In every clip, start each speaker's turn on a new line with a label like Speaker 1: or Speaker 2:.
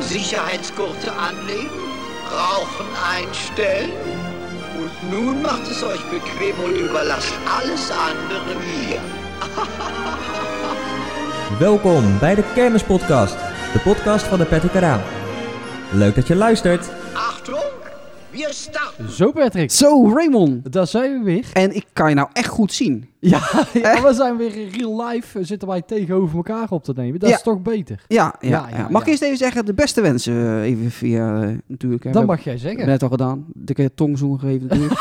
Speaker 1: Sicherheitsgurte anlegen, Rauchen einstellen. Und nun macht es euch bequem und überlasst alles andere mir.
Speaker 2: Welkom bij de Kermispodcast, de podcast van de Patrick Eraan. Leuk dat je luistert.
Speaker 1: Achtung! Wir starten.
Speaker 3: Zo Patrick,
Speaker 4: Zo, Oh, Raymond.
Speaker 3: daar zijn we weer.
Speaker 4: En ik kan je nou echt goed zien.
Speaker 3: Ja, ja, we zijn weer in real life. eh, Zitten wij tegenover elkaar op te nemen. Dat
Speaker 4: Ja.
Speaker 3: is toch beter.
Speaker 4: Ja, ja,
Speaker 3: Ja, ja,
Speaker 4: ja. Mag ik
Speaker 3: ja.
Speaker 4: eerst even zeggen, de beste wensen eh, even via eh, natuurlijk. hè.
Speaker 3: Dat
Speaker 4: We
Speaker 3: mag jij
Speaker 4: hebben
Speaker 3: zeggen.
Speaker 4: het net al gedaan. Dikke tongzoen gegeven natuurlijk.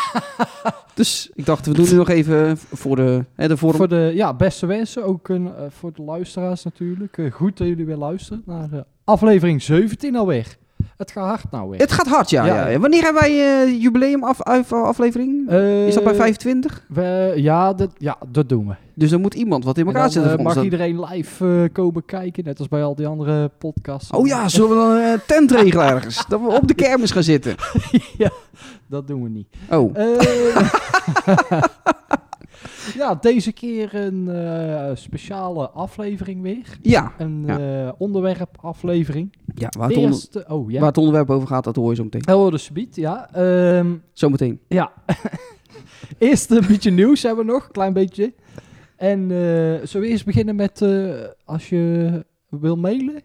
Speaker 4: dus ik dacht, we doen nu nog even eh, voor de, hè, de vorm.
Speaker 3: Voor de ja, beste wensen, ook een, eh, voor de luisteraars natuurlijk. Eh, goed dat jullie weer luisteren naar eh, aflevering 17 alweer. Het gaat hard nou weer.
Speaker 4: Het gaat hard, ja.
Speaker 3: Ja.
Speaker 4: ja. ja. Wanneer hebben wij eh, jubileum af, af- aflevering?
Speaker 3: Eh,
Speaker 4: Is dat bij 25?
Speaker 3: we- ja, dat, ja, dat doen we.
Speaker 4: Dus dan moet iemand wat in
Speaker 3: En
Speaker 4: elkaar
Speaker 3: dan,
Speaker 4: zetten
Speaker 3: eh,
Speaker 4: voor ons
Speaker 3: mag
Speaker 4: dan.
Speaker 3: iedereen live eh, komen kijken, net als bij al die andere podcasts.
Speaker 4: Oh ja, zullen we dan een eh, tent regelen ergens? Dat we op de kermis gaan zitten.
Speaker 3: ja, dat doen we niet.
Speaker 4: Oh,
Speaker 3: Eh, ja, deze keer een eh, speciale aflevering weer.
Speaker 4: ja.
Speaker 3: Een
Speaker 4: Ja.
Speaker 3: eh, onderwerpaflevering.
Speaker 4: ja waar, het onder-
Speaker 3: Eerste, oh ja,
Speaker 4: waar het onderwerp over gaat, dat hoor je zo meteen.
Speaker 3: oh, dat is subiet, ja. Ehm,
Speaker 4: Zometeen.
Speaker 3: ja, eerst een beetje nieuws hebben we nog, een klein beetje. En eh zullen we eerst beginnen met, eh, als je wil mailen?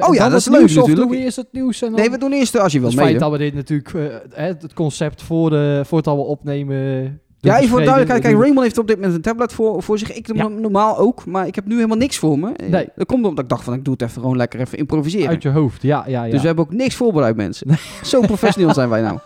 Speaker 4: Oh ja,
Speaker 3: Dan
Speaker 4: dat is
Speaker 3: het
Speaker 4: leuk
Speaker 3: nieuws, of
Speaker 4: natuurlijk.
Speaker 3: Doe eerst het nieuws en dan...
Speaker 4: Nee, we doen eerst eh, als je
Speaker 3: het
Speaker 4: wilt
Speaker 3: feit dat
Speaker 4: mailen.
Speaker 3: we dit natuurlijk, eh, hè, het concept voor, de, voor het al we opnemen... doen
Speaker 4: Ja, even voor
Speaker 3: bespreken,
Speaker 4: de duidelijkheid. Kijk,
Speaker 3: doen-
Speaker 4: Raymond heeft op dit moment een tablet voor, voor zich. Ik doe
Speaker 3: Ja.
Speaker 4: no- normaal ook, maar ik heb nu helemaal niks voor me. Eh,
Speaker 3: Nee.
Speaker 4: Dat komt omdat ik dacht van, ik doe het even gewoon lekker even improviseren.
Speaker 3: Uit je hoofd, ja, ja, ja.
Speaker 4: Dus we hebben ook niks voorbereid, mensen. Zo professioneel zijn wij nou.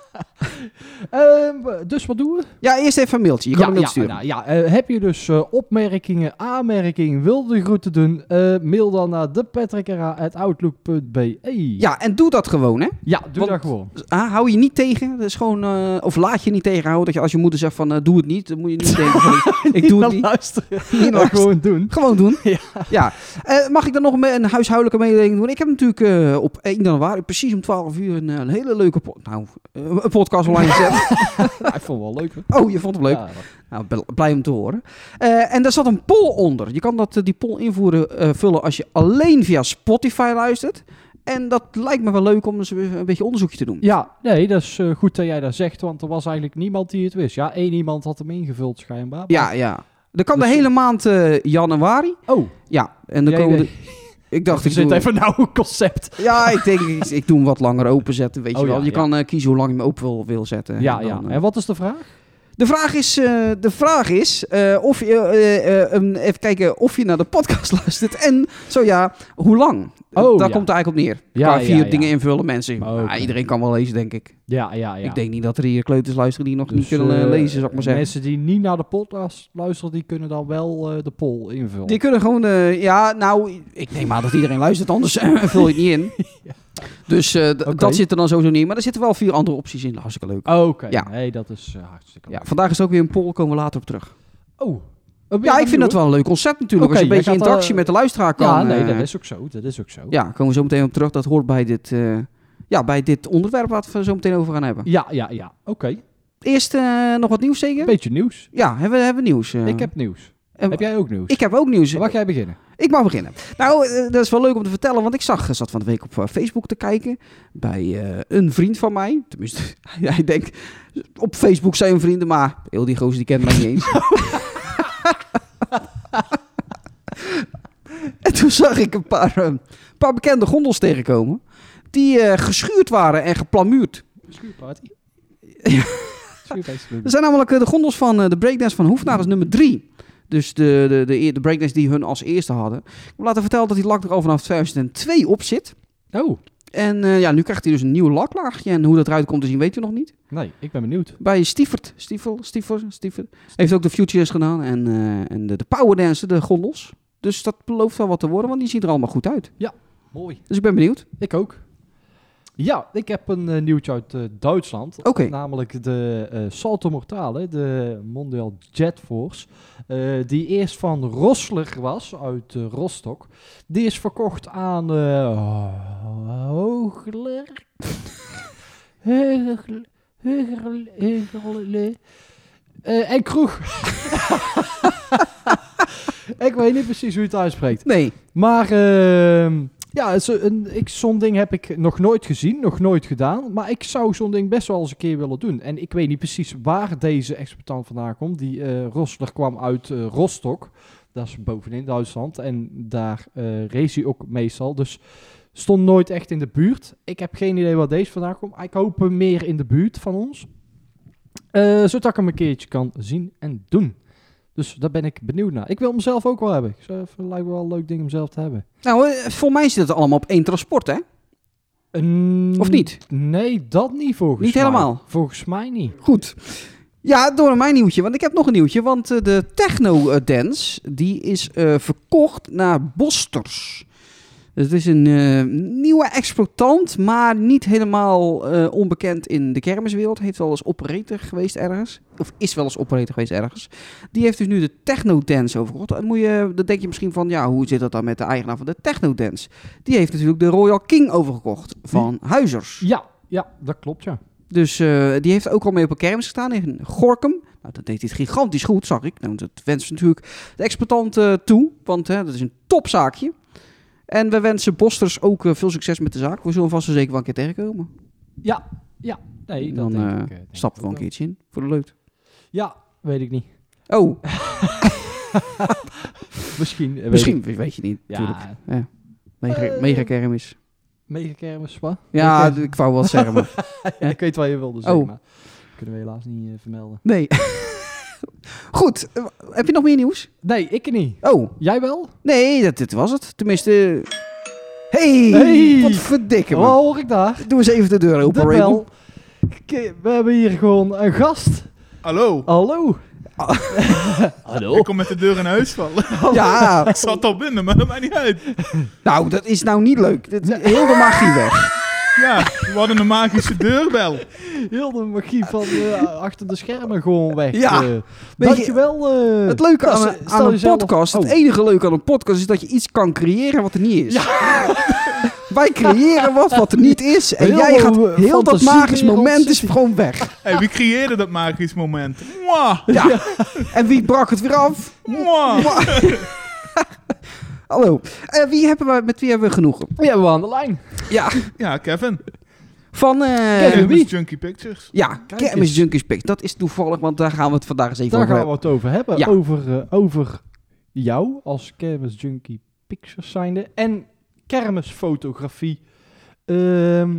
Speaker 3: Ehm, dus wat doen we?
Speaker 4: Ja, eerst even een mailtje. Je kan
Speaker 3: ja,
Speaker 4: een mailtje
Speaker 3: ja,
Speaker 4: sturen.
Speaker 3: nou, ja, eh, heb je dus eh, opmerkingen, aanmerkingen, wilde groeten doen? eh, mail dan naar depatrickera.outlook.be.
Speaker 4: Ja, en doe dat gewoon, hè.
Speaker 3: ja, doe
Speaker 4: want-
Speaker 3: dat gewoon.
Speaker 4: Dus, ah, hou je niet tegen. Dat is gewoon, eh, of laat je niet tegenhouden. Dat je als je moeder zegt van, eh, doe het niet. Dan moet je niet denken van, ik- ik doe het niet.
Speaker 3: luisteren.
Speaker 4: Niet
Speaker 3: Dat
Speaker 4: luisteren.
Speaker 3: gewoon doen.
Speaker 4: Gewoon doen.
Speaker 3: Ja.
Speaker 4: Ja. Eh, mag ik dan nog een, me- een huishoudelijke mededeling doen? Ik heb natuurlijk eh, op 1 januari, precies om 12 uur, een, eh, een hele leuke po- nou, eh, een podcast online gezet.
Speaker 3: Ja, ik vond het wel leuk. hoor.
Speaker 4: oh, je Nou, vond hem leuk.
Speaker 3: Ja, dat-
Speaker 4: Nou, bel- blij om te horen. Eh, en daar zat een poll onder. Je kan dat, eh, die poll invoeren, eh, vullen als je alleen via Spotify luistert. En dat lijkt me wel leuk om eens een beetje onderzoekje te doen.
Speaker 3: ja, nee, dat is eh, goed dat jij dat zegt, want er was eigenlijk niemand die het wist. Ja, één iemand had hem ingevuld schijnbaar. maar-
Speaker 4: ja. ja. Dat kan
Speaker 3: Dus-
Speaker 4: de hele maand eh, januari.
Speaker 3: Oh,
Speaker 4: Ja, en dan
Speaker 3: Jij
Speaker 4: komen
Speaker 3: deed-
Speaker 4: de- Ik dacht,
Speaker 3: er
Speaker 4: ik
Speaker 3: zit
Speaker 4: doe...
Speaker 3: even nou een concept.
Speaker 4: Ja, ik denk, ik, ik doe hem wat langer openzetten, weet
Speaker 3: Oh,
Speaker 4: je wel.
Speaker 3: ja,
Speaker 4: je
Speaker 3: ja.
Speaker 4: kan eh, kiezen hoe lang je hem open wil, wil zetten.
Speaker 3: Ja,
Speaker 4: En
Speaker 3: ja.
Speaker 4: dan, eh,
Speaker 3: En wat is de vraag?
Speaker 4: De vraag is, eh, de vraag is eh, of je, eh, eh, een- even kijken, of je naar de podcast luistert en zo ja, hoe lang? Eh,
Speaker 3: Oh,
Speaker 4: Daar
Speaker 3: ja.
Speaker 4: komt het eigenlijk op neer.
Speaker 3: Ja,
Speaker 4: Qua
Speaker 3: ja,
Speaker 4: vier
Speaker 3: ja.
Speaker 4: dingen invullen, mensen.
Speaker 3: Oké.
Speaker 4: Ah, iedereen kan wel lezen, denk ik.
Speaker 3: Ja, ja, ja.
Speaker 4: Ik denk niet dat er hier kleuters luisteren die nog
Speaker 3: Dus,
Speaker 4: niet kunnen eh,
Speaker 3: eh,
Speaker 4: lezen, zou ik maar zeggen.
Speaker 3: Mensen die niet naar de podcast luisteren, die kunnen dan wel eh, de poll invullen.
Speaker 4: Die kunnen gewoon, eh, ja, nou, ik neem aan dat iedereen luistert, anders eh, vul je het niet in. Dus eh, d-
Speaker 3: Oké.
Speaker 4: dat zit er dan sowieso niet in. Maar er zitten wel vier andere opties in. Nou, Hartstikke leuk.
Speaker 3: Oh, Oké,
Speaker 4: Ja.
Speaker 3: nee, dat is eh, hartstikke
Speaker 4: Ja,
Speaker 3: leuk.
Speaker 4: vandaag is ook weer een poll, komen we later op terug.
Speaker 3: Oh.
Speaker 4: Ja, ik vind dat wel een leuk concept natuurlijk.
Speaker 3: Oké,
Speaker 4: als je
Speaker 3: jij
Speaker 4: een beetje
Speaker 3: gaat,
Speaker 4: interactie
Speaker 3: eh,
Speaker 4: met de luisteraar kan.
Speaker 3: Ja, nee,
Speaker 4: eh,
Speaker 3: dat is ook zo. Dat is ook zo.
Speaker 4: Ja, komen we zo meteen op terug. Dat hoort bij dit, eh, ja, bij dit onderwerp wat we zo meteen over gaan hebben.
Speaker 3: ja, ja. ja. Oké,
Speaker 4: Eerst eh, nog wat nieuws zeker?
Speaker 3: beetje nieuws.
Speaker 4: Ja, hebben we hebben we nieuws. eh.
Speaker 3: Ik heb nieuws.
Speaker 4: En-
Speaker 3: heb jij ook nieuws?
Speaker 4: ik heb ook nieuws.
Speaker 3: Mag jij beginnen?
Speaker 4: Ik mag beginnen. Nou, eh, dat is wel leuk om te vertellen, want ik zag, eh, zat van de week op eh, Facebook te kijken bij eh, een vriend van mij. Tenminste, hij, hij denkt, op Facebook zijn we vrienden, maar heel die gozer die kent mij niet eens. en toen zag ik een paar, eh, paar bekende gondels tegenkomen die eh, geschuurd waren en geplamuurd.
Speaker 3: Schuurparty.
Speaker 4: Ja.
Speaker 3: Schuurfeest.
Speaker 4: Dat zijn namelijk eh, de gondels van eh, de breakdance van Hoefnaar, dat is nummer drie. Dus de, de, de, eer- de breakdance die hun als eerste hadden. Ik wil laten vertellen dat die lak er al vanaf 2002 op zit.
Speaker 3: Oh,
Speaker 4: En eh, ja, nu krijgt hij dus een nieuw laklaagje. En hoe dat eruit komt te zien, weten we nog niet.
Speaker 3: nee, ik ben benieuwd.
Speaker 4: Bij Stiefert, Stiefel, Stiefel, Stiefert. Heeft ook de Futures gedaan. En, eh, en de, de Powerdance, de gondels. Dus dat belooft wel wat te worden, want die ziet er allemaal goed uit.
Speaker 3: Mooi.
Speaker 4: Dus ik ben benieuwd.
Speaker 3: Ik ook. Ja, ik heb een eh, nieuwtje uit eh, Duitsland.
Speaker 4: Oké.
Speaker 3: Namelijk de eh, Salto Mortale, de Mondial Jet Force. eh, die eerst van Rosler was, uit eh, Rostock. Die is verkocht aan eh Hoogler. Heugel- Heugel- Heugel- Eh, en Kroeg. ik weet niet precies hoe je het uitspreekt.
Speaker 4: Nee.
Speaker 3: Maar ehm, ja, zo- een- ik- zo'n ding heb ik nog nooit gezien, nog nooit gedaan. Maar ik zou zo'n ding best wel eens een keer willen doen. En ik weet niet precies waar deze exploitant vandaan komt. Die eh Rosler kwam uit eh, Rostock. Dat is bovenin Duitsland. En daar eh, race hij ook meestal. Dus stond nooit echt in de buurt. Ik heb geen idee waar deze vandaan komt. Ik hoop hem meer in de buurt van ons. Eh, zodat ik hem een keertje kan zien en doen. Dus daar ben ik benieuwd naar. Ik wil hem zelf ook wel hebben. Ik zou- Het lijkt me wel een leuk ding om zelf te hebben.
Speaker 4: Nou, eh, voor mij zit het allemaal op één transport, hè?
Speaker 3: Mm,
Speaker 4: Of niet?
Speaker 3: Nee, dat niet volgens
Speaker 4: Niet
Speaker 3: mij.
Speaker 4: helemaal.
Speaker 3: Volgens mij niet.
Speaker 4: Goed. Ja, door naar mijn nieuwtje, want ik heb nog een nieuwtje. Want eh, de Techno eh, Dance, die is eh, verkocht naar Bosters. Dus het is een eh, nieuwe exploitant, maar niet helemaal eh, onbekend in de kermiswereld. Heeft wel eens operator geweest ergens. Of is wel eens operator geweest ergens. Die heeft dus nu de Techno Dance overgekocht. Dan, moet je, dan denk je misschien van, ja, hoe zit dat dan met de eigenaar van de Techno Dance? Die heeft natuurlijk de Royal King overgekocht van Huizers.
Speaker 3: Ja, ja dat klopt, ja.
Speaker 4: Dus eh, die heeft ook al mee op een kermis gestaan in Gorkum. Nou, dat deed hij gigantisch goed, zag ik. Nou, dat wensen we natuurlijk de exploitant eh, toe, want hè, dat is een topzaakje. En we wensen Bosters ook eh, veel succes met de zaak. We zullen vast en zeker wel een keer tegenkomen.
Speaker 3: Nee,
Speaker 4: Dan,
Speaker 3: dat denk
Speaker 4: eh,
Speaker 3: ik. eh, denk
Speaker 4: Stap
Speaker 3: ik
Speaker 4: er wel
Speaker 3: ook
Speaker 4: een keertje in, voor de leuk.
Speaker 3: wel. Ja, weet ik niet.
Speaker 4: Oh,
Speaker 3: Misschien. eh, weet
Speaker 4: misschien
Speaker 3: ik-
Speaker 4: weet, je niet, natuurlijk.
Speaker 3: Ja,
Speaker 4: Mega,
Speaker 3: Eh.
Speaker 4: mega kermis.
Speaker 3: mega kermis, wat?
Speaker 4: Ja,
Speaker 3: Mega-
Speaker 4: ik wou wat zeggen, maar
Speaker 3: ik weet wat je wilde zeggen,
Speaker 4: Oh.
Speaker 3: maar kunnen we helaas niet eh, vermelden.
Speaker 4: nee. Goed, eh, heb je nog meer nieuws?
Speaker 3: Nee, ik niet.
Speaker 4: Oh,
Speaker 3: Jij wel?
Speaker 4: nee, dat, dit was het. Tenminste, hey,
Speaker 3: Hey.
Speaker 4: wat verdikken man.
Speaker 3: Wat Oh, hoor ik daar?
Speaker 4: Doe eens even de deur open,
Speaker 3: De
Speaker 4: Raymond.
Speaker 3: bel. Oké, We hebben hier gewoon een gast.
Speaker 5: Hallo,
Speaker 3: Hallo.
Speaker 5: ik kom met de deur in huis vallen.
Speaker 4: Ja,
Speaker 3: Oh.
Speaker 5: Ik zat al binnen, maar dat maakt niet uit.
Speaker 4: nou, dat is nou niet leuk. Dat, heel de magie weg.
Speaker 5: Ja, we hadden een magische deurbel.
Speaker 3: Heel de magie van eh, achter de schermen gewoon weg.
Speaker 4: Ja.
Speaker 3: eh.
Speaker 4: je,
Speaker 3: dankjewel. eh.
Speaker 4: Het leuke
Speaker 3: Nou,
Speaker 4: aan,
Speaker 3: stel
Speaker 4: een- aan een
Speaker 3: jezelf-
Speaker 4: podcast,
Speaker 3: Oh.
Speaker 4: het enige leuke aan een podcast, is dat je iets kan creëren wat er niet is. Wij creëren wat wat er niet is. En
Speaker 3: Heel,
Speaker 4: jij gaat
Speaker 3: eh,
Speaker 4: heel dat magisch
Speaker 3: fantasiewereld
Speaker 4: moment is
Speaker 3: zit
Speaker 4: gewoon weg.
Speaker 5: Hey, wie creëerde dat magisch moment? Mwah,
Speaker 4: Ja. En wie brak het weer af?
Speaker 5: mwah.
Speaker 4: Hallo. Eh, wie hebben we, met wie hebben we genoegen?
Speaker 3: Die hebben we aan de lijn.
Speaker 4: Ja,
Speaker 5: Ja, Kevin.
Speaker 4: van... eh,
Speaker 3: Kevin. wie?
Speaker 5: Kermis Junkie Pictures.
Speaker 4: ja,
Speaker 3: Kijk
Speaker 4: Kermis
Speaker 3: eens.
Speaker 4: Junkies Pick. Dat is toevallig, want daar gaan we het vandaag eens even
Speaker 3: Daar
Speaker 4: over
Speaker 3: gaan we
Speaker 4: hebben.
Speaker 3: het over hebben.
Speaker 4: Ja.
Speaker 3: Over, eh, over jou als kermis junkie pictures zijnde. En kermisfotografie. Ehm,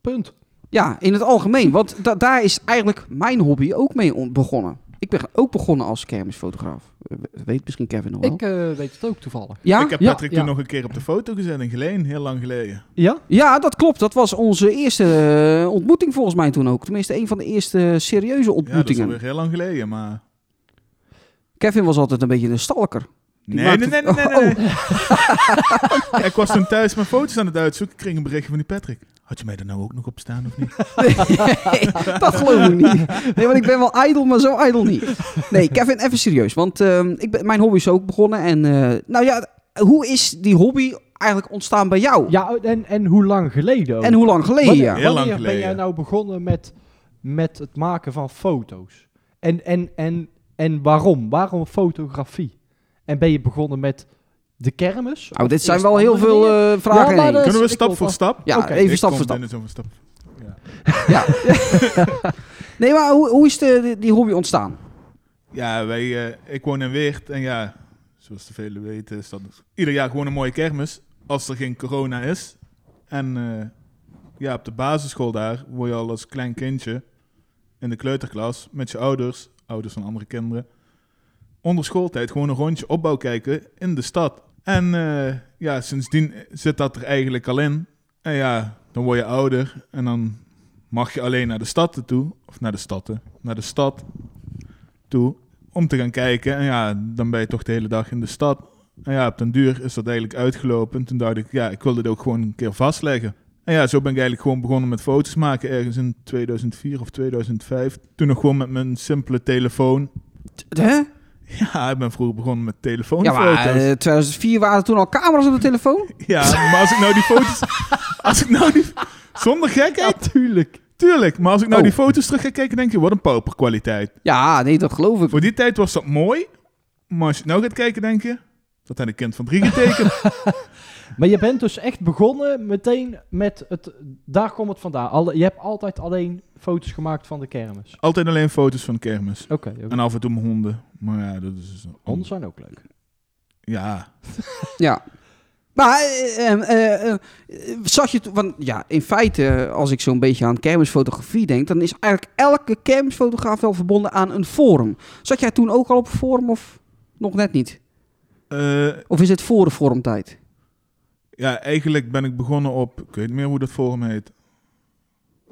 Speaker 3: punt.
Speaker 4: Ja, in het algemeen. Want da- daar is eigenlijk mijn hobby ook mee on- begonnen. Ik ben ook begonnen als kermisfotograaf. Eh, we- Weet misschien Kevin nog wel.
Speaker 3: Ik eh, weet het ook toevallig.
Speaker 4: ja?
Speaker 5: ik eh, heb
Speaker 3: Ah, ja,
Speaker 5: Patrick
Speaker 3: ja.
Speaker 5: toen nog een keer op de foto gezet in Geleen, heel lang geleden.
Speaker 3: Ja?
Speaker 4: ja, dat klopt. Dat was onze eerste eh, ontmoeting volgens mij toen ook. Tenminste, een van de eerste serieuze
Speaker 5: Ja, dat is
Speaker 4: ontmoetingen.
Speaker 5: alweer heel lang geleden, maar...
Speaker 4: Kevin was altijd een beetje een stalker. Die
Speaker 5: Nee,
Speaker 4: maakte- Oh,
Speaker 5: nee, nee, nee, nee. nee. ik was toen thuis mijn foto's aan het uitzoeken. Ik kreeg een berichtje van die Patrick. Had je mij er nou ook nog op staan of niet?
Speaker 4: Nee, dat geloof ik niet. Nee, want ik ben wel ijdel, maar zo ijdel niet. Nee, Kevin, even serieus. Want ehm, ik ben, mijn hobby is ook begonnen. En eh, nou ja, hoe is die hobby eigenlijk ontstaan bij jou?
Speaker 3: Ja, en, en hoe lang geleden ook?
Speaker 4: En hoe lang geleden?
Speaker 3: Wanneer-
Speaker 4: ja?
Speaker 5: Heel lang
Speaker 3: wanneer ben
Speaker 5: geleden.
Speaker 3: jij nou begonnen met, met het maken van foto's? En, en, en, en waarom? Waarom fotografie? En ben je begonnen met de kermis?
Speaker 4: Nou,
Speaker 3: Of
Speaker 4: dit zijn
Speaker 3: eerst
Speaker 4: wel heel
Speaker 3: andere
Speaker 4: veel
Speaker 3: dingen?
Speaker 4: eh, vragen.
Speaker 3: maar
Speaker 4: in één.
Speaker 3: dat-
Speaker 5: Kunnen we
Speaker 3: ik
Speaker 5: stap
Speaker 3: wil
Speaker 5: voor
Speaker 3: vast-
Speaker 5: stap?
Speaker 4: Ja,
Speaker 5: Oké,
Speaker 4: even
Speaker 5: ik
Speaker 4: stap
Speaker 5: kom
Speaker 4: voor stap.
Speaker 5: binnen zo'n stap. Ja.
Speaker 4: Ja. nee, maar hoe, hoe is de, die- die hobby ontstaan?
Speaker 5: Ja, wij, eh, ik woon in Weert en ja, zoals de velen weten, is dat ieder jaar gewoon een mooie kermis. Als er geen corona is. En eh, ja, op de basisschool daar word je al als klein kindje in de kleuterklas met je ouders, ouders van andere kinderen, onder schooltijd gewoon een rondje opbouw kijken in de stad. En eh, ja, sindsdien zit dat er eigenlijk al in. En ja, dan word je ouder en dan mag je alleen naar de stad toe, of naar de stad, naar de stad toe om te gaan kijken. En ja, dan ben je toch de hele dag in de stad. En ja, op den duur is dat eigenlijk uitgelopen. En toen dacht ik, ja, ik wil dit ook gewoon een keer vastleggen. En ja, zo ben ik eigenlijk gewoon begonnen met foto's maken. Ergens in 2004 of 2005. Toen nog gewoon met mijn simpele telefoon.
Speaker 4: Hè?
Speaker 5: Ja, ik ben vroeger begonnen met
Speaker 4: Ja,
Speaker 5: telefoonfoto's.
Speaker 4: maar eh, 2004 waren er toen al camera's op de telefoon.
Speaker 5: Ja, maar als ik nou die foto's... Als ik nou die... Zonder gekheid? tuurlijk. Tuurlijk, maar als ik nou
Speaker 4: Oh.
Speaker 5: die foto's terug ga kijken, denk je, wat een pauperkwaliteit.
Speaker 4: Ja, nee, dat geloof ik.
Speaker 5: Voor die tijd was dat mooi, maar als je het nou gaat kijken, denk je, dat had een kind van drie getekend.
Speaker 4: eh,
Speaker 3: Maar je bent dus echt begonnen meteen met het... Daar komt het vandaan. Alle- je hebt altijd alleen foto's gemaakt van de kermis.
Speaker 5: Altijd alleen foto's van kermis.
Speaker 3: Oké, oké.
Speaker 5: En af en toe mijn honden. Maar ja, dat is... een-
Speaker 3: honden zijn ook leuk.
Speaker 5: Ja.
Speaker 4: Ja. Maar eh, eh, eh, eh, zag je... to- Want ja, in feite, als ik zo'n beetje aan kermisfotografie denk... dan is eigenlijk elke kermisfotograaf wel verbonden aan een forum. Zat jij toen ook al op een forum of nog net niet?
Speaker 5: Eh,
Speaker 4: Of is het voor de forumtijd?
Speaker 5: ja, eigenlijk ben ik begonnen op... Ik weet niet meer hoe dat forum heet.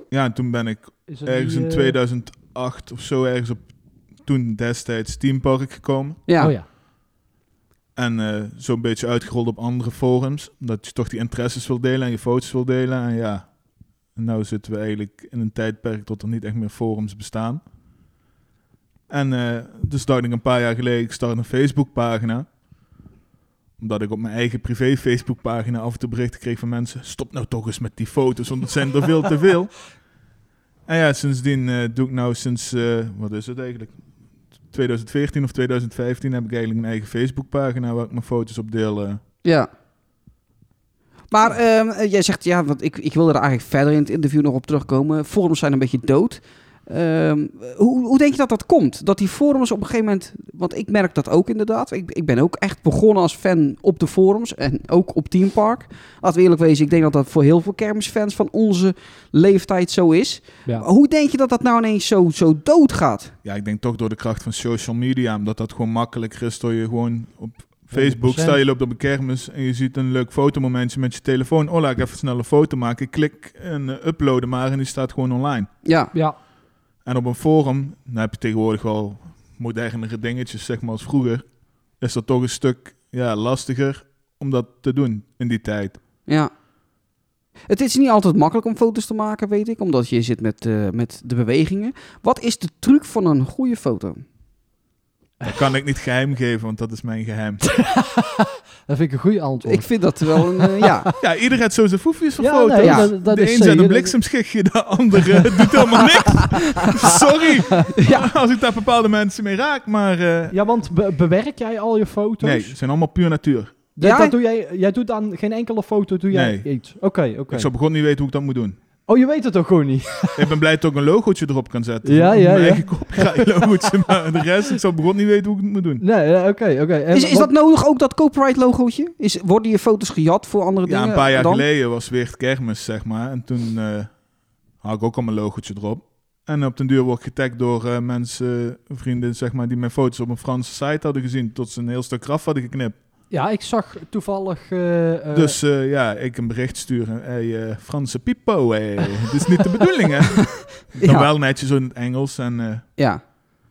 Speaker 5: Ja, en toen ben ik
Speaker 3: Is het
Speaker 5: ergens
Speaker 3: die,
Speaker 5: in
Speaker 3: eh,
Speaker 5: 2008 of zo ergens op... Toen destijds Teampark gekomen.
Speaker 4: Ja.
Speaker 3: Oh ja.
Speaker 5: En eh, zo'n beetje uitgerold op andere forums. Dat je toch die interesses wil delen en je foto's wil delen. En ja, en nou zitten we eigenlijk in een tijdperk dat er niet echt meer forums bestaan. En eh, dus dacht ik een paar jaar geleden, ik start een Facebookpagina. Omdat ik op mijn eigen privé Facebookpagina af en toe berichten kreeg van mensen... Stop nou toch eens met die foto's, want het zijn er veel te veel. En ja, sindsdien eh, doe ik nou sinds, eh, wat is het eigenlijk? 2014 of 2015 heb ik eigenlijk een eigen Facebookpagina waar ik mijn foto's op deel. eh.
Speaker 4: Ja. Maar ehm, eh, jij zegt, ja, want ik, ik wilde er eigenlijk verder in het interview nog op terugkomen. Forums zijn een beetje dood. Ehm, hoe, hoe denk je dat dat komt? Dat die forums op een gegeven moment, want ik merk dat ook inderdaad. Ik, ik ben ook echt begonnen als fan op de forums en ook op Team Park. Laten we eerlijk wezen, ik denk dat dat voor heel veel kermisfans van onze leeftijd zo is.
Speaker 3: ja.
Speaker 4: Hoe denk je dat dat nou ineens zo, zo dood gaat?
Speaker 5: Ja, ik denk toch door de kracht van social media, omdat dat gewoon makkelijker is door je gewoon op Facebook,
Speaker 3: 100%.
Speaker 5: stel je loopt op een kermis en je ziet een leuk fotomomentje met je telefoon. Oh, laat ik even snel een foto maken. Klik en eh, uploaden maar en die staat gewoon online.
Speaker 4: Ja,
Speaker 3: Ja,
Speaker 5: En op een forum, dan heb je tegenwoordig wel modernere dingetjes, zeg maar, als vroeger. Is dat toch een stuk ja, lastiger om dat te doen in die tijd.
Speaker 4: Ja. Het is niet altijd makkelijk om foto's te maken, weet ik, omdat je zit met, eh, met de bewegingen. Wat is de truc van een goede foto?
Speaker 5: Dat kan ik niet geheim geven, want dat is mijn geheim.
Speaker 3: dat vind ik een goede
Speaker 5: Oh.
Speaker 3: antwoord.
Speaker 4: Ik vind dat wel een. eh, ja.
Speaker 5: Ja, ieder heeft zo zijn foefjes van
Speaker 3: ja,
Speaker 5: foto's.
Speaker 3: nee,
Speaker 4: Ja.
Speaker 3: dat, dat
Speaker 5: de
Speaker 3: is
Speaker 5: een zet
Speaker 3: zeker-
Speaker 5: een bliksemschichtje, de andere doet helemaal niks. Sorry als ik daar bepaalde mensen mee raak, maar... eh,
Speaker 3: Ja, want be- bewerk jij al je foto's?
Speaker 5: nee, ze zijn allemaal puur natuur.
Speaker 3: Dat,
Speaker 4: Ja?
Speaker 3: dat doe jij, jij doet aan geen enkele foto doe jij
Speaker 5: Nee.
Speaker 3: iets. Oké, oké.
Speaker 5: Ik zou begon niet weten hoe ik dat moet doen.
Speaker 3: Oh, je weet het toch gewoon niet?
Speaker 5: Ik ben blij dat ik een logootje erop kan zetten.
Speaker 3: Ja, ja,
Speaker 5: Mijn
Speaker 3: ja.
Speaker 5: eigen copyright logootje, maar de rest, ik zou begon niet weten hoe ik het moet doen.
Speaker 3: Nee, ja, oké, oké. En
Speaker 4: Is, is
Speaker 3: wat-
Speaker 4: dat nodig ook dat copyright logootje? Is, worden je foto's gejat voor andere
Speaker 5: Ja,
Speaker 4: dingen?
Speaker 5: een paar jaar
Speaker 4: dan?
Speaker 5: geleden was weer het kermis, zeg maar. En toen eh, had ik ook al mijn logootje erop. En op den duur word ik getagd door eh, mensen, vrienden, zeg maar, die mijn foto's op een Franse site hadden gezien. Tot ze een heel stuk graf hadden geknipt.
Speaker 3: Ja, ik zag toevallig... eh, eh,
Speaker 5: Dus eh, ja, ik een bericht sturen. Hey, eh, Franse Pipo, hey. het is niet de bedoeling, hè? Dan
Speaker 4: Ja.
Speaker 5: wel netjes in het Engels. En eh,
Speaker 4: Ja.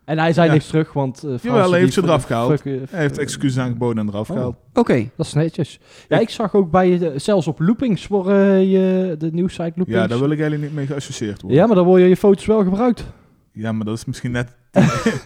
Speaker 3: En hij zei
Speaker 5: ja.
Speaker 3: niks terug, want... eh
Speaker 5: Jawel, hij heeft ze eraf gehaald. hij heeft
Speaker 3: Heeft
Speaker 5: excuses aangeboden en eraf
Speaker 3: Oh.
Speaker 5: gehaald.
Speaker 4: Oké.
Speaker 3: eh, Dat is netjes. Ja, ik zag ook bij, de- zelfs op loopings voor eh, je, de nieuwsite loopings.
Speaker 5: Ja, daar wil ik eigenlijk niet mee geassocieerd worden.
Speaker 3: ja, maar dan worden je foto's wel gebruikt.
Speaker 5: Ja, maar dat is misschien net...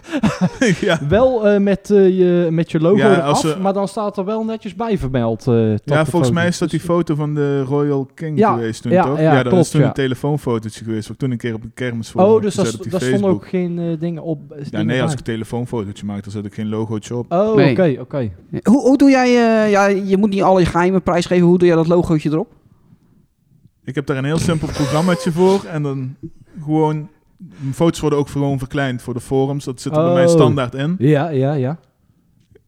Speaker 5: ja.
Speaker 3: Wel eh, met, eh, je, met je logo
Speaker 5: Ja,
Speaker 3: eraf,
Speaker 5: als ze-
Speaker 3: maar dan staat er wel netjes bij vermeld. eh, dat
Speaker 5: ja,
Speaker 3: de Dus-
Speaker 5: volgens mij
Speaker 3: foto-
Speaker 5: is dat die foto van de Royal King
Speaker 3: Ja,
Speaker 5: geweest toen,
Speaker 3: ja,
Speaker 5: toch?
Speaker 3: ja,
Speaker 5: Ja, dat
Speaker 3: klopt,
Speaker 5: is toen
Speaker 3: ja.
Speaker 5: een telefoonfotootje geweest. Wat ik toen een keer op een kermis voor
Speaker 3: Oh, dus daar
Speaker 5: dat
Speaker 3: st-
Speaker 5: op die
Speaker 3: daar stonden
Speaker 5: Facebook.
Speaker 3: ook geen eh, dingen op. eh,
Speaker 5: Ja,
Speaker 3: dingen
Speaker 5: nee, als
Speaker 3: bij.
Speaker 5: ik een telefoonfotootje maak, dan zet ik geen logootje op.
Speaker 3: Oh, oké,
Speaker 4: Nee.
Speaker 3: oké.
Speaker 4: Hoe, hoe doe jij. eh, ja, je moet niet alle je geheime prijs geven. Hoe doe jij dat logootje erop?
Speaker 5: Ik heb daar een heel simpel programmaatje voor. En dan gewoon... Mijn foto's worden ook gewoon verkleind voor de forums. Dat zit er bij mij
Speaker 3: Oh.
Speaker 5: standaard in.
Speaker 3: Ja, ja, ja.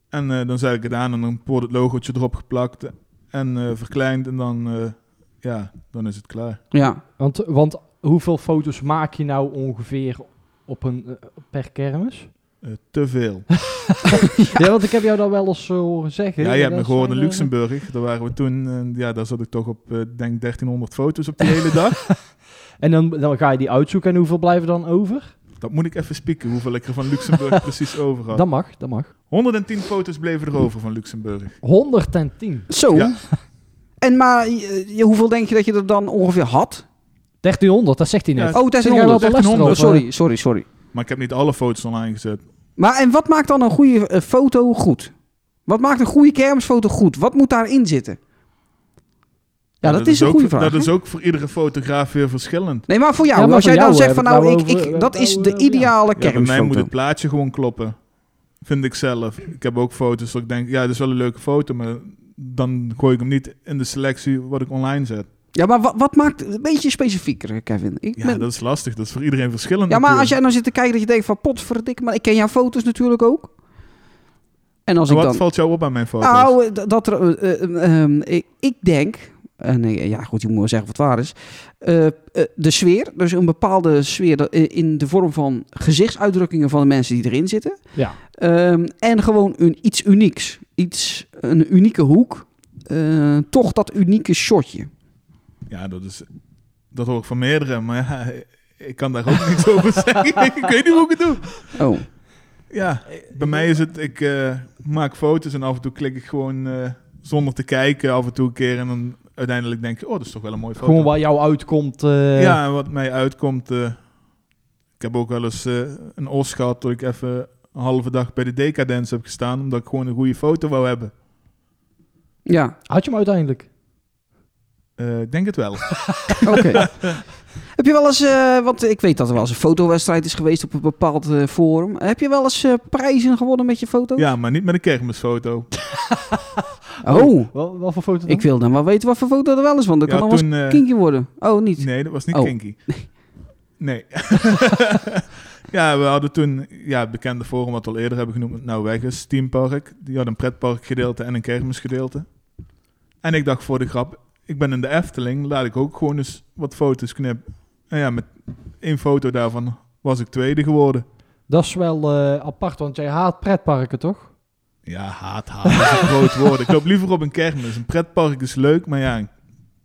Speaker 5: En eh, dan zet ik het aan en dan wordt het logootje erop geplakt. En eh, verkleind. En dan, eh, ja, dan is het klaar.
Speaker 4: Ja.
Speaker 3: Want, want hoeveel foto's maak je nou ongeveer op een, eh, per kermis?
Speaker 5: Eh, te veel.
Speaker 3: Ja. want ik heb jou daar wel eens eh, horen zeggen.
Speaker 5: Ja, je hebt me
Speaker 3: dat
Speaker 5: gehoord in
Speaker 3: zijn, eh,
Speaker 5: Luxemburg. Daar waren we toen. En ja, daar zat ik toch op, eh, denk 1300 foto's op die hele dag.
Speaker 3: eh, En dan, dan ga je die uitzoeken en hoeveel blijven dan over?
Speaker 5: Dat moet ik even spieken, hoeveel ik er van Luxemburg precies over had.
Speaker 3: Dat mag, dat mag.
Speaker 5: 110 foto's bleven er over van Luxemburg.
Speaker 3: 110.
Speaker 4: Zo.
Speaker 5: Ja.
Speaker 4: En maar eh, je- hoeveel denk je dat je er dan ongeveer had?
Speaker 3: 1300, dat zegt hij net.
Speaker 5: Ja,
Speaker 4: Oh,
Speaker 3: Zeg
Speaker 4: daar zijn
Speaker 3: jij wel de
Speaker 4: 100.
Speaker 3: last
Speaker 5: 1300,
Speaker 4: Oh,
Speaker 3: erover?
Speaker 4: sorry, sorry, sorry.
Speaker 5: Maar ik heb niet alle foto's online gezet.
Speaker 4: Maar en wat maakt dan een goede eh, foto goed? Wat maakt een goede kermisfoto goed? Wat moet daarin zitten? Ja, dat, is een
Speaker 5: ook
Speaker 4: goede
Speaker 5: voor-
Speaker 4: vraag.
Speaker 5: Dat
Speaker 4: hè?
Speaker 5: is ook voor iedere fotograaf weer verschillend.
Speaker 4: Nee, maar voor jou.
Speaker 3: Ja, maar
Speaker 4: als
Speaker 3: voor
Speaker 4: jij dan
Speaker 3: jou
Speaker 4: zegt van
Speaker 3: hebben we
Speaker 4: nou,
Speaker 3: het
Speaker 4: ik,
Speaker 3: nou
Speaker 4: ik,
Speaker 3: over-
Speaker 4: dat is
Speaker 3: nou,
Speaker 4: de
Speaker 3: eh, ja.
Speaker 4: ideale
Speaker 5: Ja, bij mij moet
Speaker 4: kermisfoto.
Speaker 5: het plaatje gewoon kloppen. Vind ik zelf. Ik heb ook foto's dat ik denk, ja, dat is wel een leuke foto, maar dan gooi ik hem niet in de selectie wat ik online zet.
Speaker 4: Ja, maar wat, wat maakt een beetje specifieker, Kevin? Ik
Speaker 5: Ja,
Speaker 4: ben-
Speaker 5: dat is lastig. Dat is voor iedereen verschillend.
Speaker 4: ja, maar als
Speaker 5: natuurlijk.
Speaker 4: jij nou zit te kijken dat je denkt van potverdik, maar ik ken jouw foto's natuurlijk ook. En als
Speaker 5: En
Speaker 4: ik
Speaker 5: wat
Speaker 4: dan...
Speaker 5: valt jou op aan mijn foto's?
Speaker 4: Nou, eh, d- dat er, eh, eh, ehm, ik- ik denk, en eh, ja goed, je moet wel zeggen wat waar is, eh, eh, de sfeer, dus een bepaalde sfeer dat- eh, in de vorm van gezichtsuitdrukkingen van de mensen die erin zitten.
Speaker 3: Ja.
Speaker 4: Ehm, en gewoon een, iets unieks, iets, een unieke hoek, Eh, toch dat unieke shotje.
Speaker 5: Ja, dat is... Dat hoor ik van meerdere, maar ja, ik kan daar ook niks over zeggen. ik weet niet hoe ik het doe.
Speaker 4: Oh,
Speaker 5: Ja,
Speaker 4: Eh,
Speaker 5: bij mij is het, ik eh, maak foto's en af en toe klik ik gewoon eh, zonder te kijken af en toe een keer. En dan uiteindelijk denk je, oh, dat is toch wel een mooie foto.
Speaker 3: Gewoon waar jou uitkomt. eh,
Speaker 5: Ja, en wat mij uitkomt. eh, ik heb ook wel eens eh, een os gehad dat ik even een halve dag bij de Decadence heb gestaan. Omdat ik gewoon een goede foto wou hebben.
Speaker 4: ja.
Speaker 3: Had je hem uiteindelijk?
Speaker 5: Eh, ik denk het wel.
Speaker 4: Oké. Heb je wel eens, eh, want ik weet dat er wel eens een fotowedstrijd is geweest op een bepaald eh, forum. Heb je wel eens eh, prijzen gewonnen met je foto?
Speaker 5: ja, maar niet met een kermisfoto.
Speaker 4: Oh,
Speaker 3: Wel, wel voor foto dan?
Speaker 4: ik wil dan wel weten wat voor foto er wel is, want dat
Speaker 5: Ja,
Speaker 4: kan nog wel
Speaker 5: toen, eh,
Speaker 4: eens kinky worden. Oh, niet.
Speaker 5: nee, dat was niet
Speaker 4: Oh.
Speaker 5: kinky. Nee. ja, we hadden toen ja, het bekende forum wat we al eerder hebben genoemd. wat Nou, weg is Teampark. Die had een pretparkgedeelte en een kermisgedeelte. En ik dacht voor de grap, ik ben in de Efteling. Laat ik ook gewoon eens wat foto's knip. En ja, met één foto daarvan was ik tweede geworden.
Speaker 3: Dat is wel eh, apart, want jij haat pretparken, toch?
Speaker 5: Ja, haat, haat is een groot woord. Ik loop liever op een kermis. Een pretpark is leuk, maar ja, een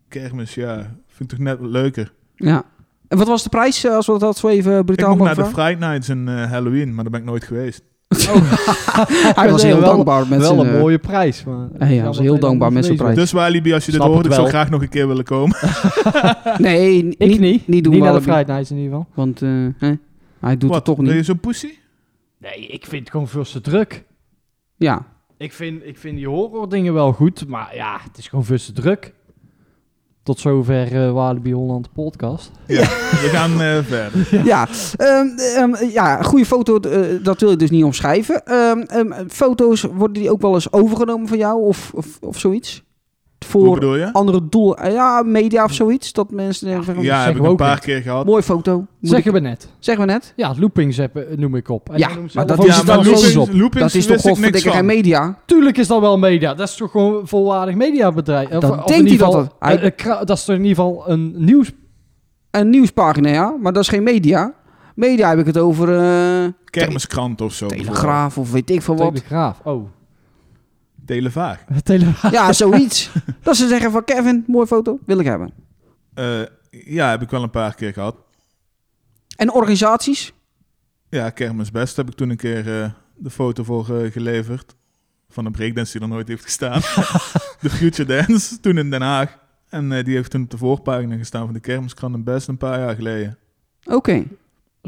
Speaker 5: kermis, ja, vind ik toch net wat leuker.
Speaker 4: Ja. En wat was de prijs, eh, als we dat zo even
Speaker 5: Ik
Speaker 4: brutaal
Speaker 5: mocht naar
Speaker 4: mogen
Speaker 5: de
Speaker 4: vragen? Oh.
Speaker 5: Friday Nights en eh, Halloween, maar daar ben ik nooit geweest.
Speaker 4: Hij was
Speaker 3: Nee,
Speaker 4: heel
Speaker 3: wel-
Speaker 4: dankbaar met
Speaker 3: wel
Speaker 4: zijn...
Speaker 3: een
Speaker 4: eh,
Speaker 3: mooie prijs. Maar
Speaker 4: hij was
Speaker 3: Jammer
Speaker 4: heel
Speaker 3: dat
Speaker 4: dankbaar
Speaker 3: hij
Speaker 4: met zijn
Speaker 3: niet
Speaker 4: prijs.
Speaker 3: bezig
Speaker 5: Dus Walibi, als je dit
Speaker 3: Snap
Speaker 5: hoort,
Speaker 3: het
Speaker 5: ik zou
Speaker 3: wel.
Speaker 5: graag nog een keer willen komen.
Speaker 4: Nee, n-
Speaker 3: was.
Speaker 4: niet,
Speaker 3: Ik niet.
Speaker 4: niet doen
Speaker 3: niet naar de
Speaker 4: Walibi.
Speaker 3: Friday Nights in ieder geval.
Speaker 4: Want eh, hè? hij doet het toch
Speaker 5: Ben je
Speaker 4: niet.
Speaker 5: zo'n pussy?
Speaker 3: Nee, ik vind het gewoon veel te druk.
Speaker 4: Ja.
Speaker 3: Ik vind, ik vind die horror dingen wel goed, maar ja, het is gewoon veel te druk. Tot zover eh Walibi Holland podcast.
Speaker 5: We gaan eh, verder.
Speaker 4: Ja, ja. Ehm, ehm, ja goede foto, eh, dat wil je dus niet omschrijven. Ehm, ehm, foto's, worden die ook wel eens overgenomen van jou of, of, of zoiets?
Speaker 5: Hoe
Speaker 4: Voor
Speaker 5: bedoel je?
Speaker 4: andere doel, eh, ja, media of zoiets? Dat mensen eh, zeggen,
Speaker 5: Ja, heb
Speaker 3: zeggen
Speaker 5: ik
Speaker 3: we
Speaker 5: een
Speaker 3: ook
Speaker 5: paar
Speaker 3: niet.
Speaker 5: keer gehad.
Speaker 4: mooie foto. Moet ik-
Speaker 3: Zeggen we net.
Speaker 4: Zeggen we net.
Speaker 3: Ja, loopings heb, eh, noem ik op. En
Speaker 4: Ja,
Speaker 3: jij noemt
Speaker 4: maar
Speaker 3: zelf
Speaker 4: dat
Speaker 3: ook
Speaker 4: is
Speaker 3: zelf
Speaker 4: dan
Speaker 3: foto's
Speaker 4: loopings.
Speaker 3: op.
Speaker 4: dat
Speaker 5: loopings
Speaker 4: is toch
Speaker 5: wist ik niks
Speaker 4: godverdikke geen
Speaker 5: van.
Speaker 4: media?
Speaker 3: Tuurlijk is dat wel media. Dat is toch gewoon een volwaardig mediabedrijf.
Speaker 4: Dan
Speaker 3: of
Speaker 4: denkt
Speaker 3: in ieder
Speaker 4: hij dat
Speaker 3: geval-
Speaker 4: het- hij-
Speaker 3: eh, een kra- dat is toch in ieder geval een nieuws...
Speaker 4: Een nieuwspagina, ja, maar dat is geen media. Media heb ik het over eh,
Speaker 5: Kermiskrant of zo.
Speaker 4: Telegraaf of weet ik veel wat.
Speaker 3: Telegraaf. Oh,
Speaker 5: bijvoorbeeld. Televaag.
Speaker 3: Telegraaf.
Speaker 4: Ja, zoiets. dat ze zeggen van Kevin, mooie foto, wil ik hebben.
Speaker 5: Eh, ja, heb ik wel een paar keer gehad.
Speaker 4: En organisaties?
Speaker 5: Ja, Kermis Best heb ik toen een keer eh, de foto voor eh, geleverd. Van een breakdance die er nooit heeft gestaan. de Future Dance, toen in Den Haag. En eh, die heeft toen op de voorpagina gestaan van de Kermiskrant en Best een paar jaar geleden.
Speaker 4: Oké.
Speaker 3: Dat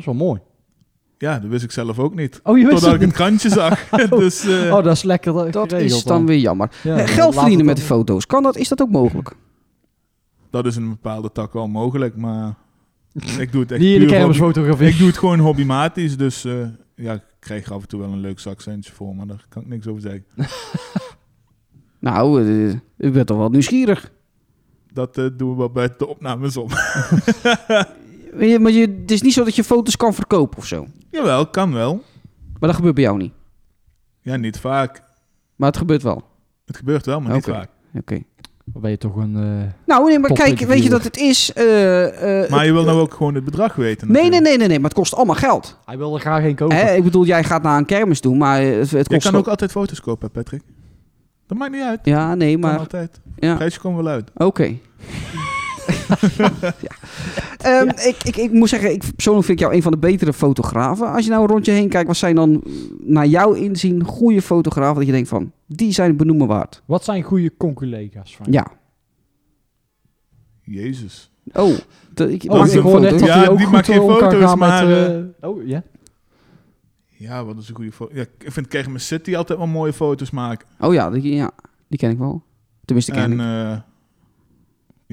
Speaker 3: is wel mooi.
Speaker 5: Ja, dat wist ik zelf ook niet.
Speaker 3: Oh, je wist
Speaker 5: Totdat
Speaker 3: het
Speaker 5: ik een
Speaker 3: niet.
Speaker 5: krantje zag. dus eh,
Speaker 3: Oh, dat is lekker. Dat,
Speaker 4: Dat
Speaker 3: geregeld
Speaker 4: is dan weer jammer.
Speaker 3: Ja,
Speaker 4: Eh,
Speaker 3: dan laat
Speaker 4: Geld verdienen
Speaker 3: het
Speaker 4: met de
Speaker 3: dan.
Speaker 4: foto's, kan dat? Is dat ook mogelijk?
Speaker 5: dat is in een bepaalde tak wel mogelijk, maar ik doe het echt
Speaker 3: Die in de
Speaker 5: puur
Speaker 3: kermis
Speaker 5: hobby-
Speaker 3: fotografeert.
Speaker 5: Ik doe het gewoon hobbymatisch, dus eh, ja, ik krijg er af en toe wel een leuk zakcentje voor, maar daar kan ik niks over zeggen.
Speaker 4: Nou, eh, ik ben toch wel nieuwsgierig.
Speaker 5: Dat eh, doen we wel bij de opnames om.
Speaker 4: Maar je- Maar je, het is niet zo dat je foto's kan verkopen of zo.
Speaker 5: Jawel, kan wel.
Speaker 4: Maar dat gebeurt bij jou niet.
Speaker 5: Ja, niet vaak.
Speaker 4: Maar het gebeurt wel. Oké.
Speaker 5: Het gebeurt wel, maar niet
Speaker 4: Oké.
Speaker 5: vaak.
Speaker 3: Dan ben je toch een... eh,
Speaker 4: Nou, nee, maar
Speaker 3: Top
Speaker 4: kijk,
Speaker 3: interviewer.
Speaker 4: weet je dat het is? eh, eh,
Speaker 5: Maar je wil nou ook gewoon het bedrag weten.
Speaker 4: Nee, nee,
Speaker 5: natuurlijk.
Speaker 4: nee, nee, nee, maar het kost allemaal geld.
Speaker 3: Hij wil er graag een kopen.
Speaker 4: Hè, ik bedoel, jij gaat naar een kermis doen, maar eh, het, het
Speaker 5: Je
Speaker 4: kost
Speaker 5: kan
Speaker 4: wel-
Speaker 5: ook altijd foto's kopen, hè, Patrick. Dat maakt niet uit.
Speaker 4: Ja, nee,
Speaker 5: Maar
Speaker 4: maar...
Speaker 5: altijd.
Speaker 4: Ja,
Speaker 5: Prijsje komt wel uit.
Speaker 4: oké. Ja. Ehm, ik, ik, ik moet zeggen, ik, persoonlijk vind ik jou een van de betere fotografen. Als je nou rond je heen kijkt, wat zijn dan naar jouw inzien goede fotografen dat je denkt van, die zijn benoemen waard?
Speaker 3: Wat zijn goede conculega's? Frank?
Speaker 4: Ja.
Speaker 5: Jezus.
Speaker 4: Oh, dat ik,
Speaker 3: Oh,
Speaker 4: maak
Speaker 3: ik
Speaker 4: ik een
Speaker 3: hoor
Speaker 4: foto?
Speaker 3: net dat hij
Speaker 5: Ja,
Speaker 3: ook
Speaker 5: die
Speaker 3: goed
Speaker 5: maakt geen
Speaker 3: om kan
Speaker 5: foto's,
Speaker 3: gaan
Speaker 5: maar,
Speaker 3: met... eh, oh, ja?
Speaker 5: Ja, wat is een goede foto. Ja, ik vind Kermis City altijd wel mooie foto's maken.
Speaker 4: Oh ja die, ja, die ken ik wel. Tenminste, ken
Speaker 5: En
Speaker 4: ik.
Speaker 5: eh,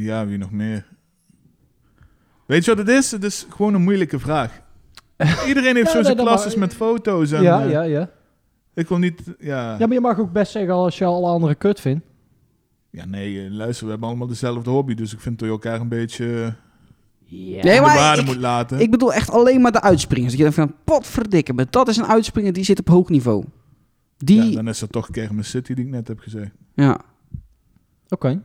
Speaker 5: ja, wie nog meer? Weet je wat het is? Het is gewoon een moeilijke vraag. Iedereen heeft
Speaker 3: Ja,
Speaker 5: zo
Speaker 3: nee,
Speaker 5: zijn
Speaker 3: dat
Speaker 5: klasses
Speaker 3: mag-
Speaker 5: met foto's. En,
Speaker 3: Ja,
Speaker 5: eh,
Speaker 3: ja, ja.
Speaker 5: Ik wil niet... Ja,
Speaker 3: Ja, maar je mag ook best zeggen als je alle anderen kut vindt.
Speaker 5: ja nee, eh, luister, we hebben allemaal dezelfde hobby. Dus ik vind dat je elkaar een beetje eh,
Speaker 4: nee,
Speaker 5: de
Speaker 4: maar
Speaker 5: waarde
Speaker 4: ik,
Speaker 5: moet laten.
Speaker 4: ik bedoel echt alleen maar de uitspringers. Dat je denkt van, potverdikke, maar dat is een uitspringer die zit op hoog niveau. Die,
Speaker 5: Ja,
Speaker 4: ja.
Speaker 5: dan is dat toch Kermis City die ik net heb gezegd.
Speaker 3: Oké.
Speaker 5: Er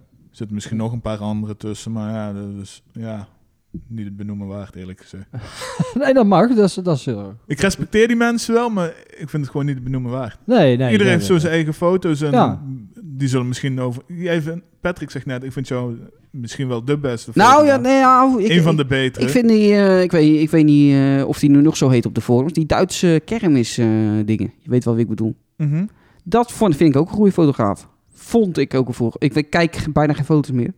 Speaker 5: zitten misschien nog een paar andere tussen, maar ja, dat is ja, niet het benoemen waard, eerlijk gezegd.
Speaker 3: Nee, dat mag. Dat is, dat is eh, heel...
Speaker 5: Ik respecteer die mensen wel, maar ik vind het gewoon niet het benoemen waard.
Speaker 3: Nee, nee.
Speaker 5: Iedereen
Speaker 3: nee,
Speaker 5: heeft zo
Speaker 3: nee,
Speaker 5: zijn eigen foto's en
Speaker 3: Ja.
Speaker 5: die zullen misschien over... Jij vindt- Patrick zegt net, ik vind jou misschien wel de beste
Speaker 4: Nou ja,
Speaker 5: fotograaf.
Speaker 4: nee, nou, ik,
Speaker 5: Een van
Speaker 4: ik-
Speaker 5: de betere.
Speaker 4: Ik vind die, eh, ik, weet, ik weet niet eh, of die nu nog zo heet op de forums. Die Duitse kermis eh, dingen. Je weet wel wie ik bedoel.
Speaker 5: Mhm.
Speaker 4: Dat vond, vind ik ook een goede fotograaf. Vond ik ook een voor. Ik weet- kijk bijna geen foto's meer.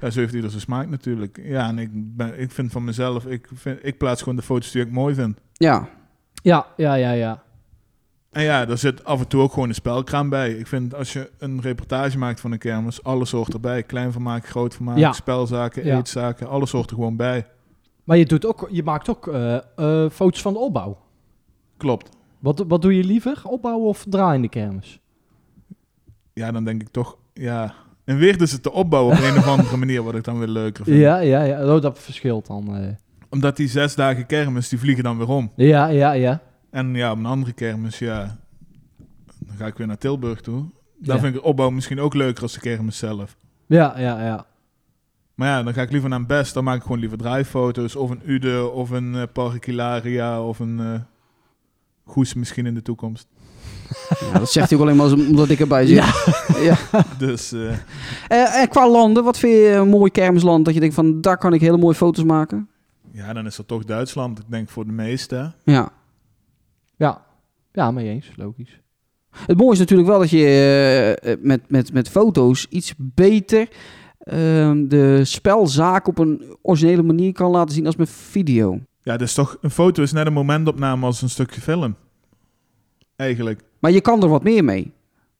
Speaker 5: Ja, zo heeft ieder zijn smaak natuurlijk. Ja, en ik, ben, ik vind van mezelf, ik, vind, ik plaats gewoon de foto's die ik mooi vind.
Speaker 4: Ja,
Speaker 3: nee. Ja, ja, ja, ja.
Speaker 5: En ja, daar zit af en toe ook gewoon een spelkraam bij. Ik vind als je een reportage maakt van een kermis, alles hoort erbij. Klein vermaak, groot vermaak,
Speaker 3: Ja.
Speaker 5: spelzaken,
Speaker 3: Ja.
Speaker 5: eetzaken, alles hoort er gewoon bij.
Speaker 3: Maar je, doet ook, je maakt ook eh, eh, foto's van de opbouw.
Speaker 5: Klopt.
Speaker 3: Wat, wat doe je liever? Opbouwen of draaiende kermis?
Speaker 5: Ja, dan denk ik toch, ja. En weer dus het te opbouwen op een of andere manier, wat ik dan weer leuker vind.
Speaker 3: Ja, ja, ja. Oh, dat verschilt dan. eh.
Speaker 5: Omdat die zes dagen kermis, die vliegen dan weer om.
Speaker 3: Ja, ja, ja.
Speaker 5: En ja, op een andere kermis, ja, dan ga ik weer naar Tilburg toe. Daar
Speaker 3: Ja.
Speaker 5: vind ik de opbouw misschien ook leuker als de kermis zelf.
Speaker 3: Ja, ja, ja.
Speaker 5: Maar ja, dan ga ik liever naar een best. Dan maak ik gewoon liever draaifoto's. Of een Ude, of een eh Park Hilaria, of een eh, Goes misschien in de toekomst.
Speaker 4: Ja, dat zegt hij ook alleen maar als- omdat ik erbij zit. Ja.
Speaker 5: Dus eh,
Speaker 4: Eh, en qua landen, wat vind je een mooi kermisland? Dat je denkt van, daar kan ik hele mooie foto's maken.
Speaker 5: ja, dan is dat toch Duitsland. Ik denk voor de meesten.
Speaker 4: Ja.
Speaker 3: Ja, ja mee eens. Logisch.
Speaker 4: Het mooie is natuurlijk wel dat je eh, eh, met, met, met foto's iets beter ehm, de spelzaak op een originele manier kan laten zien als met video.
Speaker 5: Ja, dus toch, een foto is net een momentopname als een stukje film. Eigenlijk.
Speaker 4: Maar je kan er wat meer mee,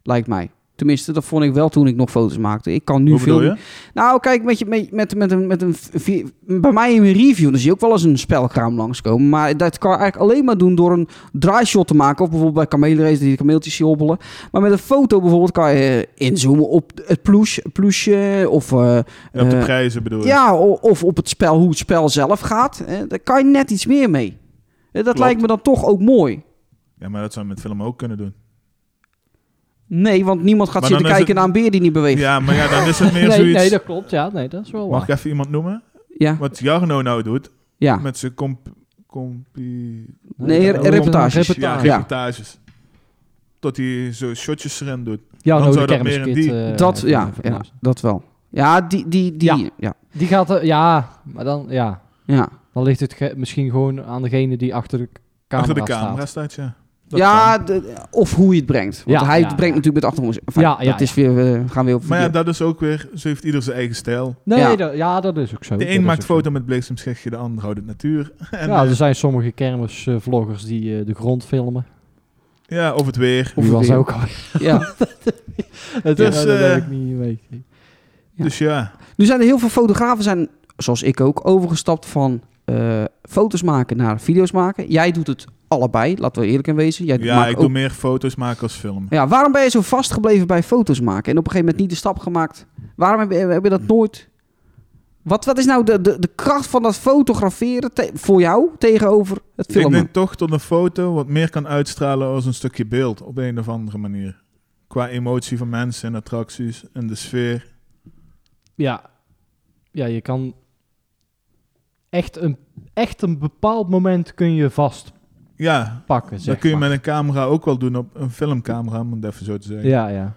Speaker 4: lijkt mij. Tenminste, dat vond ik wel toen ik nog foto's maakte. Ik kan nu
Speaker 5: Hoe
Speaker 4: veel.
Speaker 5: bedoel je?
Speaker 4: Nou, kijk, met, je, met, met, met een, met een vi- bij mij in mijn review, dan zie je ook wel eens een spelkraam langskomen. Maar dat kan je eigenlijk alleen maar doen door een draashot te maken. Of bijvoorbeeld bij kamelenrace, die kameeltjes zie hobbelen. Maar met een foto bijvoorbeeld kan je inzoomen op het plush, plusje. Of, eh,
Speaker 5: Ja, op de
Speaker 4: eh,
Speaker 5: prijzen bedoel je?
Speaker 4: ja, o- of op het spel, hoe het spel zelf gaat. Eh, daar kan je net iets meer mee. Eh, dat
Speaker 5: Klopt.
Speaker 4: lijkt me dan toch ook mooi.
Speaker 5: Ja, maar dat zou je met film ook kunnen doen.
Speaker 4: Nee, want niemand gaat
Speaker 5: Maar
Speaker 4: zitten
Speaker 5: dan is
Speaker 4: kijken naar een beer die niet beweegt.
Speaker 5: Ja, maar ja, dan is het meer
Speaker 3: nee,
Speaker 5: zoiets...
Speaker 3: nee, dat klopt. Ja, nee, dat is wel
Speaker 5: Mag ik
Speaker 3: waar.
Speaker 5: even iemand noemen?
Speaker 4: Ja,
Speaker 5: Wat Jarno nou doet,
Speaker 4: ja.
Speaker 5: met zijn comp... compi-
Speaker 4: Nee,
Speaker 3: Ja,
Speaker 4: re-
Speaker 3: dan-
Speaker 4: reportages.
Speaker 3: reportage.
Speaker 5: Ja,
Speaker 4: Ja.
Speaker 5: reportages. Dat hij zo shotjes erin doet.
Speaker 3: Ja,
Speaker 5: Dan
Speaker 3: nou,
Speaker 5: zou
Speaker 3: de
Speaker 5: dat meer
Speaker 3: kermiskit,
Speaker 5: in die-
Speaker 3: eh,
Speaker 4: dat,
Speaker 3: even
Speaker 4: ja,
Speaker 3: even
Speaker 4: ja,
Speaker 3: luisteren.
Speaker 4: dat wel. Ja, die, die, die, ja.
Speaker 3: Ja.
Speaker 4: ja,
Speaker 3: Die gaat er, ja, maar dan, ja.
Speaker 4: ja.
Speaker 3: Dan ligt het ge- misschien gewoon aan degene die achter de camera,
Speaker 5: Achter de camera
Speaker 3: staat.
Speaker 5: staat, ja. Dat kan.
Speaker 4: de- of hoe je het brengt. Want
Speaker 3: Ja,
Speaker 4: hij
Speaker 3: ja,
Speaker 4: brengt
Speaker 3: ja.
Speaker 4: natuurlijk met achtergrond. Enfin,
Speaker 3: Ja, ja,
Speaker 4: dat is weer, eh, we gaan weer op
Speaker 5: Maar ja,
Speaker 4: verkeer.
Speaker 5: dat is ook weer... Zo heeft ieder zijn eigen stijl.
Speaker 3: Nee,
Speaker 4: Ja.
Speaker 3: ja. Dat, ja, dat is ook zo.
Speaker 5: De
Speaker 3: Dat is
Speaker 5: een maakt
Speaker 3: ook zo.
Speaker 5: foto met bliksemschichtje, de ander houdt het natuur. En,
Speaker 3: ja,
Speaker 5: ja,
Speaker 3: er zijn sommige kermisvloggers die eh, de grond filmen.
Speaker 5: ja, of het weer.
Speaker 4: Of
Speaker 3: Of was
Speaker 4: weer.
Speaker 3: ook al.
Speaker 4: Ja.
Speaker 3: Dat
Speaker 5: Dus,
Speaker 3: dat heb
Speaker 5: eh,
Speaker 3: ik niet weten.
Speaker 4: Ja.
Speaker 5: Dus ja,
Speaker 4: Nu zijn er heel veel fotografen, zijn, zoals ik ook, overgestapt van eh, foto's maken naar video's maken. Jij doet het allebei, laten we eerlijk in wezen. Jij
Speaker 5: ja
Speaker 4: maakt
Speaker 5: ik
Speaker 4: ook-
Speaker 5: doe meer foto's maken als film.
Speaker 4: ja, waarom ben je zo vastgebleven bij foto's maken en op een gegeven moment niet de stap gemaakt? Waarom heb je, heb je dat nooit... Wat, wat is nou de, de, de kracht van dat fotograferen te- voor jou tegenover het
Speaker 5: Ik
Speaker 4: filmen?
Speaker 5: denk toch tot een foto wat meer kan uitstralen als een stukje beeld op een of andere manier. Qua emotie van mensen en attracties en de sfeer.
Speaker 3: Ja. ja, je kan echt een, echt een bepaald moment kun je vastpakken,
Speaker 5: Ja,
Speaker 3: zeg
Speaker 5: dat kun je
Speaker 3: maar.
Speaker 5: met een camera ook wel doen op een filmcamera, om het even zo te zeggen.
Speaker 3: Ja, ja.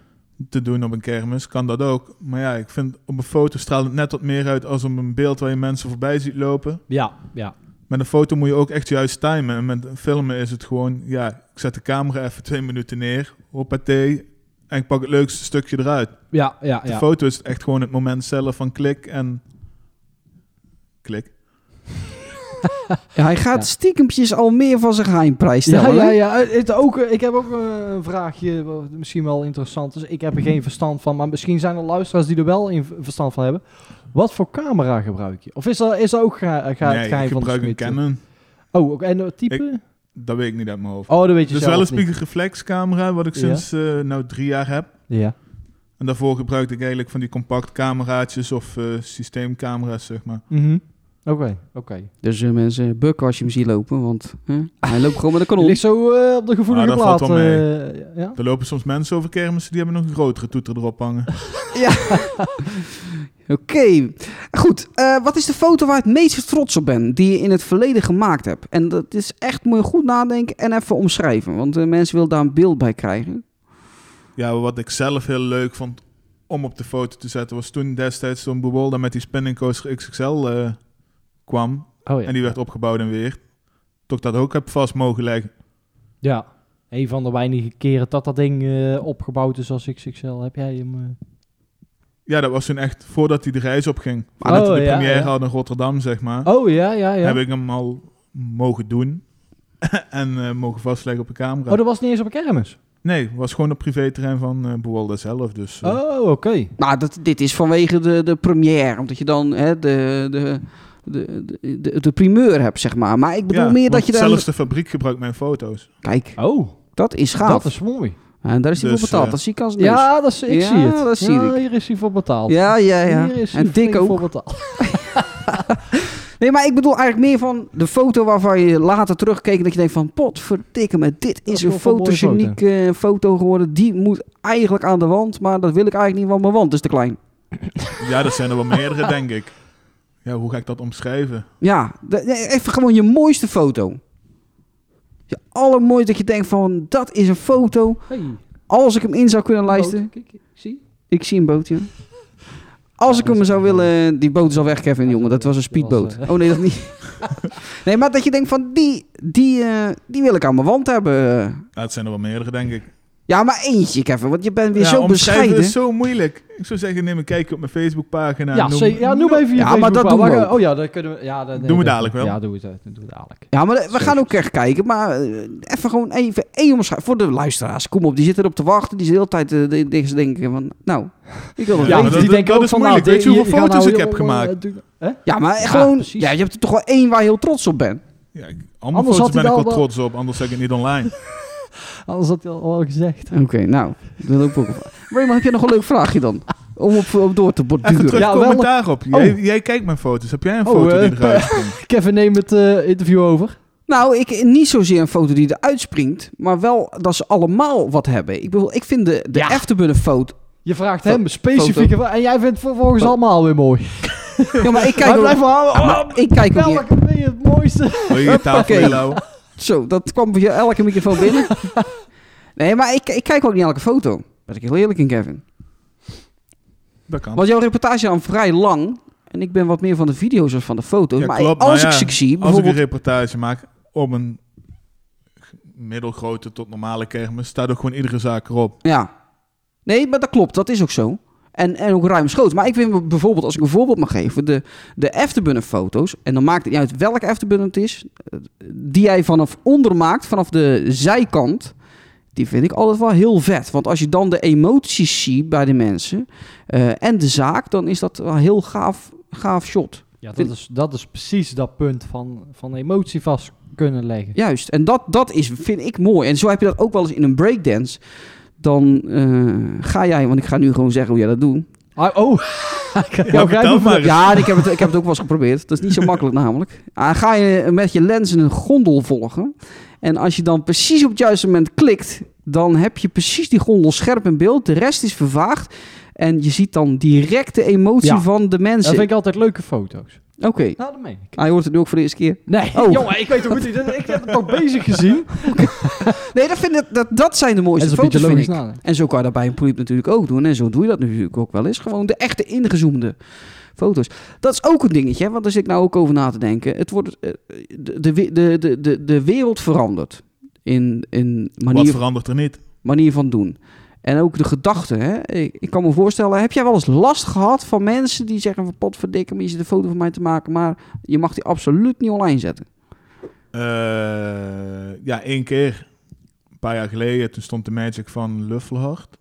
Speaker 5: te doen op een kermis, kan dat ook. Maar ja, ik vind op een foto straalt het net wat meer uit als op een beeld waar je mensen voorbij ziet lopen.
Speaker 3: Ja, ja.
Speaker 5: Met een foto moet je ook echt juist timen. En met filmen is het gewoon, ja, ik zet de camera even twee minuten neer, hoppatee, en ik pak het leukste stukje eruit.
Speaker 3: Ja, ja,
Speaker 5: De
Speaker 3: Ah, ja.
Speaker 5: foto is echt gewoon het moment zelf van klik en... Klik.
Speaker 4: Ja, hij gaat
Speaker 3: Ja.
Speaker 4: stiekempjes al meer van zijn geheimprijs
Speaker 3: Ja,
Speaker 4: stellen.
Speaker 3: ja,
Speaker 4: hè?
Speaker 3: ja. Het ook, eh, ik heb ook eh, een vraagje, wat misschien wel interessant is. Ik heb er geen verstand van, maar misschien zijn er luisteraars die er wel in verstand van hebben. Wat voor camera gebruik je? Of is dat, is dat ook ga, eh, ga, het
Speaker 5: nee,
Speaker 3: geheim
Speaker 5: ik
Speaker 3: van de
Speaker 5: gebruik een
Speaker 3: Smit?
Speaker 5: Canon.
Speaker 3: Oh, ook- en het type?
Speaker 5: Dat weet ik niet uit mijn hoofd.
Speaker 3: oh, dat weet je
Speaker 5: Dus
Speaker 3: zelf
Speaker 5: wel een
Speaker 3: niet.
Speaker 5: spiegelreflexcamera, wat ik
Speaker 3: Ja.
Speaker 5: sinds eh, nou drie jaar heb.
Speaker 3: Ja.
Speaker 5: En daarvoor gebruikte ik eigenlijk van die compact cameraatjes of eh, systeemcamera's, zeg maar.
Speaker 3: Mhm. Oké, oké.
Speaker 4: Dus eh, mensen, bukken als je hem ziet lopen, want hè, hij loopt gewoon met een
Speaker 3: Je
Speaker 4: kanon.
Speaker 3: ligt zo eh, op de gevoelige
Speaker 5: Ah, dat
Speaker 3: plaat.
Speaker 5: valt wel mee.
Speaker 3: eh, ja?
Speaker 5: Er lopen soms mensen over kermissen die hebben nog een grotere toeter erop hangen.
Speaker 4: Oké, goed. eh, wat is de foto waar het meest trots op bent die je in het verleden gemaakt hebt? En dat is echt, moet je goed nadenken en even omschrijven, want de mensen willen daar een beeld bij krijgen.
Speaker 5: Ja, wat ik zelf heel leuk vond om op de foto te zetten was toen destijds zo'n Bewolda met die spinning coaster XXL eh, kwam.
Speaker 3: Oh ja.
Speaker 5: En die werd opgebouwd en weer. Tot ik dat ook heb vast mogen leggen.
Speaker 3: Ja. Een van de weinige keren dat dat ding eh, opgebouwd is als XXL. Heb jij hem... eh,
Speaker 5: Ja, dat was toen echt voordat hij de reis opging.
Speaker 4: Maar
Speaker 5: Voordat
Speaker 3: Oh,
Speaker 5: we de
Speaker 3: ja,
Speaker 5: première
Speaker 3: ja.
Speaker 5: hadden in Rotterdam, zeg maar.
Speaker 3: Oh, ja, ja, ja.
Speaker 5: Heb ik hem al mogen doen. en eh, mogen vastleggen op een camera.
Speaker 3: Oh, dat was niet eens op een kermis?
Speaker 5: Nee, was gewoon op privéterrein van eh Bewolda zelf. Dus eh,
Speaker 3: Oh, oké.
Speaker 4: Nou, dat, dit is vanwege de, de première, omdat je dan hè, de, de, de, de, de, de primeur hebt, zeg maar. Maar ik bedoel
Speaker 5: ja,
Speaker 4: meer dat
Speaker 5: want
Speaker 4: je daar...
Speaker 5: Zelfs de fabriek gebruikt mijn foto's.
Speaker 4: Kijk,
Speaker 3: Oh,
Speaker 4: dat is gaaf.
Speaker 3: dat is mooi.
Speaker 4: En daar is hij
Speaker 5: Dus,
Speaker 4: voor betaald,
Speaker 5: eh,
Speaker 4: dat zie ik als neus.
Speaker 3: Ja, dat is, ik
Speaker 4: Ja,
Speaker 3: zie het.
Speaker 4: dat zie
Speaker 3: ja,
Speaker 4: ik.
Speaker 3: hier is hij voor betaald.
Speaker 4: ja, ja. ja.
Speaker 3: Hier is hij
Speaker 4: En dik
Speaker 3: flink
Speaker 4: ook.
Speaker 3: voor betaald.
Speaker 4: Nee, maar ik bedoel eigenlijk meer van de foto waarvan je later terugkeek... dat je denkt van, potverdikke me, dit
Speaker 3: is
Speaker 4: is een
Speaker 3: wel een mooie foto.
Speaker 4: fotogenieke foto. geworden. Die moet eigenlijk aan de wand, maar dat wil ik eigenlijk niet, want mijn wand is te klein.
Speaker 5: Ja, dat zijn er wel meerdere, denk ik. Ja, hoe ga ik dat omschrijven?
Speaker 4: Ja, de- nee, even gewoon je mooiste foto. Je allermooiste dat je denkt van, dat is een foto.
Speaker 3: Hey,
Speaker 4: Als ik hem in zou kunnen lijsten...
Speaker 3: boot. Kijk, kijk, zie.
Speaker 4: Ik zie een boot, ja. Als ik hem zou willen... Die boot is al weg, Kevin, jongen. Dat was een speedboot. Oh nee, dat niet. Nee, maar dat je denkt van, die, die, eh, die wil ik aan mijn wand hebben.
Speaker 5: Ja, het zijn er wel meerdere, denk ik.
Speaker 4: Ja, maar eentje, Kevin. Want je bent weer
Speaker 5: ja,
Speaker 4: zo
Speaker 5: omschrijven
Speaker 4: bescheiden.
Speaker 5: is zo moeilijk. Ik zou zeggen, neem een kijkje op mijn Facebookpagina.
Speaker 3: ja,
Speaker 5: noem,
Speaker 3: noem, ja, noem even je
Speaker 4: Ja, maar dat
Speaker 3: Facebookpagina.
Speaker 4: doen we
Speaker 3: Wacht,
Speaker 4: ook.
Speaker 3: Oh ja, dat kunnen we... Ja, dat, nee,
Speaker 5: Doen we
Speaker 3: dat-
Speaker 5: dadelijk wel.
Speaker 3: Ja, doen we, het, eh, doen we dadelijk.
Speaker 4: Ja, maar we gaan
Speaker 3: Zeker.
Speaker 4: ook echt kijken. Maar eh, even gewoon even één omschrijven. Voor de luisteraars, kom op. Die zitten erop te wachten. Die zitten de hele tijd eh, de- deze denken van... Nou, ik wil dat
Speaker 5: Ja,
Speaker 4: weten.
Speaker 5: maar dat- dat is
Speaker 3: nou,
Speaker 5: moeilijk. Weet je
Speaker 3: die-
Speaker 5: hoeveel
Speaker 3: gaan
Speaker 5: foto's ik
Speaker 3: heel
Speaker 5: heb
Speaker 3: lang, eh,
Speaker 5: gemaakt?
Speaker 3: doen-
Speaker 4: Ja, maar
Speaker 3: Ja,
Speaker 4: gewoon...
Speaker 3: precies.
Speaker 4: Ja, je hebt er toch wel één waar je heel trots op bent.
Speaker 5: Ja, ik- allemaal
Speaker 3: Anders had hij
Speaker 5: foto's ben ik
Speaker 3: al
Speaker 5: wel
Speaker 3: wel-
Speaker 5: trots op, anders zeg ik het niet online.
Speaker 3: Anders had hij al al gezegd.
Speaker 4: Oké, nou. Dat ook wel. Raymond, heb je nog een leuk vraagje dan? Om op, op door te
Speaker 5: Even
Speaker 4: borduren.
Speaker 5: terug
Speaker 3: Ja, wel-
Speaker 5: commentaar op. Jij,
Speaker 3: Oh.
Speaker 5: jij kijkt mijn foto's. Heb jij een
Speaker 3: Oh,
Speaker 5: foto die
Speaker 3: eh,
Speaker 5: eruit springt?
Speaker 3: Kevin, neem het eh, interview over.
Speaker 4: Nou, ik, niet zozeer een foto die eruit springt, maar wel dat ze allemaal wat hebben. Ik bedoel, ik vind de, de
Speaker 3: Ja.
Speaker 4: Efterbunner foto...
Speaker 3: Je vraagt hem specifieke... En jij vindt het vervolgens allemaal weer mooi.
Speaker 4: Ja, maar
Speaker 3: Kijk,
Speaker 4: ik kijk ook,
Speaker 3: maar
Speaker 4: Ja, maar ik kijk ook niet...
Speaker 3: Welke ben je het mooiste?
Speaker 5: Wil je je tafel
Speaker 4: Hoppakee.
Speaker 5: willen
Speaker 4: Zo, dat kwam via elke microfoon binnen. nee, maar ik, ik kijk ook niet elke foto. Daar ben ik heel eerlijk in, Kevin.
Speaker 5: Dat kan.
Speaker 4: Want jouw reportage dan vrij lang... En ik ben wat meer van de video's dan van de foto's.
Speaker 5: Ja,
Speaker 4: maar
Speaker 5: klopt,
Speaker 4: als
Speaker 5: maar ja,
Speaker 4: ik ze zie,
Speaker 5: Als ik een
Speaker 4: bijvoorbeeld...
Speaker 5: reportage maak om een middelgrote tot normale kermis, staat ook gewoon iedere zaak erop.
Speaker 4: Ja. Nee, maar dat klopt. Dat is ook zo. En, en ook ruimschoots. Maar ik vind bijvoorbeeld, als ik een voorbeeld mag geven, de, de Efterbunner foto's. En dan maakt het niet uit welke Efterbunner het is. eh, Die jij vanaf onder maakt, vanaf de zijkant. Die vind ik altijd wel heel vet. Want als je dan de emoties ziet bij de mensen eh, en de zaak, dan is dat wel een heel gaaf, gaaf shot.
Speaker 3: Ja, dat is, dat is precies dat punt van, van emotie vast kunnen leggen.
Speaker 4: Juist. En dat, dat is, vind ik mooi. En zo heb je dat ook wel eens in een breakdance. Dan eh, ga jij, want ik ga nu gewoon zeggen hoe jij dat doet.
Speaker 3: Ah, oh, ja,
Speaker 5: vertel maar eens.
Speaker 4: Ja, en ik heb, het, ik heb het ook wel eens geprobeerd. Dat is niet zo makkelijk namelijk. Ah, ga je met je lens een gondel volgen. En als je dan precies op het juiste moment klikt, dan heb je precies die gondel scherp in beeld. De rest is vervaagd. En je ziet dan direct de emotie
Speaker 3: Ja.
Speaker 4: van de
Speaker 3: Dat
Speaker 4: mensen.
Speaker 3: vind ik altijd leuke foto's.
Speaker 4: Oké.
Speaker 3: Nou, dat meen ik.
Speaker 4: Hij hoort het nu ook voor de eerste keer.
Speaker 3: Nee,
Speaker 4: Oh.
Speaker 3: jongen, ik weet toch goed, ik ik heb het toch bezig gezien.
Speaker 4: Nee, dat, vind ik, dat, dat zijn de mooiste foto's, vind ik.
Speaker 3: nadenken.
Speaker 4: En zo kan je dat bij een polyp natuurlijk ook doen. En zo doe je dat natuurlijk ook wel eens. Gewoon de echte ingezoomde foto's. Dat is ook een dingetje, hè, want daar zit ik nou ook over na te denken. Het wordt, eh, de, de, de, de- de, de wereld verandert in, in
Speaker 5: Wat
Speaker 4: manier,
Speaker 5: verandert er niet?
Speaker 4: manier van doen. En ook de gedachten. Hè? Ik, ik kan me voorstellen, heb jij wel eens last gehad van mensen die zeggen van potverdikke, maar je zit een foto van mij te maken, maar je mag die absoluut niet online zetten.
Speaker 5: Eh, ja, één keer. Een paar jaar geleden. Toen stond de Magic van Luffelhart.